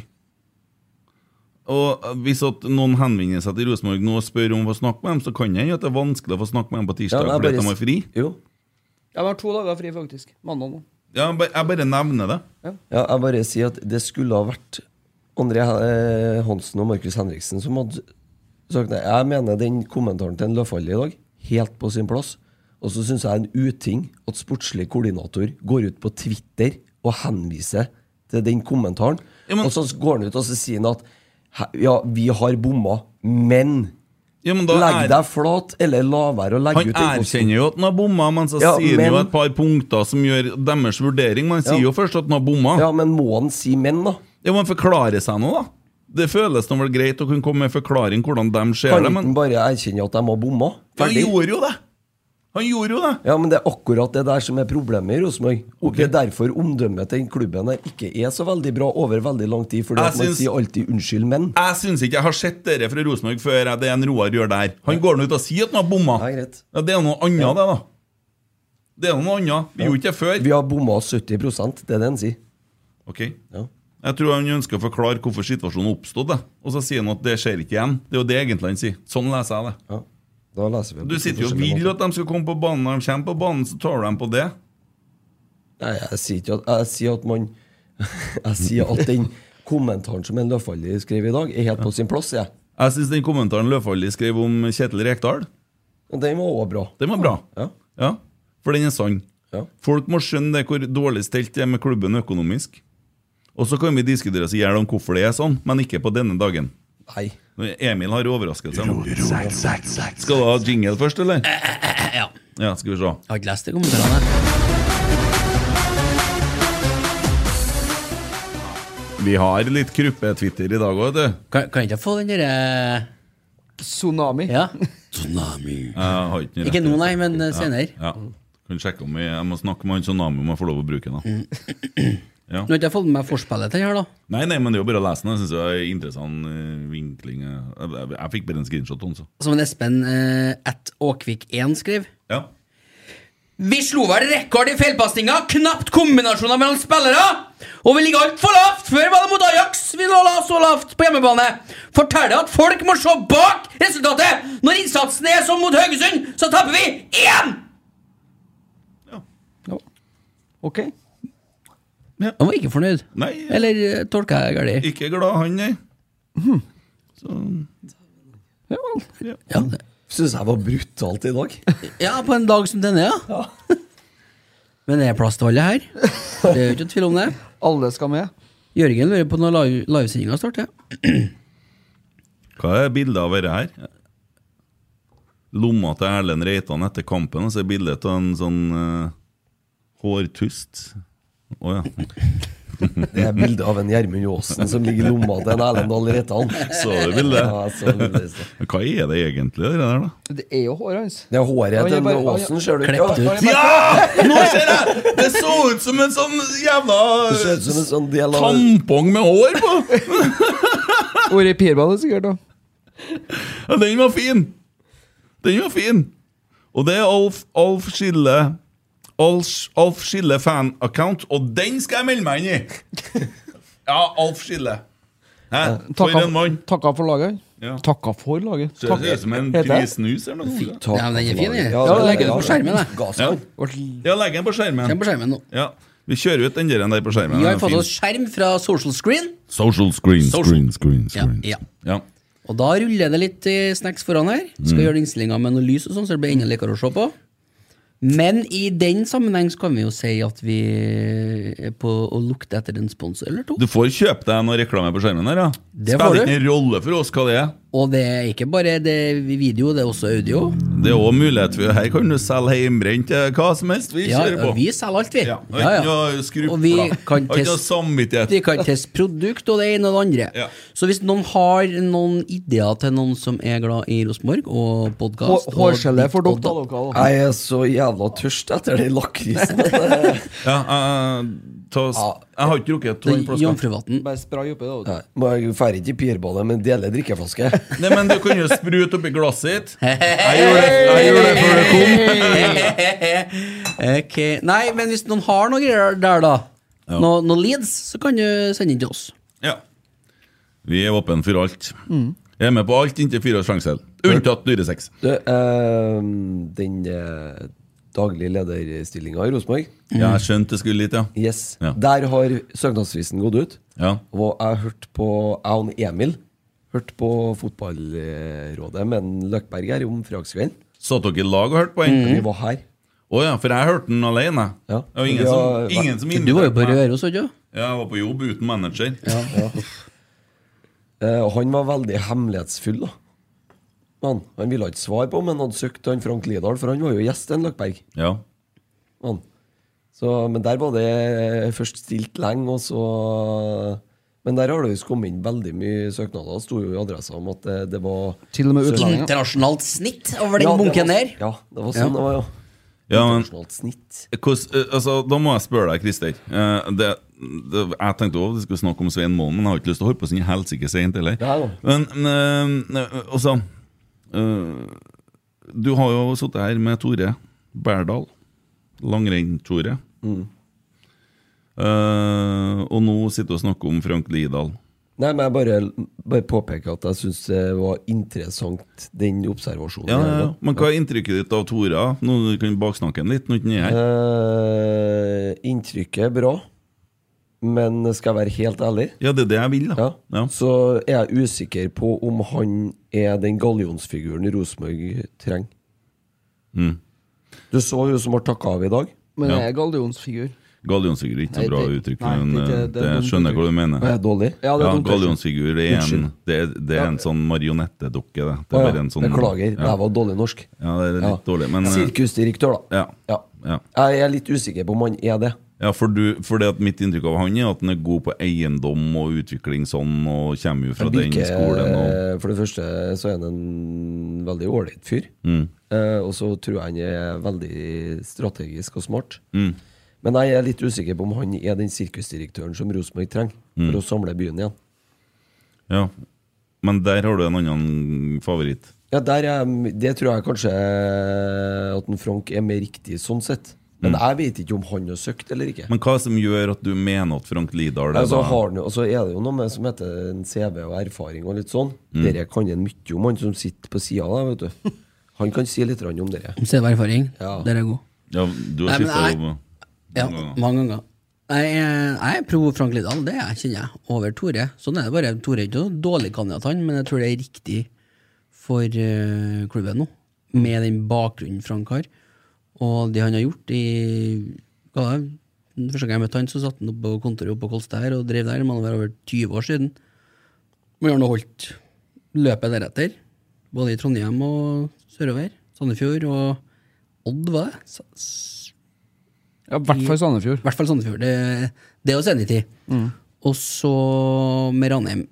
S5: Og eh, Hvis at noen henvender seg til Rosenborg nå og spør om å få snakke med dem, så kan det hende at det er vanskelig å få snakke med dem på tirsdag
S3: Ja,
S5: fordi
S3: nei,
S5: at
S3: bare
S5: de har fri.
S6: Jeg har to dager fri, faktisk. Mandag nå.
S5: Ja, ba- jeg bare nevner det.
S3: Ja, jeg bare sier at det skulle ha vært André eh, Hansen og Markus Henriksen som hadde sagt det. Jeg mener den kommentaren til en Løfald i dag, helt på sin plass. Og så syns jeg det er en uting at sportslig koordinator går ut på Twitter og henviser til den kommentaren. og så går han ut og så sier han at "Hæ, ja, vi har bomma, men
S5: Ja, men da
S3: Legg
S5: er-
S3: deg flat, eller la være å legge
S5: Han
S3: ut den posten.
S5: erkjenner jo at han har bomma, men så
S3: Ja,
S5: sier han jo
S3: men-
S5: et par punkter som gjør deres vurdering. Men han sier
S3: Ja.
S5: jo først at han har bomma.
S3: Ja, men må han si men, da?
S5: Ja, men forklare seg nå, da. Det føles nå vel greit å kunne komme med en forklaring hvordan de ser
S3: Kan
S5: det,
S3: ikke
S5: men
S3: han bare erkjenne at de har bomma?
S5: Ja, han gjorde jo det! Han gjorde jo det!
S3: Ja, men det er akkurat det der som er problemet i Rosenborg. Og Det er derfor omdømmet til den klubben her ikke er så veldig bra over veldig lang tid, fordi
S5: Jeg
S3: at man
S5: syns-
S3: sier alltid 'unnskyld, men'.
S5: Jeg syns ikke jeg har sett dere fra Rosenborg før jeg- det en Roar gjør der. Han går nå ut og sier at han har bomma. Ja, det er noe annet, det, da. Det er noe annet. Vi gjorde ikke det før.
S3: Vi har bomma 70 det er det han sier.
S5: Ok.
S3: Ja.
S5: Jeg tror han ønsker å forklare hvorfor situasjonen oppstod, det. og så sier han at det skjer ikke igjen. Det er jo det egentlig han sier. Sånn leser jeg det.
S3: Da leser vi
S5: Du sitter jo og
S3: forskjellige
S5: vil at de skal komme på banen. Når de kommer på banen, så tar du dem på det.
S3: Nei, jeg sier ikke at Jeg sier at man Jeg sier at den kommentaren som en Løfaldli skrev i dag, er helt på sin plass. Jeg.
S5: Jeg syns den kommentaren Løfaldli skrev om Kjetil Rekdal
S3: Og Den var òg bra.
S5: Den var bra. Ja. For den er sann. Folk må skjønne det hvor dårlig stelt det er med klubben økonomisk. Og så kan vi diskutere oss i hjel om hvorfor det er sånn, men ikke på denne dagen.
S3: Nei.
S5: Emil har overraskelse nå. Skal du ha jingle først, eller?
S4: Eh. Ja.
S5: Ja, skal vi se.
S4: Jeg har ikke lest de kommentarene.
S5: Vi har litt kruppe-Twitter i dag òg, vet du.
S4: Kan, kan ikke jeg få den derre
S6: Tsunami?
S4: Ja.
S5: Jeg har ikke noe
S4: Ikke
S5: rett-
S4: nå, nei, men eh,
S5: Ja,
S4: senere.
S5: Ja. Kan sjekke om vi, Jeg må snakke med han Tsunami om jeg får lov å bruke den. da. Ja.
S4: Nå har ikke jeg fått med meg forspillet til den her, da.
S5: Nei, nei, men det er jo bare å lese den. Jeg synes det er interessant eh, vinkling. eh. Jeg, jeg, jeg fikk bare en screenshot. Også.
S4: Som en Espen eh, at Åkvik1 skrev.
S5: Ja.
S4: Vi slo vel rekord i feilpasninger, knapt kombinasjoner mellom spillere! Og vi ligger altfor lavt! Før var det mot Ajax vi lå la så lavt på hjemmebane. Forteller at folk må se bak resultatet! Når innsatsen er som mot Haugesund, så taper vi igjen!
S6: Ok.
S4: Han var ikke fornøyd.
S5: Nei.
S4: Eller eh, tolka jeg galt?
S5: Ikke glad han, nei.
S3: Hmm.
S4: Ja.
S3: Syns jeg var brutalt i dag.
S4: Ja, på en dag som denne, ja. Men det er plass til alle her. Det er jo ikke noe tvil om det.
S6: Alle skal med.
S4: Jørgen lurer på når live- livesendinga starter.
S5: Hva er bildet av dette her? Lomma til Erlend Reitan etter kampen, og så er bildet av en sånn eh, hårtust. Å ja.
S3: Det
S5: Mm.
S3: er bilde av en Gjermund Aasen som ligger i lomma til en Erlend Dahl Reitan.
S5: Så du bildet?
S3: Ja, jeg så bildet i sted.
S5: Men Hva er det egentlig, det der, da?
S6: Det er jo håret hans.
S3: Det er håret til en Aasen, ser du.
S5: Klept
S3: Ja,
S5: ut. Ja! Nå ser jeg! Det så ut som en sånn jævla
S3: Det ser ut som en sånn del av
S5: tampong med hår på!
S6: Ordet i pirbadet, sikkert. da
S5: Ja, den var fin! Den var fin! Og det er Alf, Alf Skille Alf, Alf Skille fan-account, og den skal jeg melde meg inn i! Ja, Alf Skille. Hæ? For
S6: Takka,
S5: en mann!
S6: takka for laget.
S5: Ja.
S6: Takka for laget.
S5: Ser ut
S6: Takk-
S5: som en
S6: Heter jeg?
S5: grisnus eller noe. sånt.
S4: Ja, men den er fin, jeg.
S3: Ja,
S4: Ja,
S3: det-
S4: legger den på skjermen, jeg.
S5: Ja.
S3: Gasskål.
S5: ja, legg den på skjermen.
S4: Den på skjermen nå.
S5: Ja. Vi kjører ut den der der på skjermen.
S4: Vi
S5: Den
S4: har
S5: er
S4: fått
S5: fin.
S4: oss skjerm fra Social Screen.
S5: Social screen,
S4: Social.
S5: screen, screen, screen.
S4: Ja, ja.
S5: Ja.
S4: Og da ruller det litt eh, snacks foran her. Skal
S5: Mm.
S4: gjøre innstillinga med noe lys og sånn, så det blir enda likere å se på. Men i den sammenheng så kan vi jo si at vi er på å lukte etter en sponsor eller to.
S5: Du får kjøpe deg noe reklame på skjermen her, ja.
S4: Det får
S5: Spiller
S4: du.
S5: ikke en rolle for oss hva det er.
S4: Og det er ikke bare det er video, det er også audio.
S5: Det er òg mulighet for Her kan du selge hjemmebrent eh, hva som helst. Vi
S4: Ja,
S5: kjører på.
S4: vi selger alt, vi.
S5: Og ikke noe
S4: Og vi
S5: skrupler.
S4: kan
S5: Og ikke noe
S4: teste-
S5: samvittighet.
S4: Vi kan teste produkt og det ene og det andre.
S5: Ja.
S4: Så hvis noen har noen ideer til noen som er glad i Rosenborg og podkast
S6: Hår- hårgelé for dere, da, dere også.
S3: Jeg er så jævla tørst etter den lakrisen.
S5: Ja, eh, ta, s- Jeg har ikke rukket to flasker.
S4: Jomfruvatn.
S6: Bare spray oppi det. da.
S3: Nei, må Jeg drar ikke i pirbadet, men deler drikkeflaske.
S5: Nei, men du kan jo sprute oppi glasset ditt. Jeg gjorde det, jeg gjorde det før det kom.
S4: Ok, Nei, men hvis noen har noe greier der, da, noe, noen leads, så kan du sende inn til oss.
S5: Ja. Vi er åpne for alt.
S4: Mm.
S5: Jeg er med på alt inntil fire års fengsel. Unntatt dyresex.
S3: Du, eh, den eh, daglige lederstillinga i Rosenborg
S4: Mm.
S5: Ja, jeg skjønte det skulle litt, ja.
S3: Yes.
S5: Ja.
S3: Der har søknadsfristen gått ut.
S5: Ja.
S3: Og jeg hørte på jeg og Emil hørte på Fotballrådet med en Løkberg her om fredagskvelden.
S5: Satt dere i lag og hørte på den?
S4: Mhm. Mm.
S3: Vi var her.
S5: Å ja, for jeg hørte den alene.
S3: Ja.
S5: Det var ingen
S3: Ja,
S5: som,
S3: hva-
S5: ingen som
S4: Du var jo på
S5: inviterte meg.
S4: Røros, var du ikke?
S5: Ja, jeg var på jobb uten manager.
S3: Eh, og han var veldig hemmelighetsfull, da. Men, han ville ikke svare på om han hadde søkt han Frank Lidahl, for han var jo gjest i en Løkberg.
S5: Ja.
S3: Men, så, men der var det først stilt lenge, og så Men der har det jo kommet inn veldig mye søknader. Det sto jo i adressa om at det, det var
S6: Til og med utlendinger.
S4: Internasjonalt snitt over den
S3: Ja, det
S4: bunken
S3: var-
S4: der.
S3: Ja, det var sånn
S4: Ja.
S3: det var, ja.
S5: Ja, men-
S3: Internasjonalt snitt.
S5: Hvordan- eh, altså, da må jeg spørre deg, Christer. Eh, det, det, jeg tenkte også vi skulle snakke om Svein Målen, men jeg har ikke lyst til å holde på sånn helsike seint heller.
S3: Nei da.
S5: Men eh, eh, altså eh, Du har jo sittet her med Tore Berdal. Langrenn-Tore. Eh, og nå sitter du og snakker om Frank Lidahl.
S3: Nei, men jeg bare, bare påpeker at jeg syns det var interessant, den observasjonen.
S5: Ja, ja,
S3: her,
S5: ja.
S3: da.
S5: Men hva er inntrykket ditt av Tora? Nå Eh. kan du baksnakke han litt når han er her.
S3: Eh, inntrykket er bra. Men skal jeg være helt ærlig,
S5: Ja, det er det jeg vil, da.
S3: så er jeg usikker på om han er den gallionsfiguren Rosenborg trenger.
S5: Mm.
S3: Du så jo som har takka av i dag.
S6: Men jeg er gallionsfigur.
S5: Gallionsfigur er ikke
S6: Nei,
S5: så bra
S6: det-
S5: uttrykk,
S6: nei,
S5: men
S6: det-
S5: eh,
S6: det- det
S5: det
S6: er dumt
S5: skjønner jeg hva du mener.
S3: Det er dårlig.
S5: Ja,
S3: Ja, det er dumt
S5: Gallionsfigur det er, en,
S3: Unnskyld.
S5: det, er- det er en sånn marionettedukke. Det. Det
S3: Å
S5: er
S3: ja,
S5: bare en sånn,
S3: beklager,
S5: ja.
S3: det var dårlig norsk.
S5: Ja, det er litt dårlig, men eh,
S3: Sirkusdirektør, da.
S5: Ja.
S3: Ja.
S5: Ja.
S3: Jeg er litt usikker på om han er det.
S5: Ja, for, du, for det at mitt inntrykk av han er at han er god på eiendom og utvikling sånn, og kommer jo fra
S3: Jeg
S5: den
S3: liker,
S5: skolen. Og,
S3: eh, For det første så er han en veldig ålreit fyr.
S5: Mm.
S3: Eh, og så tror jeg han er veldig strategisk og smart.
S5: Mm.
S3: Men jeg er litt usikker på om han er den sirkusdirektøren som Rosenborg trenger
S5: Mm.
S3: for å samle byen igjen.
S5: ja. Men der har du en annen favoritt.
S3: Ja, der er, Det tror jeg kanskje at en Frank er mer riktig sånn sett. Men jeg vet ikke om han har søkt eller ikke.
S5: Mm. Men hva som gjør at du mener at Frank Lidahl er
S3: Altså,
S5: da-
S3: har han, jo- altså er det jo noe med som heter en CV og erfaring og litt sånn.
S5: Mm.
S3: Dere kan en mye om, han som sitter på sida der, vet du. Han kan si litt grann om dere.
S4: Om CV og erfaring?
S3: Ja.
S4: Der er jeg god.
S5: Ja, du har
S4: Nei, men
S5: skifta
S4: jeg-
S5: jobb.
S4: Ja,
S5: mange ganger.
S4: mange ganger. Jeg er, jeg er pro Frank Lidahl, det er jeg, kjenner jeg. Over Tore. Sånn er det bare. Tore er ikke noen dårlig kandidat, han, men jeg tror det er riktig for eh, klubben nå. Med den bakgrunnen Frank har, og det han har gjort i hva var det? Den første gang jeg møtte han, så satt han opp på kontoret oppe på Kolstad her og drev der. Det må være over 20 år siden. Men han har nå holdt løpet deretter, både i Trondheim og sørover. Sandefjord og Odd, var det? Sa- s-
S6: Ja, i hvert fall Sandefjord.
S4: hvert fall Sandefjord. Det, det er oss enig i.
S6: Mm.
S4: Og så med Ranheim.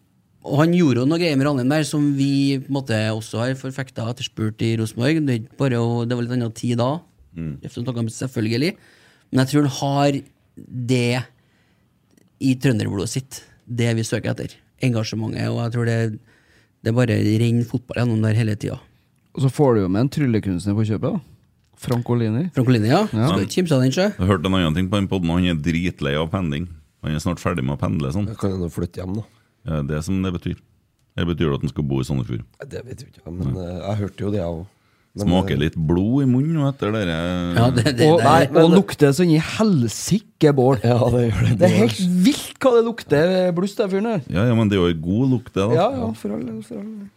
S4: Og han gjorde jo noe greier med Ranheim der som vi på en måte også har forfekta etterspurt i Rosenborg. Det, er ikke bare å- det var litt annen tid da,
S11: Mm.
S4: Efter noen kamper, selvfølgelig. Men jeg tror han har det i trønderblodet sitt. Det vi søker etter. Engasjementet. Og jeg tror det, det bare renner fotball gjennom der hele tida.
S6: Og så får du jo med en tryllekunstner på kjøpet. da Frankolini.
S4: Frankolini, ja.
S6: ja.
S5: Skal ikke kimse av
S4: den, sjø.
S5: Jeg hørte en annen ting på den podden, og han er dritlei av pendling. Han er snart ferdig med å pendle sånn.
S3: Da kan han jo flytte hjem, da.
S5: Ja, det er som det betyr. Det betyr det at han skal bo i Sandefjord.
S3: Nei, Det vet vi ikke, men eh, jeg hørte jo det, jeg òg. eh,
S5: Smaker litt blod i munnen nå etter dere
S6: og, og lukter sånn i helsike bål.
S3: Ja, det gjør det.
S6: Det er helt vilt hva det lukter bluss, den fyren der.
S5: Ja, ja, men det er jo en god lukt, det. da
S6: Ja, ja, for all del, for all del.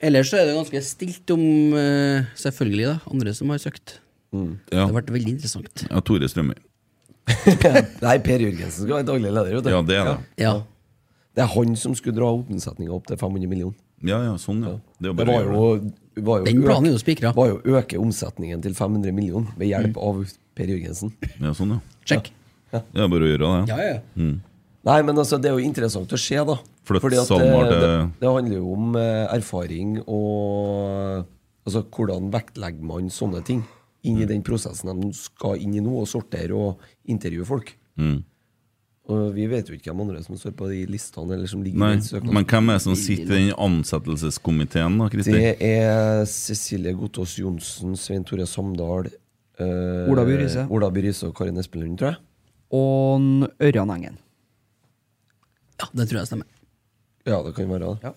S4: Ellers så er det ganske stilt om eh, selvfølgelig da, andre som har søkt. Det har vært veldig interessant.
S5: Ja, Tore Strømøy.
S3: Nei, Per Jørgensen skal være daglig leder, vet du.
S5: Ja, det er det.
S4: Ja.
S3: Det er han som skulle dra omsetninga opp til 500 millioner.
S5: Ja, ja, sånn, ja. Det, er jo
S3: Det
S5: bare å
S3: var jo,
S5: gjøre det.
S3: var jo
S4: Den planen er jo
S3: Var jo å øke omsetningen til 500 millioner ved hjelp av Per Jørgensen.
S5: Ja, sånn, ja.
S4: Check.
S3: Ja.
S5: Det er bare å gjøre det.
S4: Ja, ja, ja.
S5: Mm.
S3: Nei, men altså, det er jo interessant å se, da.
S5: Flytt
S3: Fordi at
S5: SalMar
S3: det,
S5: til-
S3: det, det handler jo om eh, erfaring og Altså, hvordan vektlegger man sånne ting inn
S5: Mm.
S3: i den prosessen de skal inn i nå, og sortere og intervjue folk?
S5: Mm.
S3: Og vi vet jo ikke hvem andre som står på de listene, eller som ligger
S5: Nei,
S3: i den søknaden.
S5: men hvem er det som sitter i den ansettelseskomiteen, da, Kristi?
S3: Det er Cecilie Gotaas Johnsen, Svein Tore Samdal eh,
S6: Ola By Riise.
S3: Ola By Riise og Karin Espelund, tror jeg.
S6: Og en Ørjan Engen.
S4: Ja, det tror jeg stemmer.
S3: Ja, det kan være det.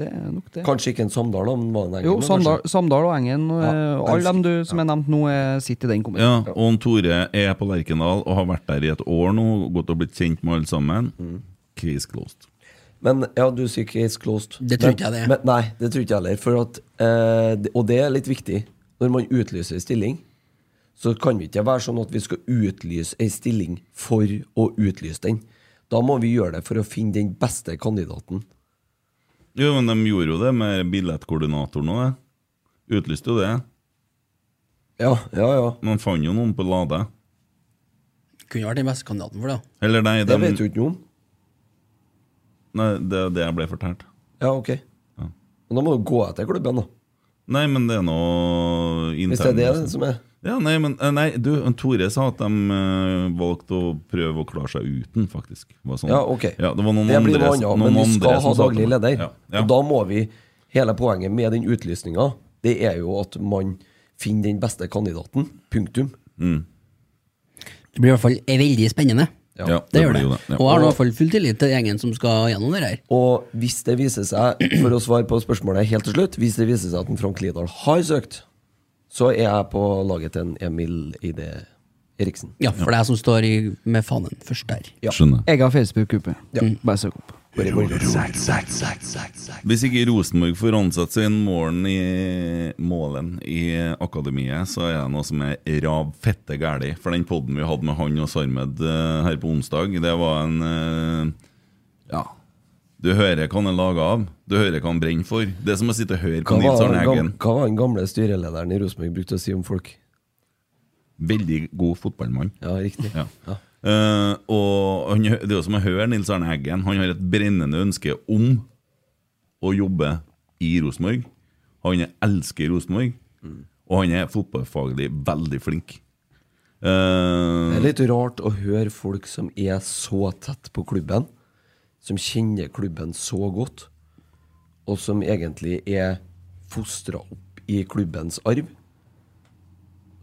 S6: Det er nok det.
S3: Kanskje ikke en Samdal, da, men var det en
S6: Jo,
S3: Engen, da,
S6: Samdal,
S3: kanskje?
S6: Samdal og Engen. og,
S3: Ja,
S6: eh, alle
S3: den-
S6: dem du som er nevnt nå, eh, sitter i den kommunen.
S5: Ja, og han Tore er på Lerkendal og har vært der i et år nå, gått og blitt kjent med alle sammen.
S3: Mm.
S5: Case closed.
S3: Men ja, du sier case closed.
S4: Det tror ikke jeg det er.
S3: Men, men, nei, det tror ikke jeg heller. For at, eh, det- og det er litt viktig. Når man utlyser en stilling, så kan vi ikke være sånn at vi skal utlyse en stilling for å utlyse den. Da må vi gjøre det for å finne den beste kandidaten.
S5: Jo, men de gjorde jo det med billettkoordinatoren og det. Utlyste jo det.
S3: Ja, ja, ja.
S5: Man fant jo noen på Lade.
S4: Kunne vært den beste kandidaten for det. da.
S5: Eller nei,
S4: Det
S5: dem-
S4: vet
S3: du ikke noe om.
S5: Nei, det er det jeg ble fortalt.
S3: Ja, ok. Men da må du gå etter klubben, da.
S5: Nei, men det er noe internt.
S3: Hvis det altså. er det som er-
S5: Ja, nei, men eh, nei, du, Tore sa at de eh, valgte å prøve å klare seg uten, faktisk. Var sånn.
S3: Ja, ok.
S5: Ja, det var noen
S3: blir
S5: andre,
S3: noe annet,
S5: noen
S3: men du
S5: andre
S3: skal
S5: som
S3: ha
S5: sa til
S3: daglig
S5: meg.
S3: leder.
S5: Ja, ja.
S3: Og da må vi Hele poenget med den utlysninga, det er jo at man finner den beste kandidaten. Punktum.
S4: Det blir i hvert fall eh, veldig spennende.
S3: Ja. Ja,
S4: det,
S3: det
S4: gjør
S3: blir
S4: det.
S3: jo det, ja.
S4: Og jeg har nå i hvert fall full tillit til gjengen som skal gjennom det her.
S3: Og hvis det viser seg, for å svare på spørsmålet helt til slutt Hvis det viser seg at en Frank Lidahl har søkt, så er jeg på laget til en Emil i det
S6: Eriksen.
S4: Ja, for det er jeg som står i, med fanen først der.
S5: Skjønner.
S6: Jeg har Facebook-gruppe. Bare søk opp.
S5: Hvis ikke Rosenborg får ansette seg en målen i, målen i akademiet, så er det noe som er rav fette gærlig. For den podden vi hadde med han og Sarmed eh, her på onsdag, det var en eh, Ja. Du hører hva han er laga av. Du hører hva han brenner for. Det er som å sitte og høre på
S3: Hva
S5: Nils
S3: var,
S5: Arne
S3: den
S5: Eggen.
S3: gam- hva var den gamle styrelederen i Rosenborg brukte å si om folk?
S5: Veldig god fotballmann.
S3: Ja, riktig.
S5: Ja. Eh, og han, det er jo som å høre Nils Arne Eggen. Han har et brennende ønske om å jobbe i Rosenborg. Han elsker Rosenborg,
S3: Mm.
S5: og han er fotballfaglig veldig flink.
S3: Det
S5: Eh,
S3: er litt rart å høre folk som er så tett på klubben, som kjenner klubben så godt, og som egentlig er fostra opp i klubbens arv,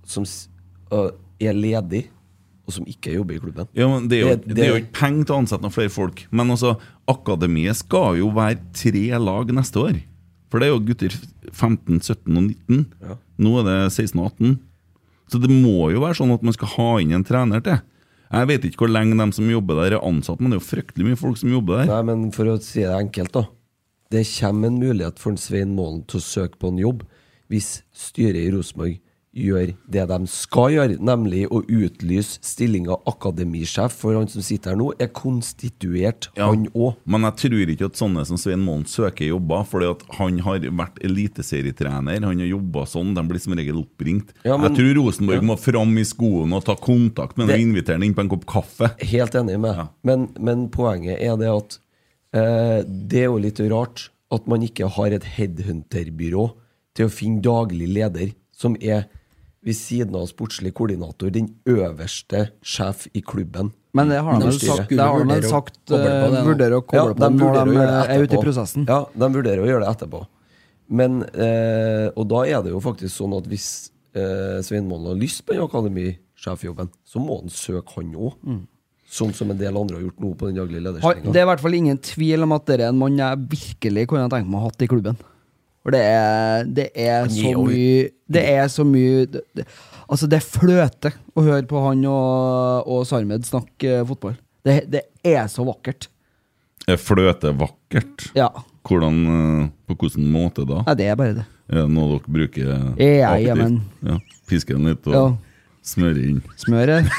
S3: som s- øh, er ledig, og som ikke jobber i klubben.
S5: ja, men det, er jo,
S3: Det- det-
S5: det er jo ikke penger til å ansette noen flere folk. Men altså, akademiet skal jo være tre lag neste år. For det er jo gutter 15, 17 og 19.
S3: Ja.
S5: Nå er det 16 og 18. Så det må jo være sånn at man skal ha inn en trener til. Jeg vet ikke hvor lenge de som jobber der, er ansatt, men det er jo fryktelig mye folk som jobber der.
S3: Nei, men for å si det enkelt, da. Det kommer en mulighet for en Svein Målen til å søke på en jobb hvis styret i Rosenborg gjør det de skal gjøre, nemlig å utlyse stillinga akademisjef, for han som sitter her nå, er konstituert, han òg.
S5: Men jeg tror ikke at sånne som Svein Målen søker jobber, fordi at han har vært eliteserietrener, han har jobba sånn, de blir som regel oppringt.
S3: Ja, men-
S5: jeg tror Rosenborg
S3: Ja.
S5: må fram i skoene og ta kontakt med
S3: Det-
S5: dem og invitere ham inn på en kopp kaffe.
S3: Helt enig med. Men, men poenget er det at eh, det er jo litt rart at man ikke har et headhunterbyrå til å finne daglig leder, som er ved siden av sportslig koordinator den øverste sjef i klubben.
S6: Men det
S4: Mm.
S6: har de
S3: Under
S6: vel
S3: styret.
S6: sagt- det har de vel sagt, eh, vurderer å koble på
S3: de
S6: det når
S3: vurderer
S6: de
S3: å gjøre det
S6: er ute i
S3: etterpå.
S6: prosessen.
S3: Ja, de vurderer å gjøre det etterpå. Men, eh, og da er det jo faktisk sånn at hvis eh, Svein Målen har lyst på den akademisjefjobben, så må han søke han òg. Sånn som en del andre har gjort nå på den daglige
S6: Mm. Har- Det
S3: lederstillinga.
S6: er i hvert fall ingen tvil om at det er en mann jeg virkelig kunne tenkt meg å ha hatt i klubben. For det er, det er så
S3: Neo.
S6: mye Det er så mye det, det, Altså, det fløter å høre på han og, og Sarmed snakke eh, fotball. Det, det er så vakkert.
S5: Er fløte vakkert?
S6: Ja.
S5: Hvordan, eh, på hvilken måte da?
S6: Nei, det er bare det.
S5: Er det noe dere bruker
S6: Ja, ja,
S5: aktivt?
S6: men-
S5: Ja, Piske den litt og
S6: Ja.
S5: smøre inn.
S6: Smøret.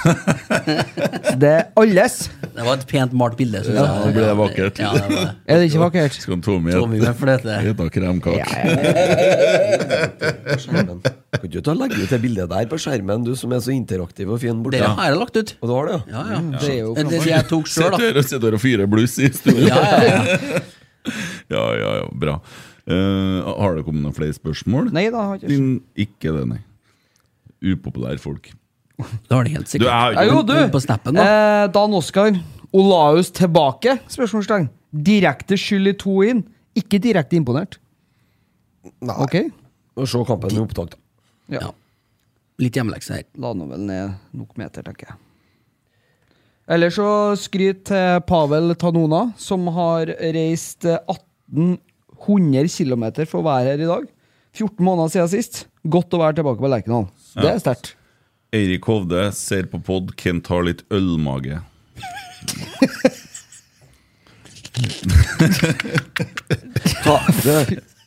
S6: det er alles.
S4: Det var et pent malt bilde. synes
S5: Ja,
S4: jeg.
S5: da blir det vakkert.
S4: Ja, det var det.
S6: Er det ikke vakkert?
S5: Skal Tommy
S4: Tommy med fløte.
S5: Spise noe kremkake.
S3: Skjermen. Kan ikke du ta og legge ut det bildet der på skjermen, du som er så interaktiv og fin borte?
S4: Det har jeg lagt ut.
S3: Og du har det,
S4: Ja, ja.
S3: Det er jo
S4: Det, det jeg tok
S5: Sitter
S4: selv, da.
S5: her og sitter her og fyrer bluss i studio.
S4: Ja, ja,
S5: ja, ja, ja, bra. Eh, har det kommet noen flere spørsmål?
S6: Nei da, har ikke-
S5: Din, ikke det, nei. Upopulære folk.
S4: Det har de helt
S5: Du, jeg
S4: sikkert.
S5: har
S6: Ja,
S5: ikke
S6: jo, du!
S4: På snappen, da.
S6: Eh, Dan Oskar. Olaus tilbake? Spørsmålstegn. Direkte skyld i to inn. Ikke direkte imponert.
S3: Nei.
S6: Ok?
S3: Og se kampen i opptak, da.
S6: Ja.
S4: Ja. Litt hjemmelekse her.
S6: La nå vel ned nok meter, tenker jeg. Eller så skryt til Pavel Tanona, som har reist eh, 1800 km for å være her i dag. 14 måneder siden sist. Godt å være tilbake på Lerkendal. Det er sterkt.
S5: Eirik Hovde ser på pod, Kent har litt ølmage.
S3: Ta, du,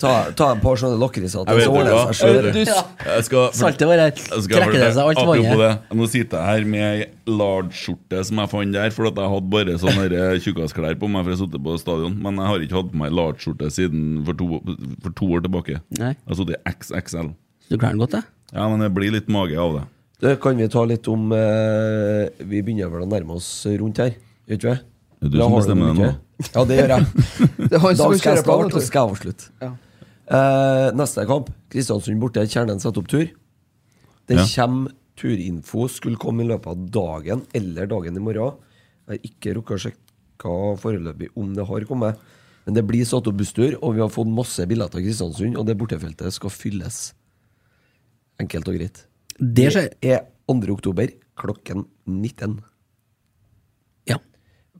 S3: ta, ta et par sånne lakriser
S5: Jeg
S3: til,
S5: vet
S3: så
S5: det,
S3: ordner det
S5: hva?
S3: seg sjøl.
S5: Jeg
S4: Ja.
S5: skal
S4: Saltet bare trekker det seg alt
S5: Apropos
S4: vannet.
S5: det, nå sitter jeg her med ei large-skjorte som jeg fant der, for at jeg hadde bare sånne der eh, tjukkasklær på meg for jeg satt på stadion. Men jeg har ikke hatt på meg large-skjorte siden for to, for to år tilbake.
S4: Nei.
S5: Jeg har sittet i XXL.
S4: Du klarer den godt, det?
S5: Ja, men det blir litt mage av det.
S3: Det kan vi ta litt om eh, Vi begynner vel å nærme oss rundt her, gjør ikke vi?
S5: Er du
S3: Eller
S5: som
S3: har du
S5: bestemmer
S3: noe
S5: det nå?
S3: ikke? Ja, det gjør jeg.
S6: Det er
S3: Da
S6: han
S3: skal
S6: som
S3: jeg
S6: kjører på, vet
S3: starte,
S6: du.
S3: og skal jeg avslutte.
S6: Ja.
S3: Eh, neste kamp, Kristiansund borte. Kjernen setter opp tur. Det
S5: Ja.
S3: kommer turinfo, skulle komme i løpet av dagen eller dagen i morgen. Jeg har ikke rukket å sjekke foreløpig om det har kommet. Men det blir satt opp busstur, og vi har fått masse billetter av Kristiansund, og det bortefeltet skal fylles. Enkelt og greit.
S4: Det skjer.
S3: er 2. oktober klokken 19.
S4: Ja.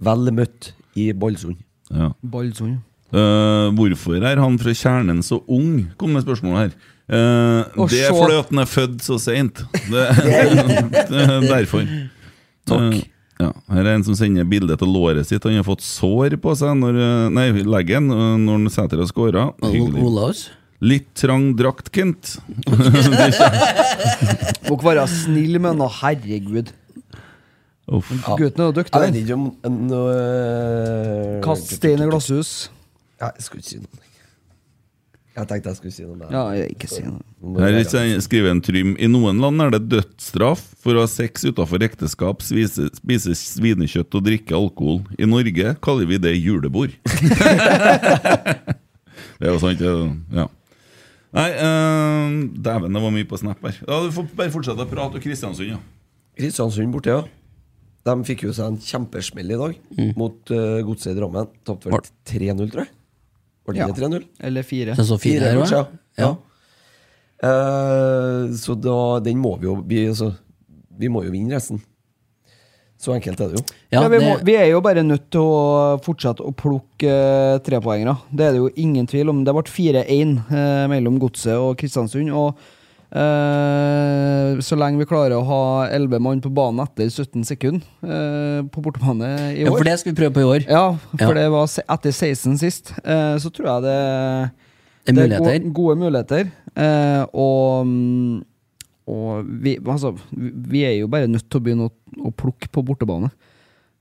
S3: Vel møtt i Ballsund.
S5: Ja.
S6: Ballsund.
S5: Eh, hvorfor er han fra kjernen så ung? Kom med spørsmålet her. Eh,
S9: Å,
S5: det
S9: se.
S5: er fordi at han er født så seint. Det, det er derfor.
S9: Takk.
S5: Eh, ja. Her er en som sender bilde av låret sitt. Han har fått sår på seg når, eh, nei, leggen eh, når han setter og scorer. Hyggelig. Litt trang drakt, Kent.
S6: Må ikke være snill med han, da. herregud.
S3: Ja.
S6: Gutten er jo dyktig.
S3: Jeg vet ikke om en, øh,
S6: Kast stein i glasshus.
S3: Ja, jeg skulle ikke si noe. Jeg tenkte jeg skulle si noe. men-
S6: Ja, jeg ikke si noe.
S5: Her er ikke- skriver en Trym I noen land er det dødsstraff for å ha sex utenfor ekteskap, spise, spise svinekjøtt og drikke alkohol. I Norge kaller vi det julebord. det er jo sant, det- ja. Nei, eh, dæven, det var mye på snap her. Ja, du får bare fortsette å prate om Kristiansund, ja.
S3: Kristiansund borte, ja. De fikk jo seg en kjempesmell i dag
S6: Mm.
S3: mot eh, Godset i Drammen. Tapte vel 3-0, tror jeg. Var det
S6: Ja.
S3: ikke 3-0?
S6: Eller fire.
S3: Så
S6: Så så fire her,
S3: kanskje,
S6: va?
S3: ja. ja. Eh, så da, den må vi jo vi, altså, vi må jo vinne resten. Så enkelt er det jo.
S6: Ja, vi, må, vi er jo bare nødt til å fortsette å plukke eh, trepoengere. Det er det jo ingen tvil om. Det ble 4-1 eh, mellom Godset og Kristiansund. Og eh, så lenge vi klarer å ha 11 mann på banen etter 17 sekunder eh, på bortebane i år
S4: Ja, for det skal vi prøve på i år.
S6: Ja,
S4: Ja.
S6: for det var se- etter 16 sist. eh, så tror jeg det,
S4: Det er
S6: gode, gode muligheter. Eh, og mm, og vi, altså, vi vi er jo bare nødt til å begynne å, å plukke på bortebane.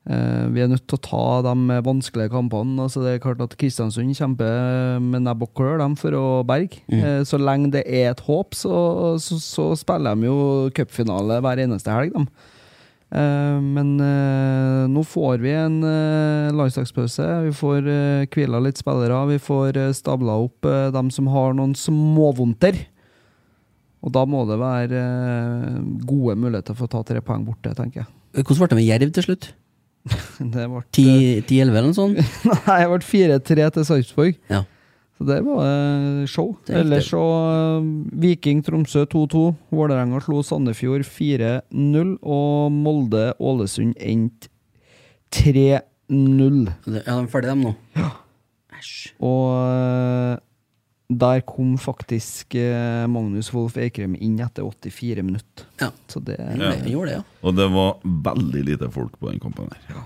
S6: Eh, vi er nødt til å ta de vanskelige kampene. Altså, det er klart at Kristiansund kjemper med nebb og klør dem for å berge.
S4: Mm.
S6: Eh, så lenge det er et håp, så, så, så spiller de jo cupfinale hver eneste helg. dem. Eh, men eh, nå får vi en eh, landslagspause. Vi får eh, hvila litt spillere. Vi får eh, stabla opp eh, dem som har noen småvondter. Og da må det være eh, gode muligheter for å ta tre poeng borte, tenker jeg.
S4: Hvordan ble det med Jerv til slutt?
S6: Det ble
S4: 10-11 eller noe sånt?
S6: Nei, jeg ble 4-3 til Sarpsborg.
S4: Ja.
S6: Så det var eh, show.
S4: Det er riktig.
S6: Ellers så eh, Viking Tromsø 2-2. Vålerenga slo Sandefjord 4-0. Og Molde Ålesund endte 3-0.
S4: Ja, de er ferdige, de nå.
S6: Og eh, der kom faktisk eh, Magnus Wolff Eikrem inn etter 84 minutter. Så det
S5: Ja. Og det var veldig lite folk på den kampen her.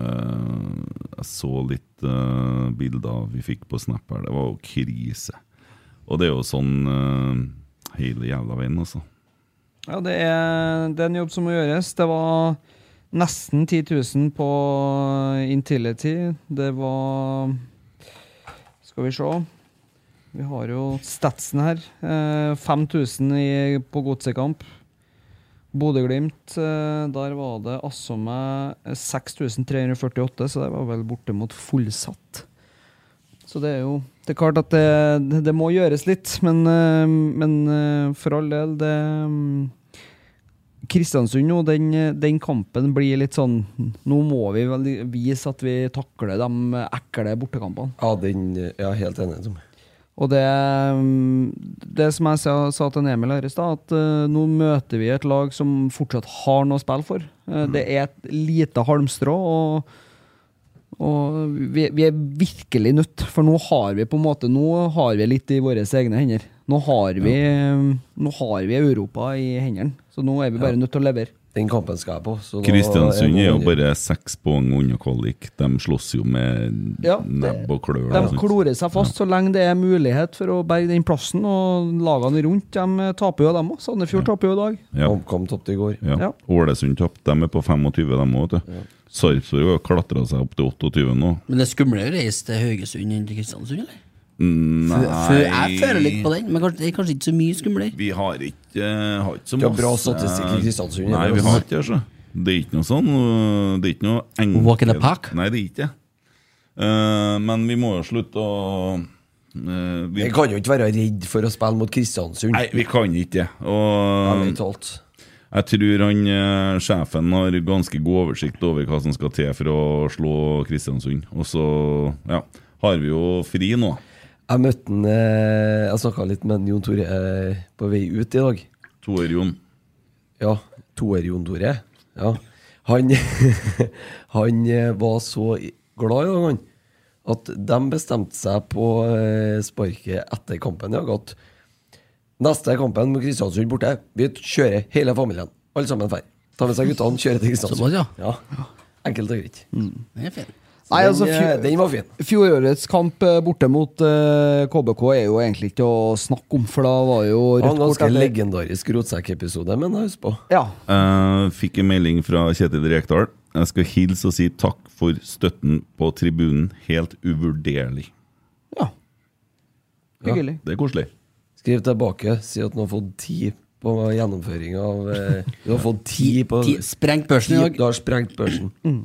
S5: Eh, jeg så litt eh, bilder vi fikk på Snap her. Det var jo krise. Og det er jo sånn eh, hele jævla veien, altså.
S6: Ja, det er, det er en jobb som må gjøres. Det var nesten 10 000 på Intility. Det var Skal vi se. Vi har jo statsen her. Eh, 5000 i- på godsekamp. Bodø-Glimt, eh, der var det altså med 6348, så det var vel bortimot fullsatt. Så det er jo Det er klart at det, det må gjøres litt, men, eh, men eh, for all del det mm, Kristiansund nå, den, den kampen blir litt sånn Nå må vi vel vise at vi takler de ekle bortekampene.
S3: Ja, den, jeg er helt enig. Tom.
S6: Og det, det som jeg sa, sa til Emil her i stad, at eh, nå møter vi et lag som fortsatt har noe å spille for. Eh, Det er et lite halmstrå, og, og vi, vi er virkelig nødt, for nå har vi på en måte Nå har vi litt i våre egne hender. Nå har vi, eh, nå har vi Europa i hendene, så nå er vi bare nødt til å levere.
S3: Den kampen skal jeg på. så da-
S5: Kristiansund er jo bare seks poeng unna kvalik. De slåss jo med
S6: Ja, det-
S5: nebb og klør. altså.
S6: De
S5: og sånt.
S6: klorer seg fast så lenge det er mulighet for å berge den plassen, og lagene rundt de eh, taper jo, dem òg. Sandefjord taper jo i dag.
S5: Ja.
S3: HamKam tapte i går.
S5: Ja.
S6: Ja.
S5: Ålesund tapte. De er på 25, de òg, vet du. Sarpsborg har klatra seg opp til 28 nå.
S4: Men det er skumlere å reise til Haugesund enn til Kristiansund, eller?
S5: Nei
S4: Fø- fø- Jeg føler litt på den, men kanskje, det er kanskje ikke så mye skumlere.
S5: Vi har ikke, eh, har ikke så
S4: Vi har bra statistikk i Kristiansund,
S5: Nei,
S4: eller?
S5: vi har ikke det. altså. Det er ikke noe sånn øh, Det er ikke noe enkelt
S4: Walk in the park?
S5: Nei, det er ikke det. Eh, men vi må jo slutte å eh,
S3: Vi kan jo ikke være redd for å spille mot Kristiansund.
S5: Nei, vi kan ikke det. Og
S3: Ærlig talt.
S5: jeg tror han eh, sjefen har ganske god oversikt over hva som skal til for å slå Kristiansund. Og så ja, har vi jo fri nå.
S3: Jeg møtte han eh, Jeg snakka litt med han Jon Tore eh, på vei ut i dag.
S5: Toer-Jon.
S3: Ja. Toer-Jon Tore. Ja. Han, han eh, var så i- glad i dag, han, at de bestemte seg på eh, sparket etter kampen i dag at neste kampen med Kristiansund borte, vi kjører hele familien. Alle sammen drar. Tar med seg guttene, kjører til
S4: Såpass,
S3: Kristiansund.
S4: ja.
S3: Ja. Enkelt og greit.
S4: Det er fint.
S3: Så
S6: Nei,
S3: den,
S6: altså,
S3: eh,
S6: fjor-
S3: den var fin.
S6: Fjorårets kamp eh, borte mot eh, KBK er jo egentlig ikke å snakke om, for da var jo
S3: Det var en
S6: rødt kort
S3: ganske
S6: etter-
S3: legendarisk rotsekkepisode, men jeg husker på.
S6: Ja.
S5: Jeg Eh, fikk en melding fra Kjetil Rekdal. Jeg skal hilse og si takk for støtten på tribunen. Helt uvurderlig.
S3: Hyggelig.
S5: Det er koselig.
S3: Skriv tilbake, si at du har fått ti på gjennomføring av eh, Du har fått ti på
S6: Ti- sprengt børsen
S3: Ti-
S6: i dag.
S3: Du har sprengt børsen.
S4: Mm.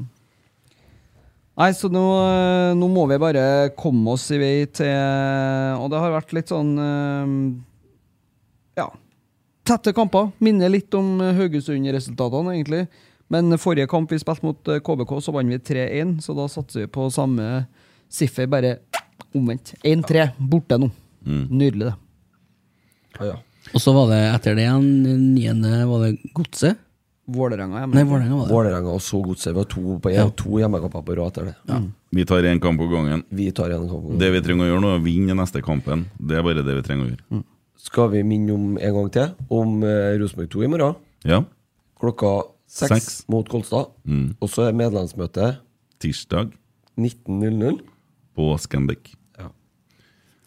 S6: Nei, så nå, eh, nå må vi bare komme oss i vei til eh, Og det har vært litt sånn eh, Ja. Tette kamper. Minner litt om eh, Haugesund-resultatene, egentlig. Men forrige kamp vi spilte mot eh, KBK, så vant vi 3-1, så da satser vi på samme siffer, bare omvendt. 1-3, borte nå. Nydelig, det.
S4: Og så var det etter det igjen, den niende var det Godset.
S6: Vålerenga hjemme.
S4: Nei, Vålerenga var det.
S3: Vålerenga og så Godset. Vi har to, på-
S4: Ja.
S3: to hjemmekamper på rad etter det.
S5: Vi tar én kamp på gangen.
S3: Vi tar en kamp på
S5: Det vi trenger å gjøre nå, er å vinne neste kampen. Det er bare det vi trenger å gjøre.
S3: Mm. Skal vi minne om en gang til om eh, Rosenborg 2 i morgen?
S5: Ja.
S3: Klokka seks
S5: Seks.
S3: mot Kolstad.
S5: Mm.
S3: Og så er medlemsmøte
S5: Tirsdag
S3: 19.00.
S5: på Scandic.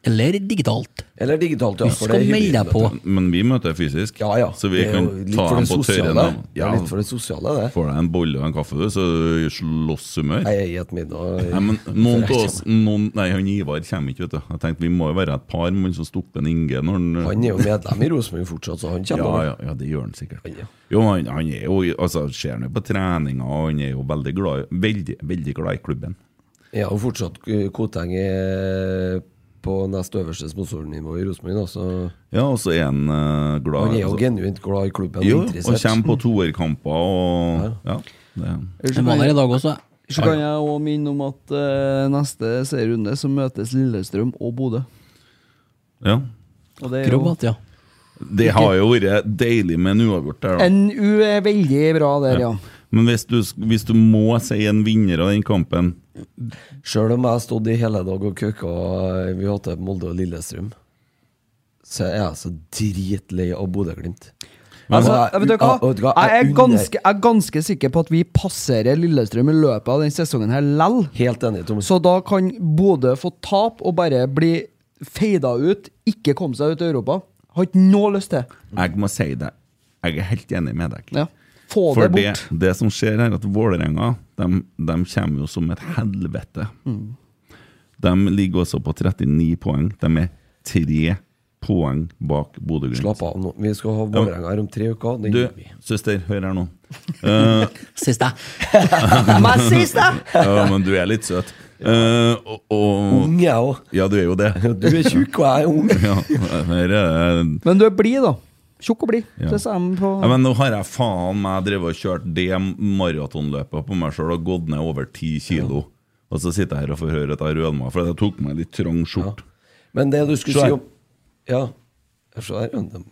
S4: Eller digitalt.
S3: Eller digitalt, ja.
S4: Du
S3: for det er
S4: skal melde deg
S3: hybridmøte.
S4: på.
S5: Men vi møter fysisk, så vi
S3: Det er
S5: kan
S3: jo litt
S5: ta
S3: for
S5: dem
S3: det
S5: på tørre.
S3: sosiale.
S5: navn.
S3: Det er litt for det sosiale, det.
S5: Får deg en bolle og en kaffe, du, så du slåss humør.
S3: Nei, jeg et middag
S5: Nei, men noen av oss noen, Nei, han Ivar kommer ikke, vet du. Jeg tenkte Vi må jo være et par mann som stopper en Inge når han
S3: Han er jo medlem i Rosenborg fortsatt, så han kommer.
S5: Ja, ja, ja, det gjør han sikkert. Jo, han, han er jo altså, Ser han jo på treninga, og han er jo veldig glad, i- veldig, veldig glad i klubben.
S3: Jeg har jo fortsatt eh, Koteng eh, på nest øverste sponsornivå i Rosenborg, da, så
S5: Ja, og så er han eh, glad
S3: han er jo
S5: altså.
S3: genuint glad i klubben.
S5: Jo,
S3: og
S5: og
S3: interessert.
S5: kommer på toerkamper og Ja. det.
S4: Jeg var der i dag også.
S6: Så kan jeg òg minne om at eh, neste serierunde så møtes Lillestrøm og Bodø.
S5: ja.
S6: Og det er jo- Akrobat, ja.
S5: Det har jo vært deilig med en uavgjort der, da.
S6: NU er veldig bra der, ja.
S5: Men hvis du, hvis du må si en vinner av den kampen
S3: Sjøl om jeg har stått i hele dag og køkka, vi hadde Molde og Lillestrøm, så er jeg så dritlei av Bodø-Glimt.
S6: Altså,
S3: Altså,
S6: vet du
S3: jeg- vet du hva, E-
S6: hva? Jeg er
S3: unner-
S6: ganske, jeg er ganske sikker på at vi passerer Lillestrøm i løpet av denne sesongen her lell.
S3: Helt enig, Thomas.
S6: Så da kan Bodø få tap og bare bli feida ut, ikke komme seg ut av Europa. Har ikke noe lyst til.
S5: Jeg må si det. Jeg er helt enig med deg.
S6: Ja. Få
S5: For
S6: det bort.
S5: Det, det som skjer, er at Vålerenga de, de kommer jo som et helvete.
S6: Mm.
S5: De ligger også på 39 poeng. De er tre poeng bak Bodø-Glimt.
S3: Slapp av nå. Vi skal ha Vålerenga her om tre uker. Den
S5: Du,
S3: gjør vi.
S5: søster, hør her nå. Eh,
S4: Siste. My sister!
S5: ja, men du er litt søt. Eh, og, og,
S3: Ung, jeg òg.
S5: Ja, du er jo det.
S3: Du er tjukk, og jeg er ung.
S5: ja, her er det
S6: Men du er blid, da. Tjukk og blid.
S5: Ja.
S6: Det sa de på
S5: Ja, men nå har jeg faen meg drevet og kjørt det maratonløpet på meg sjøl og gått ned over 10 kilo. Og så sitter jeg her og får høre at jeg rødmer, for jeg tok meg litt trang skjort.
S3: Men det du
S5: Se
S3: skulle
S5: her.
S3: si om Ja, se her. ja, det-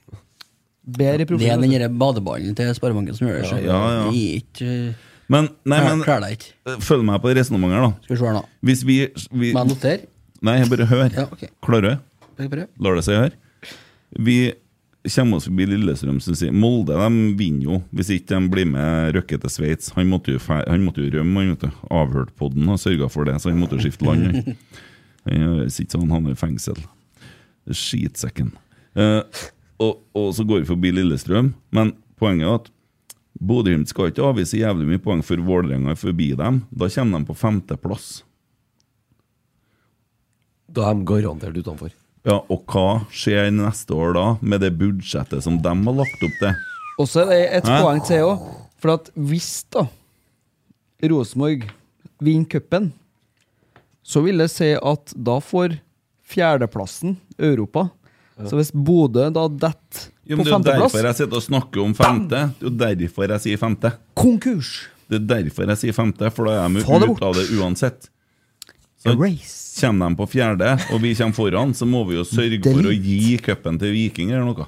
S6: Bedre
S4: Det er den derre badeballen til Sparebanken som gjør det.
S5: Ja,
S4: så
S5: ja, ja.
S4: Det er ikke
S5: Men, nei,
S4: Klar-
S5: men eh,
S4: klarer deg ikke.
S5: følg meg på resonnementet her, da.
S4: Skal vi se her, da.
S5: Hvis vi, vi
S4: Må jeg notere?
S5: Nei, jeg bare hør. Klarer du?
S4: Jeg prøver.
S5: Lar det seg gjøre? Vi kommer oss forbi Lillestrøm, syns jeg. Molde de vinner jo, hvis ikke de blir med Røkke til Sveits. Han, måtte jo fe- han måtte jo rømme, han, vet du. Avhørt podden og sørga for det, så han måtte jo skifte land. han. Han høres ikke sånn, han havner i fengsel. Skitsekken. Eh, og, og så går vi forbi Lillestrøm, men poenget er at Bodø-Glimt skal ikke avvise jævlig mye poeng for Vålerenga er forbi dem. Da kommer de på femteplass.
S3: Da er de garantert utenfor.
S5: Ja, og hva skjer neste år da, med det budsjettet som de har lagt opp til?
S6: Og så er det et
S5: Hæ?
S6: poeng til òg. For at hvis da Rosenborg vinner cupen, så vil det si at da får fjerdeplassen Europa. Så hvis Bodø da detter
S5: Jo,
S6: på
S5: men det er jo
S6: femteplass
S5: derfor jeg sitter og snakker om femte. Det er jo derfor jeg sier femte.
S6: Konkurs!
S5: Det er derfor jeg sier femte, for da er de
S6: Få det
S5: ute av det uansett. Så kommer de på fjerde, og vi kommer foran, så må vi jo sørge for å gi cupen til Viking eller noe.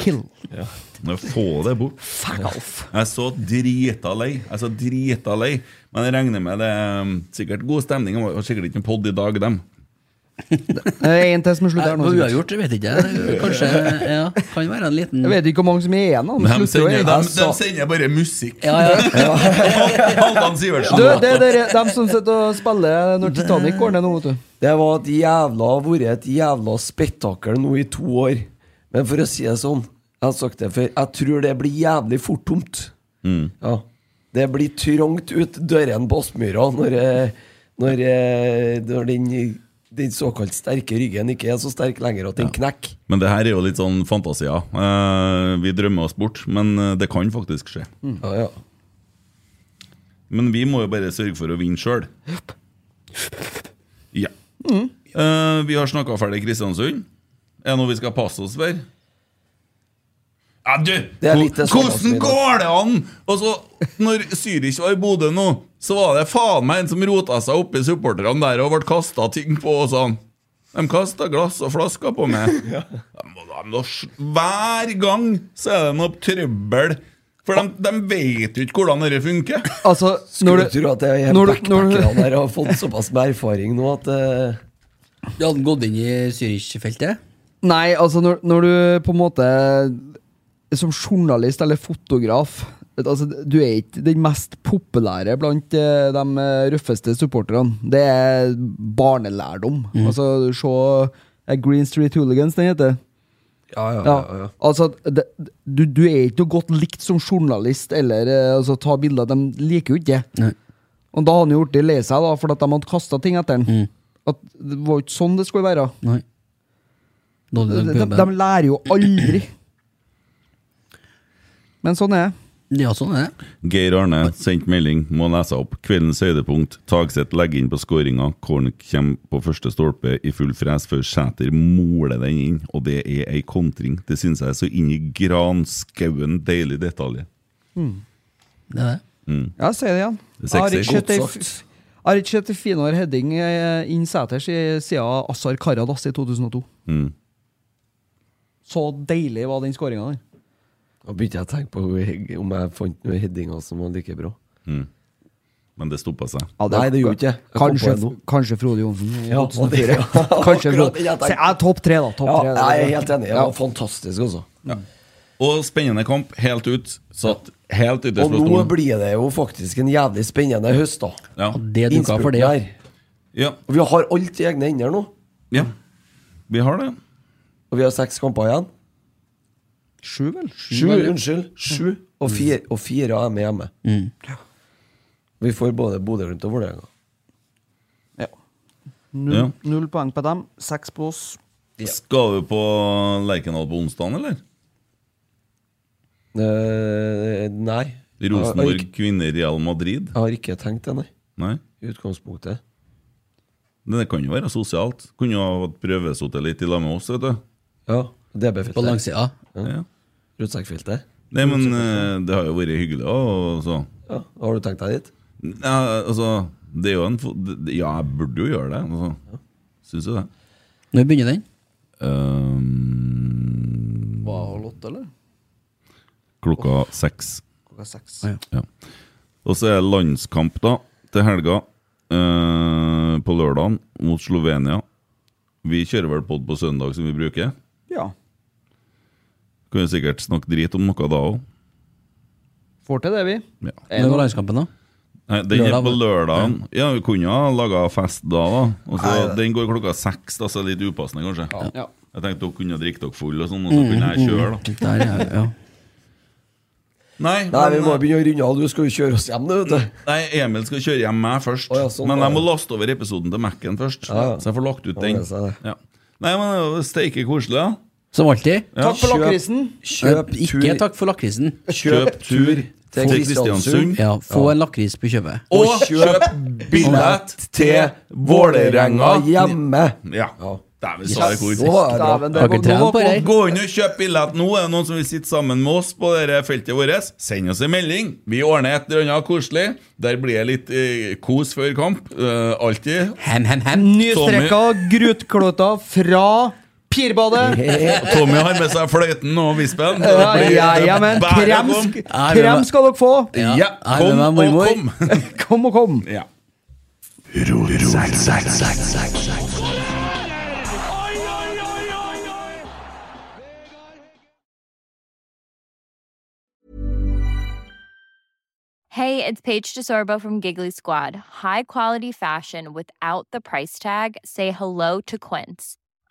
S11: kill.
S5: Ja. Nå Få det bort.
S11: Fuck off.
S5: Jeg er så drita lei. Jeg er så drita lei. Men jeg regner med det er um, sikkert god stemning. Det var sikkert ikke en pod i dag, dem.
S6: En til som er slutt her nå.
S4: Hva
S6: sikkert.
S4: uavgjort, vet ikke jeg. Kanskje ja, Kan være en liten
S6: Jeg vet ikke hvor mange som er igjen. da.
S5: De
S6: slutter jo
S5: sender,
S6: egentlig.
S5: de,
S6: Altså.
S5: de sender bare musikk.
S4: Ja, ja.
S5: Halvdan Sivertsen.
S6: Du, det er dere- dem som sitter og spiller når Titanic går ned nå, vet du.
S3: Det var et jævla, vært et jævla spektakel nå i to år. Men for å si det sånn, jeg har sagt det før, jeg tror det blir jævlig fort tomt.
S5: Mm.
S3: Ja. Det blir trangt ut døren på Aspmyra når, eh, når, eh, når den, den såkalt sterke ryggen ikke er så sterk lenger at den knekker.
S5: Men det her er jo litt sånn fantasier. Eh, vi drømmer oss bort, men eh, det kan faktisk skje.
S3: Ja, ja.
S5: Men vi må jo bare sørge for å vinne sjøl. Ja.
S2: Mm.
S5: Eh, vi har snakka ferdig Kristiansund. Er det noe vi skal passe oss for? Ja, du!
S2: Det er
S5: hvor-
S2: litt det samme som i
S5: hvordan
S2: dag.
S5: går det an?! Og så, når Zürich var i Bodø nå, så var det faen meg en som rota seg oppi supporterne der og ble kasta ting på og sånn. De kasta glass og flasker på meg. De må- de må s- Hver gang så er det noe trøbbel. For de, de vet jo ikke hvordan dette funker.
S6: Altså,
S3: Skulle tro at jeg
S6: når du- når du-
S3: backpackerne her har fått såpass med erfaring nå at eh,
S4: Du hadde gått inn i Zürich-feltet?
S6: Nei, altså når, når du på en måte Som journalist eller fotograf vet, altså, Du er ikke den mest populære blant eh, de eh, røffeste supporterne. Det er barnelærdom.
S3: Mhm.
S6: Altså, se eh, Green Street Hooligans, den heter.
S3: Ja, ja,
S6: Ja,
S3: ja, ja.
S6: Altså, det, du, du er ikke noe godt likt som journalist eller eh, altså, ta bilder. De liker jo ikke det. Og da har han jo blitt lei seg, da, fordi at de hadde kasta ting etter han.
S3: Mm.
S6: At Det var jo ikke sånn det skulle være.
S4: Nei. Nå
S6: De,
S4: er det
S6: de,
S4: puben.
S6: de lærer jo aldri. Men sånn er det.
S4: Ja, sånn er det.
S5: Geir Arne sendt melding, må lese opp. Kveldens høydepunkt. Tagseth legger inn på skåringa. Kornik kommer på første stolpe i full fres før Sæter måler den inn, og det er ei kontring. Det syns jeg er så inn i granskauen deilig detalj.
S4: Det er det.
S5: Mm.
S6: Ja, si det igjen.
S5: Det er
S6: Jeg har
S5: sexy.
S6: ikke sett ei
S5: Godt
S6: f-
S5: sagt.
S6: jeg har ikke sett ei finere heading eh, inn seters i- siden Azar Karadas i 2002.
S5: Mm.
S6: Så deilig var den skåringa der.
S3: Da begynte jeg å tenke på hvor- om jeg fant noen headinger som var like bra.
S5: Mm. Men det stoppa seg.
S3: Nei, det gjorde ikke jeg. Jeg kom på
S6: Kanskje,
S3: det nå.
S6: kanskje Frode Johnsen i
S3: Ja, og det-
S6: 2004. Kanskje
S3: akkurat det
S6: Frode.
S3: jeg tenkte.
S6: Se, ja, topp tre, da. Topp
S3: Ja,
S6: tre.
S3: jeg er helt enig. Det
S6: Ja.
S3: var fantastisk, altså.
S5: Og spennende kamp. Helt ut. Satt helt ytterst
S3: Og
S5: på
S3: nå
S5: stolen.
S3: blir det jo faktisk en jævlig spennende høst, da.
S5: Ja.
S4: Det duka for det, ja.
S3: Innspurten her.
S5: Ja.
S3: Og vi har alt i egne hender nå.
S5: Ja. Vi har det.
S3: Og vi har seks kamper igjen.
S6: Sju, vel?
S3: Sju, Mm.
S6: vel, ja.
S3: unnskyld. Sju. Og fire, og fire av dem er hjemme. Vi får både Bodø, Glimt og Vålerenga.
S6: Null,
S5: Ja.
S6: null poeng på dem, seks på oss.
S5: Skal du på Lerkendal på onsdag, eller?
S3: Eh, nei. Jeg har
S5: Rosenborg
S3: ikke-
S5: kvinner Real Madrid?
S3: Jeg har ikke tenkt det, nei.
S5: Nei?
S3: I utgangspunktet.
S5: Men det kan jo være sosialt. Kunne jo ha prøvesittet litt i lag med oss, vet du.
S3: Ja. DB-filter.
S4: På langsida.
S3: Ja. Rotsekkfilter.
S5: Nei, men eh, det har jo vært hyggelig òg, så.
S3: Ja. Har du tenkt deg dit?
S5: Ja, altså, det er jo en fo- det- det- Ja, jeg burde jo gjøre det. Altså. Syns jo det.
S4: Når begynner den?
S5: Ehm,
S6: Var Lotte, eller?
S5: klokka seks.
S6: Klokka seks.
S5: Ja. Og så er det landskamp da til helga eh, på lørdagen mot Slovenia. Vi kjører vel pod på søndag, som vi bruker.
S6: Ja.
S5: Kunne sikkert snakke drit om noe da òg.
S6: Får til det, vi.
S5: Ja.
S6: Er det noe-
S4: landskampen, da?
S5: Nei, Den er på
S4: Lørdag, vel?
S5: lørdagen. Ja, vi kunne ha laga fest da, da. Og så
S4: Nei, det-
S5: den går klokka seks, da, så det er litt upassende, kanskje.
S6: Ja.
S5: Jeg tenkte dere kunne drikke dere full, og sånn,
S3: Mm.
S5: og så kunne jeg kjøre, da. Nei,
S3: Nei, vi
S5: men- eh,
S3: må begynne å runde av. Du skal jo kjøre oss hjem, du, vet du.
S5: Nei, Emil skal kjøre hjem meg først. men jeg må laste over episoden til Mac-en først.
S3: sånn, Ja, ja.
S5: Så jeg får lagt ut
S3: Ja,
S5: den.
S3: det sa jeg.
S5: Ja. Nei, men eh, det var steike koselig, da.
S4: Som alltid.
S5: Ja. Takk for
S4: Kjøp-
S5: lakrisen.
S3: kjøp
S4: Nei, Ikke
S3: tur.
S4: takk for lakrisen.
S3: Kjøp Kjøp tur tur til til Kristiansund. Kristiansund.
S4: Ja, få
S3: Ja.
S4: en lakris på kjøpet.
S3: Og kjøp billett til Vålerenga hjemme.
S5: Ja. Dæven,
S3: Yes.
S5: sa jeg hvor.
S3: Nå var det bra. Dæven, det Har dere var- trent nå var på det?
S5: Gå inn og kjøp billett nå. Er det noen som vil sitte sammen med oss på dette feltet vårt? Send oss en melding. Vi ordner et eller annet koselig. Der blir det litt eh, kos før kamp. Eh, alltid.
S4: Hem, hem, hem.
S6: Nystrekka grutkløter fra Pirbadet!
S9: Tommy har med seg fløyten og vispen.
S6: Ja, ja, ja, men
S9: Bare
S6: krem,
S9: kom.
S6: sk- krem skal dere få!
S9: Ja, Ja, kom jeg er med meg, og mormor.
S6: kom og kom!
S9: Ja.
S12: Hey, it's Paige DeSorbo from Giggly Squad. High quality fashion without the price tag. Say hello to Quince.